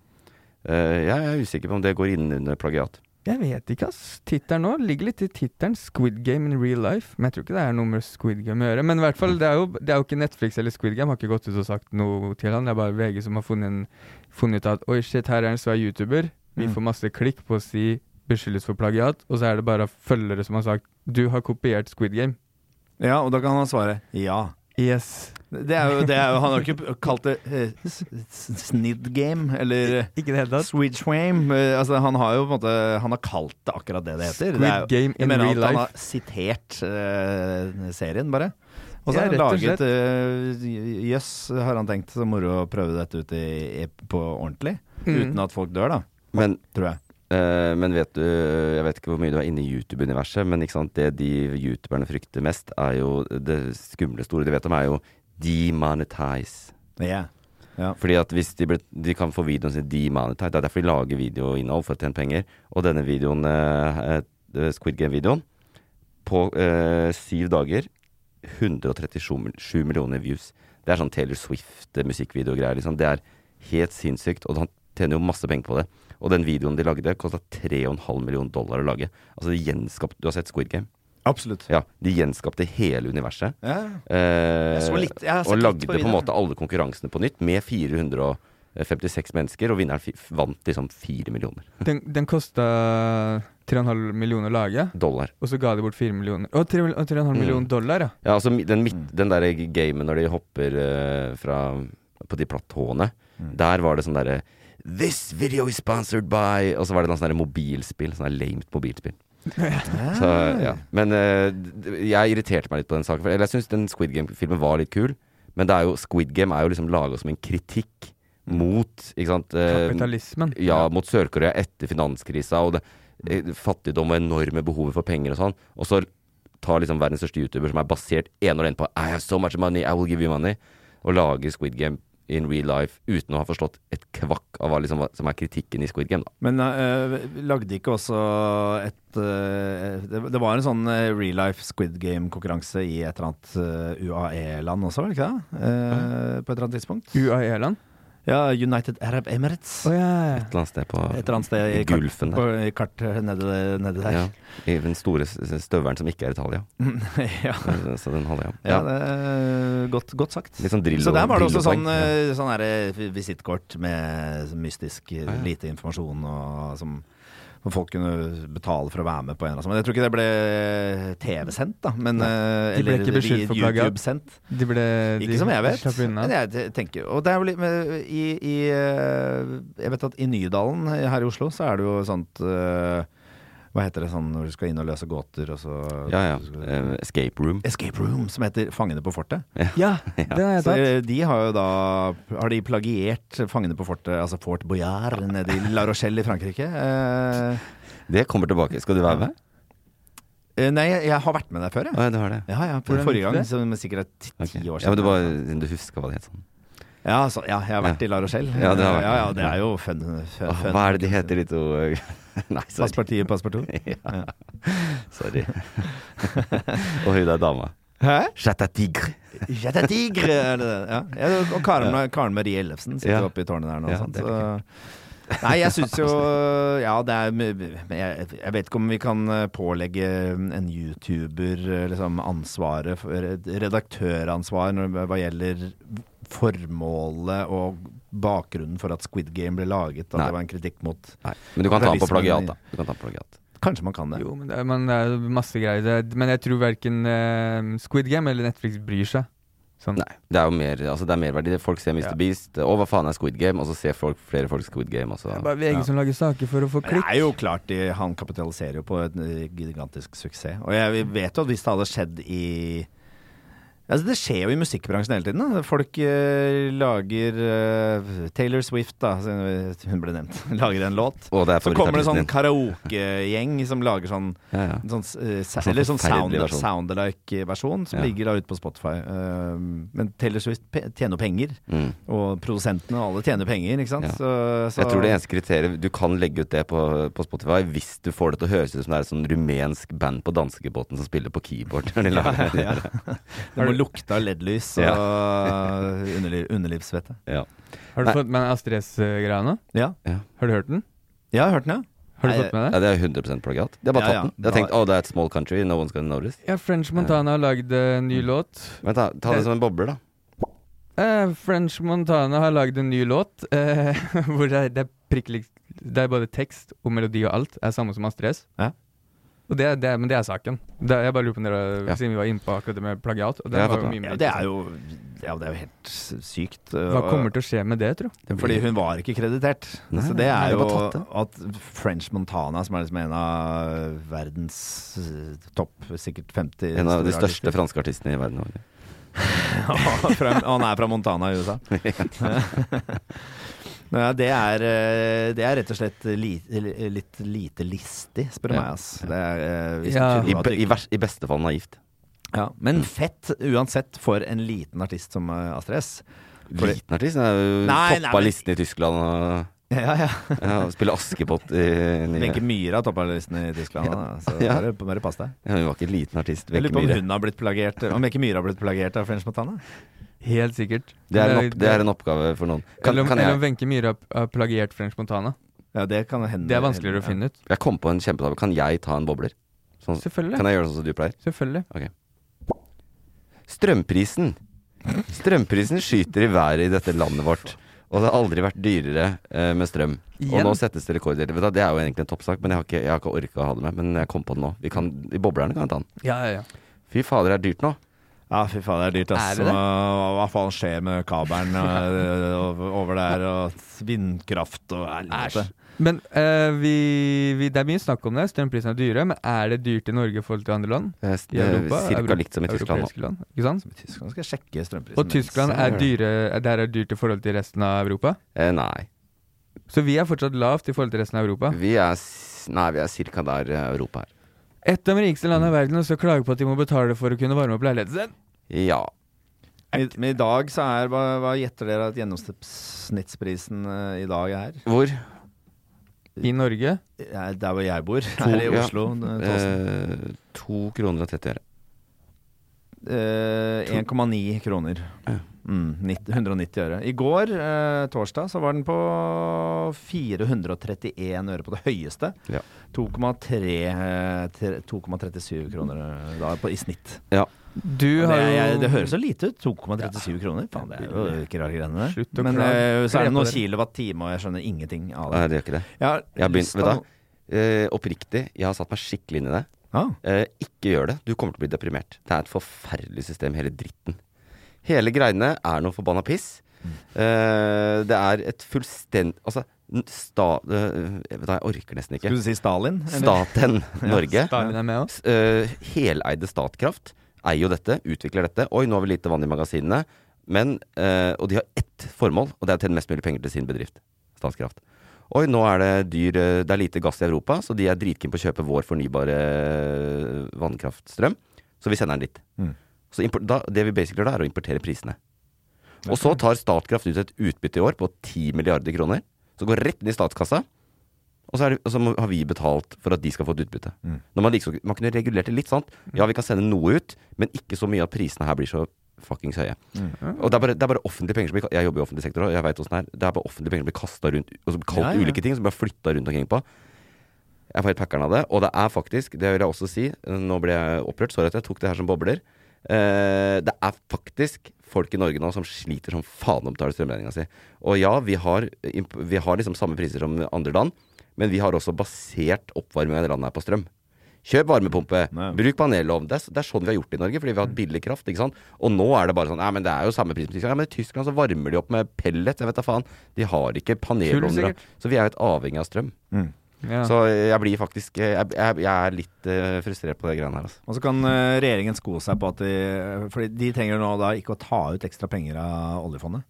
Speaker 3: Eh, jeg er usikker på om det går inn under plagiat.
Speaker 4: Jeg vet ikke, ass. Tittelen nå ligger litt i tittelen. Squid Game in real life. Men jeg tror ikke det er noe med Squid Game å gjøre. Men i hvert fall, det er jo, det er jo ikke Netflix eller Squid Game. Har ikke gått ut og sagt noe til han. Det er bare VG som har funnet, en, funnet ut at oi, shit, her er en svær YouTuber. Vi
Speaker 5: Mm.
Speaker 4: får masse klikk på å si beskyldes for plagiat. Og så er det bare følgere som har sagt du har kopiert Squid Game.
Speaker 5: Ja, og da kan han svare ja.
Speaker 4: Yes.
Speaker 5: Det er jo, det er jo, han har ikke kalt det eh, s- s- snid game, eller eh,
Speaker 4: Ikke i det hele tatt.
Speaker 5: sweet shame. Eh, altså, han har jo på en måte Han har kalt det akkurat det det heter. det
Speaker 4: Squid Game
Speaker 5: jeg
Speaker 4: in
Speaker 5: mener
Speaker 4: real
Speaker 5: at han
Speaker 4: life.
Speaker 5: har sitert eh, serien, bare. Og så
Speaker 4: Ja,
Speaker 5: har han
Speaker 4: rett og
Speaker 5: laget eh, Jøss, har han tenkt, så moro å prøve dette ut i, i, på ordentlig.
Speaker 4: Mm.
Speaker 5: Uten at folk dør, da.
Speaker 3: Men,
Speaker 5: Tror jeg.
Speaker 3: eh, men vet du Jeg vet ikke hvor mye du er inne i YouTube-universet, men ikke sant, det de youtuberne frykter mest, er jo det skumle store de vet om, er jo demonetize.
Speaker 5: Ja.
Speaker 3: Fordi at hvis de, ble, de kan få videoen sin demonetize, det er derfor de lager videoinnhold for å tjene penger. Og denne videoen, eh, eh, Squid Game-videoen, på eh, syv dager 137 mil- sju millioner views. Det er sånn Taylor Swift-musikkvideo-greier. Liksom. Det er helt sinnssykt, og han tjener jo masse penger på det. Og den videoen de lagde, kosta 3,5 millioner dollar å lage. Altså, de gjenskapte Du har sett Squid Game?
Speaker 5: Absolutt.
Speaker 3: Ja. De gjenskapte hele universet.
Speaker 5: Ja.
Speaker 3: Eh,
Speaker 5: Jeg så litt- jeg har sett
Speaker 3: og
Speaker 5: litt
Speaker 3: lagde
Speaker 5: på
Speaker 3: på, en
Speaker 5: videoen.
Speaker 3: måte alle konkurransene på nytt, med 456 mennesker, og vinneren fi- vant liksom 4 millioner
Speaker 4: Den, den kosta 3,5 millioner å lage,
Speaker 3: dollar.
Speaker 4: og så ga de bort 4 millioner. Å, 3,5 millioner dollar, ja.
Speaker 3: Ja, altså mi- den, midt, den der gamen når de hopper eh, fra, på de platåene, der var det sånn derre This video is sponsored by Og så var det noe sånn der mobilspill. Sånn der lamet mobilspill. Så, ja. Men eh, d- jeg irriterte meg litt på den saken. for- Eller jeg syns den Squid Game-filmen var litt kul, men det er jo, Squid Game er jo liksom laga som en kritikk mot ikke sant, eh,
Speaker 4: Kapitalismen.
Speaker 3: ja, mot Sør-Korea etter finanskrisa og det, eh, fattigdom og enorme behovet for penger og sånn. Og så tar liksom verdens største YouTuber, som er basert ene og alene på I have so much money, I will give you money, og lager Squid Game in real life uten å ha forstått et kvakk av hva liksom, hva som er kritikken i Squid Game. Da.
Speaker 5: Men eh, lagde ikke også et eh, det, det var en sånn eh, real life Squid Game-konkurranse i et eller annet eh, UAE-land også, var det ikke det? Eh, På et eller annet tidspunkt.
Speaker 4: UAE-land.
Speaker 5: Ja, United Arab Emirates.
Speaker 4: Å ja.
Speaker 3: Et eller annet sted på
Speaker 5: Et eller annet sted i,
Speaker 3: i
Speaker 5: kart-
Speaker 3: Gulfen
Speaker 5: På,
Speaker 3: der.
Speaker 5: i kartet nede, nede der.
Speaker 3: Ja, I den store s- s- støvelen som ikke er Italia.
Speaker 5: ja.
Speaker 3: Så den hadde jeg.
Speaker 5: Ja,
Speaker 3: Ja.
Speaker 5: det er godt, godt sagt.
Speaker 3: Litt sånn drillo-
Speaker 5: så der var det også
Speaker 3: drillopoeng.
Speaker 5: sånn, eh, sånn her, eh, visittkort med mystisk eh,
Speaker 3: Ja, ja.
Speaker 5: lite informasjon og som hvor folk kunne betale for å være med på en eller annen sånn. Men Jeg tror ikke det ble eh, TV-sendt, da. Men, eh,
Speaker 4: De ble ikke beskyldt
Speaker 5: vi-
Speaker 4: for plagiat?
Speaker 5: YouTube-sendt.
Speaker 4: De ble
Speaker 5: Ikke
Speaker 4: de
Speaker 5: som jeg vet.
Speaker 4: slapp unna.
Speaker 5: Men jeg t- tenker Og det er jo litt men, i, i eh, Jeg vet at i Nydalen eh, her i Oslo så er det jo sånt eh, Hva heter det sånn når du skal inn og løse gåter, og så
Speaker 3: ja, ja. Eh, escape room.
Speaker 5: Escape Room, som heter Fangene på fortet.
Speaker 4: Ja, den har jeg
Speaker 5: Så
Speaker 4: tatt.
Speaker 5: eh, de har jo da Har de plagiert Fangene på fortet, altså Fort Boyard nede i La Rochelle i Frankrike? Eh,
Speaker 3: Det kommer tilbake. Skal du være med?
Speaker 5: eh, nei, jeg har vært med der før, jeg.
Speaker 3: Å, ja, du har det.
Speaker 5: Ja, ja, for
Speaker 4: Hvordan
Speaker 5: forrige
Speaker 4: gikk
Speaker 5: gang,
Speaker 4: det?
Speaker 5: som sikkert er ti
Speaker 3: Ok.
Speaker 5: ti år
Speaker 3: Ja, men
Speaker 5: siden.
Speaker 3: du, bare, du husker hva det het sånn.
Speaker 5: ja, så, ja, jeg har vært
Speaker 3: Ja.
Speaker 5: i La Rochelle.
Speaker 3: Ja, det har vært.
Speaker 5: ja, ja, det er jo fun. fun,
Speaker 3: Åh,
Speaker 5: fun.
Speaker 3: Hva er det de heter, de to Nei, sorry.
Speaker 5: Passpartiet, passpartout.
Speaker 3: Ja. sorry. og hun der dama.
Speaker 5: Hæ?
Speaker 3: Chatta tigre.
Speaker 5: Jeg er tigre! er det det? Ja. Ja, det- Og Karen, Karen Marie Ellefsen sitter
Speaker 3: Ja.
Speaker 5: oppe i tårnet der nå.
Speaker 3: Ja,
Speaker 5: sant?
Speaker 3: det er
Speaker 5: Så, nei, jeg syns jo Ja, det er men jeg, jeg vet ikke om vi kan eh, pålegge en YouTuber eh, liksom, ansvaret for et Redaktøransvar når, hva gjelder formålet og bakgrunnen for at Squid Game ble laget. At
Speaker 3: Nei.
Speaker 5: det var en kritikk mot
Speaker 3: Nei, men du kan ta den på
Speaker 5: Realismen
Speaker 3: plagiat,
Speaker 5: i-
Speaker 3: da. Du kan ta den på plagiat.
Speaker 5: Kanskje man kan det.
Speaker 4: Jo, men det er, men det er masse greier. Det, er- men jeg tror verken eh, Squid Game eller Netflix bryr seg. Sånn.
Speaker 3: Nei, det er jo mer, altså det er merverdi. Folk ser Mr.
Speaker 5: Ja.
Speaker 3: Beast, og hva faen er Squid Game? Og så ser folk, flere folk Squid Game, og så
Speaker 4: Det er bare VG som lager saker for å få
Speaker 5: Men
Speaker 4: klikk.
Speaker 5: Det er jo klart, de, han kapitaliserer jo på en eh, gigantisk suksess. Og jeg vet jo at hvis det hadde skjedd i Altså Det skjer jo i musikkbransjen hele tiden. Da. Folk eh, lager eh, Taylor Swift, da, siden hun ble nevnt, lager en låt.
Speaker 3: Å, det er
Speaker 5: Så kommer det
Speaker 3: favorittartisten
Speaker 5: sånn
Speaker 3: din.
Speaker 5: karaokegjeng som lager sånn,
Speaker 3: Ja, ja.
Speaker 5: sånn, eh, sa-
Speaker 3: Sånn
Speaker 5: Eller sånn sound,
Speaker 3: forferdelig versjon.
Speaker 5: soundalike-versjon, som
Speaker 3: Ja.
Speaker 5: ligger da ute på Spotify. Eh, men Taylor Swift pe- tjener jo penger,
Speaker 3: Mm.
Speaker 5: og produsentene og alle tjener penger, ikke sant.
Speaker 3: Ja.
Speaker 5: Så- så-
Speaker 3: Jeg tror det eneste kriteriet Du kan legge ut det på, på Spotify hvis du får det til å høres ut som det er et sånn rumensk band på danskebåten som spiller på keyboard. Når de lager det.
Speaker 5: ja. Det må lukte av LED-lys og
Speaker 3: Ja.
Speaker 5: underliv, underlivsvette.
Speaker 3: Ja.
Speaker 4: Har du
Speaker 3: Nei.
Speaker 4: fått med deg Astrid S-greia nå?
Speaker 5: Ja.
Speaker 4: Har du hørt den?
Speaker 5: jeg har hørt den, ja.
Speaker 4: Har du
Speaker 5: Nei,
Speaker 4: fått med deg?
Speaker 3: ja, det er 100 plagiat. De har bare
Speaker 5: Ja, ja.
Speaker 3: tatt den. De har tenkt 'Å, det er et small country, no one's gonna notice'.
Speaker 4: Ja, French Montana har lagd eh, en ny
Speaker 5: Mm.
Speaker 4: låt.
Speaker 3: Men ta, ta det som en bobler, da.
Speaker 4: Eh, French Montana har lagd en ny låt eh, hvor det er, det, er prikk lik- det er både tekst og melodi og alt er samme som Astrid S.
Speaker 5: Ja.
Speaker 4: Og det, det, men det er saken. Det, jeg bare lurer på om dere,
Speaker 3: Ja.
Speaker 4: Siden vi var inne på akkurat det med plagiat. Og det,
Speaker 3: Jeg har
Speaker 4: var
Speaker 3: fått
Speaker 4: jo
Speaker 3: det.
Speaker 4: mye mer
Speaker 5: Ja, det er jo ja, det er jo helt s- sykt.
Speaker 4: Hva kommer til å skje med det, tro?
Speaker 3: Det blir-
Speaker 5: Fordi hun var ikke kreditert.
Speaker 3: Nei,
Speaker 5: så
Speaker 3: nei,
Speaker 5: det er
Speaker 3: det
Speaker 5: jo
Speaker 3: var tatt, det.
Speaker 5: at French Montana, som er liksom en av verdens eh, topp sikkert 50
Speaker 3: En av de
Speaker 5: store
Speaker 3: største franske artistene i verden. Norge.
Speaker 5: artister. fra, Han er fra Montana i USA. Nei, det, er, eh, det er rett og slett li, li- litt lite listig, spør du
Speaker 3: Ja.
Speaker 5: meg. Ass. Det er, eh, hvis
Speaker 4: Ja.
Speaker 5: du
Speaker 3: I,
Speaker 5: tror at
Speaker 3: be,
Speaker 5: du
Speaker 3: i, vers, I beste fall naivt.
Speaker 5: Ja, men fett uansett for en liten artist som eh, Astrid S. Fordi-
Speaker 3: Liten artist. Den er jo
Speaker 5: Nei, nei,
Speaker 3: toppa
Speaker 5: men-
Speaker 3: listen i Tyskland. Og,
Speaker 5: Ja, ja.
Speaker 3: ja, og spiller Askepott i nye-
Speaker 5: Wenche Myhre har toppa listen i Tyskland, da, så
Speaker 3: Ja.
Speaker 5: bare, bare pass deg.
Speaker 3: ja, Hun var ikke en liten artist.
Speaker 5: Jeg
Speaker 3: Wenche
Speaker 5: lurer på om
Speaker 3: Myhre.
Speaker 5: hun har blitt plagiert Om Wenche Myhre har blitt plagiert av French Montana?
Speaker 4: Helt sikkert.
Speaker 3: Det er, en opp, det er en oppgave for noen. Kan,
Speaker 4: eller om-
Speaker 3: kan
Speaker 4: eller om
Speaker 3: jeg,
Speaker 4: Wenche Myhre har- har plagiert French Montana.
Speaker 5: Ja, det kan hende.
Speaker 4: Det er vanskeligere å finne ut.
Speaker 3: jeg kom på en kjempetavle. Kan jeg ta en bobler? Sånn,
Speaker 4: Selvfølgelig.
Speaker 3: kan jeg gjøre sånn som du pleier?
Speaker 4: Selvfølgelig.
Speaker 3: Strømprisen. Strømprisen skyter i været i dette landet vårt. Og det har aldri vært dyrere eh, med strøm. Og
Speaker 4: Igjen?
Speaker 3: nå settes det rekorder. Vet du, Det er jo egentlig en toppsak, men jeg har ikke, jeg har ikke orka å ha det med. Men jeg kom på det nå. Vi kan, I boblerne kan jeg ta den.
Speaker 4: Ja, ja, ja.
Speaker 3: Fy fader, det er dyrt nå.
Speaker 5: Ja, fy faen, det er dyrt, ass.
Speaker 4: Er det det?
Speaker 5: Og Hva faen skjer med kabelen eh, over- over der, og vindkraft og helvete.
Speaker 4: Men eh, vi, vi, det er mye snakk om det. Strømprisene er dyre. Men er det dyrt i Norge i forhold til andre land?
Speaker 3: Eh, s-
Speaker 4: I Europa?
Speaker 3: eh, Cirka
Speaker 4: Euro-
Speaker 3: likt som i Tyskland nå.
Speaker 4: europeiske land, Ikke sant?
Speaker 5: Tyskland skal sjekke strømprisen.
Speaker 4: Og Tyskland er dyre, der er dyrt i forhold til resten av Europa.
Speaker 3: Eh, nei.
Speaker 4: Så vi er fortsatt lavt i forhold til resten av Europa.
Speaker 3: Vi er, s- nei, vi er cirka der eh, Europa er.
Speaker 4: Et av de rikeste landene
Speaker 3: Mm.
Speaker 4: i verden, og så klager på at de må betale for å kunne varme opp leiligheten sin.
Speaker 3: Ja.
Speaker 5: Men, men i dag så er Hva, hva gjetter dere at gjennomsnittsprisen eh, i dag er?
Speaker 3: Hvor?
Speaker 4: I Norge
Speaker 5: Eh, Der hvor jeg bor, her i
Speaker 3: ja.
Speaker 5: Oslo. eh, Tåsen.
Speaker 3: Eh, to kroner og 30 øre.
Speaker 5: Eh, 1,9 kroner. Mm, 90, 190 øre. I går, eh, torsdag, så var den på 431 øre på det høyeste.
Speaker 3: Ja.
Speaker 5: 2,3, eh, tre- 2,37 kroner eh, da på, i snitt.
Speaker 3: Ja. Eh,
Speaker 4: Du
Speaker 5: Det,
Speaker 4: har jo
Speaker 5: er- det høres jo lite ut, 2,37 kroner. Faen, det er jo ikke rare greiene
Speaker 4: Slutt
Speaker 5: der.
Speaker 4: å
Speaker 5: Men
Speaker 4: klage.
Speaker 5: eh, så er
Speaker 4: Kle på
Speaker 5: det noen
Speaker 4: dere.
Speaker 5: kilowatt-time, og jeg skjønner ingenting av
Speaker 3: Nei,
Speaker 5: det.
Speaker 3: det gjør ikke det.
Speaker 5: Jeg har
Speaker 3: Jeg har begynt,
Speaker 5: lyst
Speaker 3: vet du,
Speaker 5: til
Speaker 3: hva? eh, oppriktig, jeg har satt meg skikkelig inn i det.
Speaker 5: å- Ah,
Speaker 3: Eh, ikke gjør det. Du kommer til å bli deprimert. Det er et forferdelig system, hele dritten. Hele greiene er noe forbanna piss.
Speaker 5: Mm.
Speaker 3: Eh, det er et fullstendig Altså, n- sta... eh, jeg vet da, jeg orker nesten ikke.
Speaker 5: skulle du si Stalin? eller?
Speaker 3: Staten Norge.
Speaker 4: Stalin er med oss.
Speaker 3: S- eh, heleide Statkraft eier jo dette, utvikler dette. Oi, nå har vi lite vann i magasinene. Men, eh, og de har ett formål, og det er å tjene mest mulig penger til sin bedrift. Statkraft. Oi, nå er det dyr eh, Det er lite gass i Europa, så de er dritkeen på å kjøpe vår fornybare eh, vannkraftstrøm. Så vi sender den dit.
Speaker 5: Mm.
Speaker 3: Så impor- da, det vi basically gjør da, er å importere prisene. Og så tar Statkraft ut et utbytte i år på 10 milliarder kroner. Så går rett ned i statskassa. Og så, er det, og så må- har vi betalt for at de skal få et utbytte.
Speaker 5: Mm.
Speaker 3: Når man, liksom, man kunne regulert det litt, sant? Ja, vi kan sende noe ut, men ikke så mye at prisene her blir så fuckings høye.
Speaker 5: Mm.
Speaker 3: Og det er, bare, det er bare offentlige penger som blir Jeg jobber i offentlig sektor òg, jeg veit åssen det er. Det er bare offentlige penger som blir kasta rundt, og som kalt
Speaker 5: Ja, ja, ja.
Speaker 3: ulike ting, som blir flytta rundt omkring på. Jeg får helt packeren av det. Og det er faktisk, det vil jeg også si, nå ble jeg opprørt, sorry at jeg tok det her som bobler. Eh, det er faktisk folk i Norge nå som sliter som faen om å betale strømregninga si. Og ja, vi har, imp- vi har liksom samme priser som andre land, men vi har også basert oppvarming av det landet her på strøm. Kjøp varmepumpe,
Speaker 5: Nei.
Speaker 3: bruk panelovn. Det, er s- det er sånn vi har gjort det i Norge, fordi vi har hatt billig kraft. ikke sant? Og nå er det bare sånn Nei, men det er jo samme pris som Tyskland. Ja, men i Tyskland så varmer de opp med pellets, jeg vet da faen. De har ikke panelovner.
Speaker 4: sikkert.
Speaker 3: Så vi er jo helt avhengig av strøm.
Speaker 5: Mm.
Speaker 4: Ja.
Speaker 3: Så jeg blir faktisk Jeg, jeg, jeg er litt eh, frustrert på det greiene her. Altså.
Speaker 5: Og så kan eh, regjeringen sko seg på at de Fordi de trenger nå da ikke å ta ut ekstra penger av oljefondet.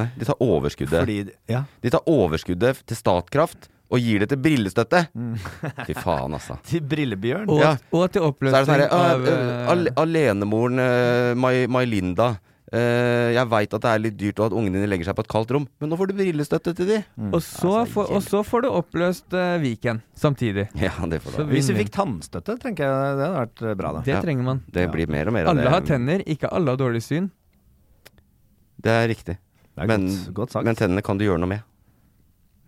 Speaker 3: Nei, de tar overskuddet
Speaker 5: Fordi Ja.
Speaker 3: De tar overskuddet til Statkraft og gir det til brillestøtte! Fy faen, altså.
Speaker 5: Til Brillebjørn.
Speaker 4: Og,
Speaker 3: Ja.
Speaker 4: og
Speaker 3: Så er det
Speaker 4: til
Speaker 3: sånn
Speaker 4: oppløsning
Speaker 3: herre
Speaker 4: av
Speaker 3: «Øh, øh, al
Speaker 4: eh,
Speaker 3: Alenemoren eh, Mai, Mai Linda. eh, jeg veit at det er litt dyrt og at ungene dine legger seg på et kaldt rom, men nå får du brillestøtte til de!
Speaker 4: eh, og, så
Speaker 3: altså,
Speaker 4: får, og så får du oppløst eh, Viken samtidig.
Speaker 3: Ja, det får du.
Speaker 4: Så
Speaker 3: ha.
Speaker 4: vi-
Speaker 5: Hvis vi fikk tannstøtte, tenker jeg det hadde vært eh, bra, da.
Speaker 4: Det
Speaker 3: Ja.
Speaker 4: trenger man.
Speaker 3: Det blir mer og mer av det.
Speaker 4: Alle har tenner, ikke alle har dårlig syn.
Speaker 3: Det er riktig.
Speaker 5: Det er
Speaker 3: Men,
Speaker 5: godt, godt sagt.
Speaker 3: men tennene kan du gjøre noe med.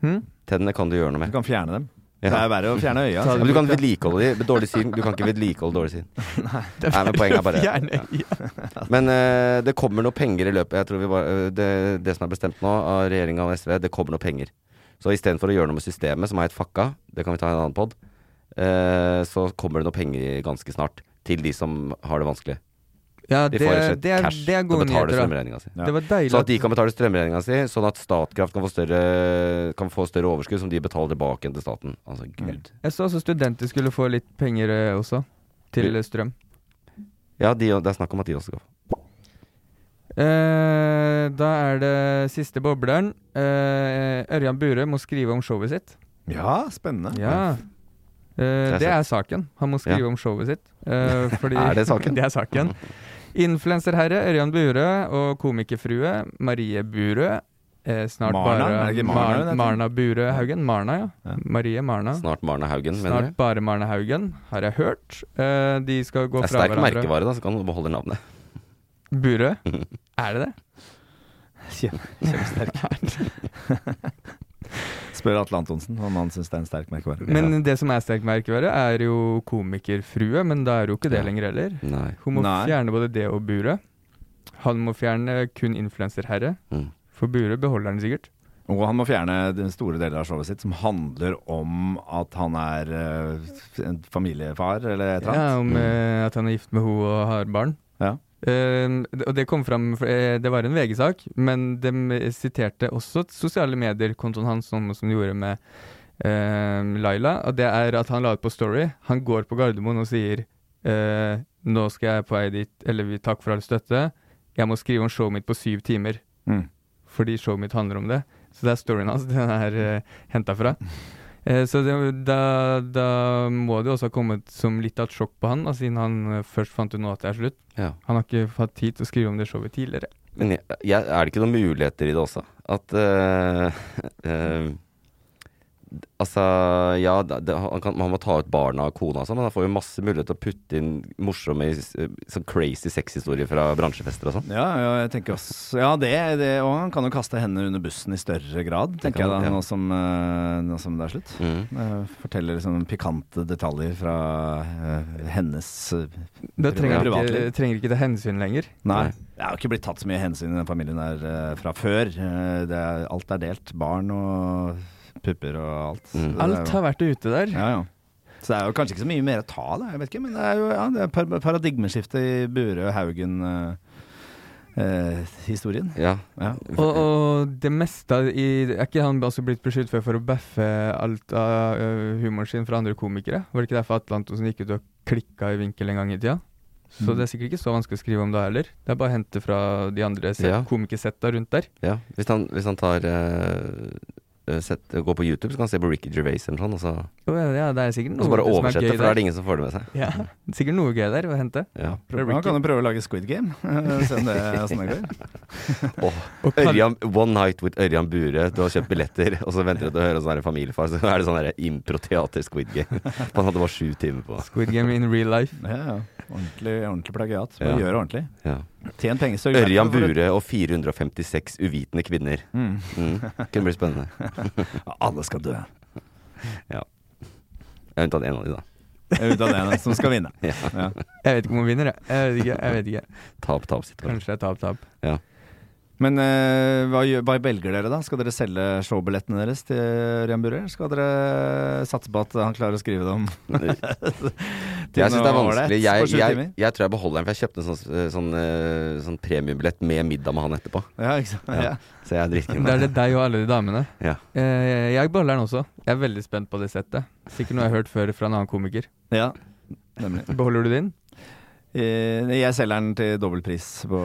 Speaker 4: Hm?
Speaker 3: Tennene kan du gjøre noe
Speaker 5: du
Speaker 3: med.
Speaker 5: kan fjerne dem.
Speaker 3: Ja.
Speaker 5: Det er verre å fjerne øya.
Speaker 3: Men du kan vedlikeholde de. Med dårlig syn. Du kan ikke vedlikeholde dårlig syn. Nei, men poenget er bare
Speaker 4: Gjerne. Ja.
Speaker 3: Men eh, det kommer noe penger i løpet. Jeg tror vi bare, eh, det, det som er bestemt nå av regjeringa og SV, det kommer noe penger. Så istedenfor å gjøre noe med systemet, som er helt fucka, det kan vi ta i en annen pod, eh, så kommer det noe penger ganske snart til de som har det vanskelig.
Speaker 4: Ja,
Speaker 3: de
Speaker 4: det-
Speaker 3: får rett og slett
Speaker 4: det er-
Speaker 3: cash
Speaker 4: det er
Speaker 3: til å
Speaker 4: gode
Speaker 3: betale
Speaker 4: nyheter, da.
Speaker 3: strømregninga si.
Speaker 4: Ja. Det var deilig
Speaker 3: Så
Speaker 4: at-
Speaker 3: at de kan betale strømregninga si, sånn at Statkraft kan få større, kan få større overskudd som de betaler tilbake igjen til staten. Altså, gud.
Speaker 4: Jeg så også studenter skulle få litt penger eh, også, til eh, strøm.
Speaker 3: Ja, de, det er snakk om at de også skal få.
Speaker 4: Eh, da er det siste bobleren. Eh, Ørjan Bure må skrive om showet sitt.
Speaker 5: Ja, spennende.
Speaker 4: Ja. Eh, det er saken. Han må skrive
Speaker 5: Ja.
Speaker 4: om showet sitt. eh, fordi
Speaker 3: Er det saken?
Speaker 4: det er saken. Influenserherre Ørjan Bure og komikerfrue Marie Bure. Eh, snart
Speaker 5: Marna? Er
Speaker 4: bare
Speaker 5: det ikke Marna hun heter?
Speaker 4: Marna Bure Haugen. Marna, ja. Marie Marna.
Speaker 3: Snart Marne Haugen, mener
Speaker 4: Snart
Speaker 3: jeg.
Speaker 4: bare Marne Haugen, har jeg hørt. Eh, de skal gå
Speaker 3: Det er
Speaker 4: fra
Speaker 3: sterk
Speaker 4: hverandre.
Speaker 3: merkevare, da, så kan du beholde navnet.
Speaker 4: Burø? Er det det?
Speaker 5: Spør Atle Antonsen om han syns det er en sterk merkevare.
Speaker 4: Men det som er sterk merkevare, er jo komikerfrue, men da er jo ikke det lenger heller.
Speaker 3: Nei.
Speaker 4: Hun må
Speaker 5: Nei.
Speaker 4: fjerne både det og Burø. Han må fjerne kun influenserherre, for Burø beholder han sikkert.
Speaker 5: Og han må fjerne den store deler av showet sitt som handler om at han er eh, en familiefar eller et eller
Speaker 4: Ja, om
Speaker 5: annet.
Speaker 4: eh, at han er gift med henne og har barn.
Speaker 5: Ja.
Speaker 4: Eh, og det kom fram, for, eh, det var en VG-sak, men de siterte også sosiale medier-kontoen hans, som, som de gjorde med eh, Laila. Og det er at han la ut på Story. Han går på Gardermoen og sier eh, Nå skal jeg på vei dit, eller vi- takk for all støtte. Jeg må skrive om showet mitt på syv timer.
Speaker 5: Mm.
Speaker 4: Fordi showet mitt handler om det. Så det er storyen hans den er uh, henta fra. Eh, så det, da, da må det jo også ha kommet som litt av et sjokk på han, da, siden han eh, først fant ut nå at det er slutt.
Speaker 3: Ja.
Speaker 4: Han har ikke hatt tid til å skrive om det showet tidligere.
Speaker 3: Men jeg, jeg, er det ikke noen muligheter i det også? At eh, eh, Altså, ja, det, det- han, kan, han må ta ut barna og kona og sånn, men han får jo masse mulighet til å putte inn morsomme, eh, sånn crazy sexhistorier fra bransjefester og sånn.
Speaker 5: Ja, ja, jeg tenker også Ja, det, det Og han kan jo kaste henne under bussen i større grad, tenker
Speaker 3: kan
Speaker 5: jeg da,
Speaker 3: han, ja.
Speaker 5: nå, som, eh, nå som det er slutt.
Speaker 3: Mm.
Speaker 5: Eh, forteller liksom pikante detaljer fra eh, hennes eh,
Speaker 4: Da trenger,
Speaker 5: privatliv.
Speaker 4: ikke, eh, trenger ikke det hensyn lenger.
Speaker 5: Nei. Det er jo ikke blitt tatt så mye hensyn i den familien der eh, fra før. Eh, Det er, alt er delt. Barn og pupper og alt. Så det er
Speaker 4: Alt
Speaker 5: jo-
Speaker 4: har vært ute der.
Speaker 5: ja, ja. Så det er jo kanskje ikke så mye mer å ta, da. Jeg vet ikke, men det er jo ja, det er par paradigmeskifte i eh, Burøe-Haugen-historien.
Speaker 3: Ja.
Speaker 4: Og, og det meste av- i Er ikke han også blitt beskyldt for, for å baffe alt av ø, humoren sin fra andre komikere? Var det ikke derfor Atle Antonsen gikk ut og klikka i vinkel en gang i tida? Så
Speaker 3: Mm.
Speaker 4: det er sikkert ikke så vanskelig å skrive om det heller. Det er bare å hente fra de andre set,
Speaker 3: Ja.
Speaker 4: komikersetta rundt der.
Speaker 3: Ja, hvis han, hvis han tar eh, eh, sett, Går på YouTube, så kan han se på Ricky Gervais eller sånn, og så,
Speaker 4: Jo, ja, ja, det er sikkert
Speaker 3: og
Speaker 4: noe
Speaker 3: så bare
Speaker 4: som er
Speaker 3: oversette,
Speaker 4: gøy
Speaker 3: for da er det ingen som får det med seg.
Speaker 4: Ja, sikkert noe gøy der å hente.
Speaker 3: Ja.
Speaker 4: Fra
Speaker 5: Man
Speaker 4: Ricky.
Speaker 5: kan jo prøve å lage Squid Game. Se om det, åssen det går.
Speaker 3: Åh, Ørjan, One Night with Ørjan Bure. Du har kjøpt billetter, og så venter du til å høre sånn her familiefar. Så er det sånn her improteater Squid Game. Han hadde bare sju timer på.
Speaker 4: Squid Game in real life.
Speaker 5: Ja, ja. Ordentlig, ordentlig plagiat. Bare
Speaker 3: Ja.
Speaker 5: gjør ordentlig.
Speaker 3: Ja.
Speaker 5: Tjen penger, sørg
Speaker 3: Ørjan
Speaker 5: for-
Speaker 3: Bure og 456 uvitende kvinner.
Speaker 5: Mm.
Speaker 3: Mm. Kunne bli spennende.
Speaker 5: Alle skal dø.
Speaker 3: Ja. Jeg har unntatt en av de, da.
Speaker 5: Ut av det som skal vinne.
Speaker 3: Ja.
Speaker 5: Ja.
Speaker 4: Jeg vet ikke om hun vinner, jeg. Jeg vet ikke. jeg vet ikke
Speaker 3: Tap-tap-situasjon.
Speaker 4: Kanskje det er tap-tap.
Speaker 3: Ja.
Speaker 5: Men eh, hva, gjør, hva velger dere, da? Skal dere selge showbillettene deres til Ørjan Bure? Eller skal dere satse på at han klarer å skrive dem? til
Speaker 3: eh, Jeg syns det er
Speaker 5: noe ålreit
Speaker 3: vanskelig.
Speaker 5: på
Speaker 3: Jeg,
Speaker 5: sju
Speaker 3: jeg,
Speaker 5: timer?
Speaker 3: jeg tror jeg beholder den, for jeg kjøpte en sånn, sånn, eh, sånn premiumbillett med middag med han etterpå.
Speaker 5: Ja, ikke sant? Ja.
Speaker 3: Ja. Så jeg driter i
Speaker 4: Da er
Speaker 3: det.
Speaker 4: det deg og alle de damene.
Speaker 3: Ja.
Speaker 4: Eh, jeg beholder den også. Jeg er veldig spent på det settet. Sikkert noe jeg har hørt før fra en annen komiker.
Speaker 5: ja. Nemlig.
Speaker 4: Beholder du din?
Speaker 5: Eh, Jeg selger den til dobbel pris på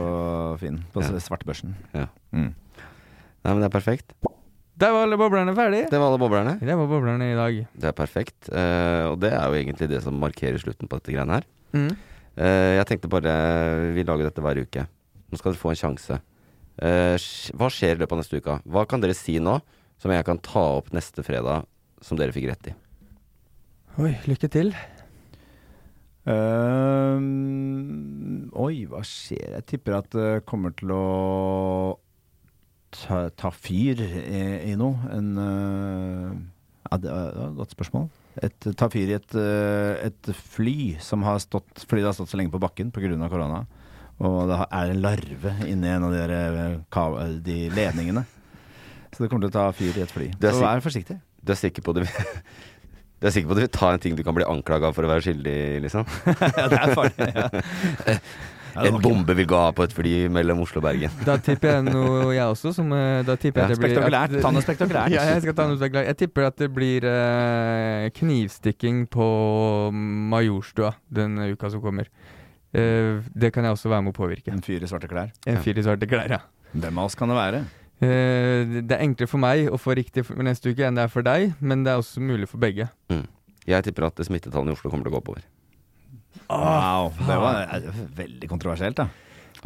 Speaker 5: Finn, på
Speaker 3: Ja.
Speaker 5: svartbørsen.
Speaker 3: Ja.
Speaker 5: Mm.
Speaker 3: Nei, men det er perfekt.
Speaker 4: Der var alle boblerne ferdige!
Speaker 3: Det var alle boblerne.
Speaker 4: Det var boblerne i dag.
Speaker 3: Det er perfekt. eh, og det er jo egentlig det som markerer slutten på dette greiene her.
Speaker 4: Mm.
Speaker 3: Eh, jeg tenkte bare Vi lager dette hver uke. Nå skal dere få en sjanse. Eh, sj- hva skjer i løpet av neste uke? Hva kan dere si nå som jeg kan ta opp neste fredag, som dere fikk rett i?
Speaker 4: Oi, lykke til.
Speaker 5: Øhm, Ehm, oi, hva skjer? Jeg tipper at det kommer til å ta, ta fyr i, i noe. En, øh, ja, det var det var et godt spørsmål. Et, ta fyr i et, øh, et fly som har stått fordi det har stått så lenge på bakken pga. korona. Og det har- er en larve inni en av de, der, øh, ka- øh, de ledningene. Så det kommer til å ta fyr i et fly.
Speaker 3: Det er
Speaker 5: Så
Speaker 3: sik-
Speaker 5: vær forsiktig.
Speaker 3: Du er sikker på det? Du er sikker på at du vil ta en ting du kan bli anklaga for å være skyldig i, liksom?
Speaker 5: Ja, det er farlig. Ja. Ja,
Speaker 3: en
Speaker 5: det var ikke-
Speaker 3: bombe vil gå av på et fly mellom Oslo og Bergen.
Speaker 4: Da tipper jeg noe, jeg også. Som, eh, da tipper jeg
Speaker 5: Ja,
Speaker 4: det blir
Speaker 5: spektakulært. Ta noe spektakulært.
Speaker 4: Ja, jeg skal ta noe spektakulært. Jeg tipper at det blir eh, knivstikking på Majorstua denne uka som kommer. Eh, det kan jeg også være med å påvirke.
Speaker 5: En fyr i svarte klær.
Speaker 4: En fyr i svarte klær, ja.
Speaker 5: Hvem av oss kan det være?
Speaker 4: Eh, det- det er enklere for meg å få riktig for neste uke enn det er for deg, men det er også mulig for begge.
Speaker 3: Jeg tipper at smittetallene i Oslo kommer til å gå oppover.
Speaker 5: Wow, det var eh, veldig kontroversielt, da.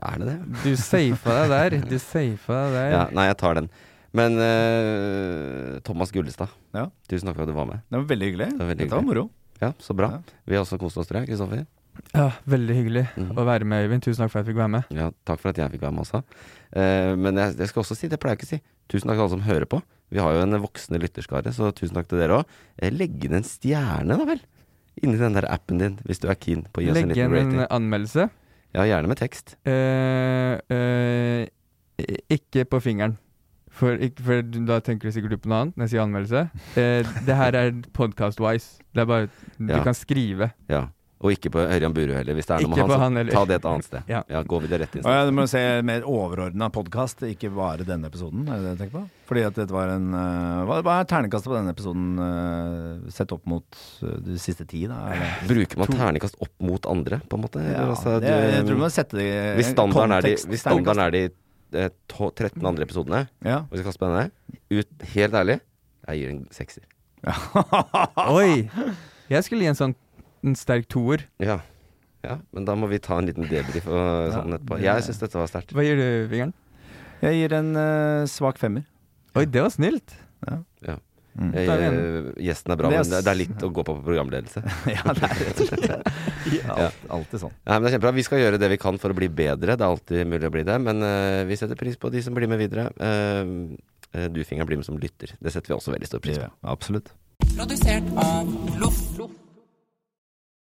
Speaker 3: Er det det?
Speaker 4: Du safa deg der. Du safa deg der.
Speaker 3: Ja, nei, jeg tar den. Men eh, Thomas Gullestad,
Speaker 5: Ja.
Speaker 3: tusen takk for at du var med.
Speaker 5: Det var veldig hyggelig.
Speaker 3: Det var veldig
Speaker 5: Dette var moro.
Speaker 3: Ja, Så bra.
Speaker 5: Ja.
Speaker 3: Vi har også kost oss, tror jeg. Kristoffer?
Speaker 4: Ja, Ah, Veldig hyggelig
Speaker 3: Mhm.
Speaker 4: å være med, Øyvind. Tusen takk for at jeg fikk være med.
Speaker 3: Ja, takk for at jeg fikk være med også. Eh, men jeg, jeg skal også si, det pleier jeg ikke å si, tusen takk til alle som hører på. Vi har jo en voksende lytterskare, så tusen takk til dere òg. Legg inn en stjerne, da vel, inni den der appen din, hvis du er keen på å gi oss en
Speaker 4: Legge
Speaker 3: liten
Speaker 4: igjen en
Speaker 3: rating.
Speaker 4: anmeldelse.
Speaker 3: Ja, gjerne med tekst.
Speaker 4: Eh, eh, ikke på fingeren. For, ikke, for da tenker du sikkert på noe annet når jeg sier anmeldelse. Eh, det her er podcast-wise. Det er bare Du
Speaker 3: Ja.
Speaker 4: kan skrive.
Speaker 3: Ja. Og ikke på Ørjan Burøe heller, hvis det er noe med
Speaker 4: Ikke
Speaker 3: han.
Speaker 4: på han
Speaker 3: så
Speaker 4: heller.
Speaker 3: Ta det et annet sted.
Speaker 4: Ja.
Speaker 3: Ja, gå videre rett inn.
Speaker 5: Å ja, du må se mer overordna podkast, ikke bare denne episoden. Er det det du tenker på? Fordi at dette var en eh, hva, hva er ternekastet på denne episoden eh, sett opp mot eh, de siste ti, da? Eller?
Speaker 3: Bruker man terningkast opp mot andre, på en måte?
Speaker 5: Ja,
Speaker 3: Eller, altså,
Speaker 5: det,
Speaker 3: du-
Speaker 5: jeg tror man setter det i
Speaker 3: hvis standarden er de,
Speaker 5: Eh, kontekst.
Speaker 3: hvis standarden er de eh, to- 13 andre episodene,
Speaker 5: Ja.
Speaker 3: og vi skal kaste på denne, ut, helt ærlig, jeg gir en sekser.
Speaker 4: Oi! Jeg skulle gi en sånn en sterk toer.
Speaker 3: Ja. ja, men da må vi ta en liten debrief og sånn etterpå.
Speaker 5: det-
Speaker 3: Jeg syns dette var sterkt.
Speaker 4: Hva gir du, fingeren?
Speaker 5: Jeg gir en eh, svak femmer.
Speaker 4: Oi, det var snilt.
Speaker 3: Ja.
Speaker 5: Mm.
Speaker 3: Eh,
Speaker 4: Da er
Speaker 3: gjesten er bra,
Speaker 5: Det er
Speaker 3: men det det er
Speaker 5: s-
Speaker 3: litt å gå på på programledelse.
Speaker 5: ja, det er rett og slett det. Alt, alltid sånn.
Speaker 3: Nei, men det er kjempebra. Vi skal gjøre det vi kan for å bli bedre. Det er alltid mulig å bli det. Men eh, vi setter pris på de som blir med videre. Eh, eh, du, Fingeren, blir med som lytter. Det setter vi også veldig stor pris på.
Speaker 5: Absolutt.
Speaker 9: Produsert av Loff.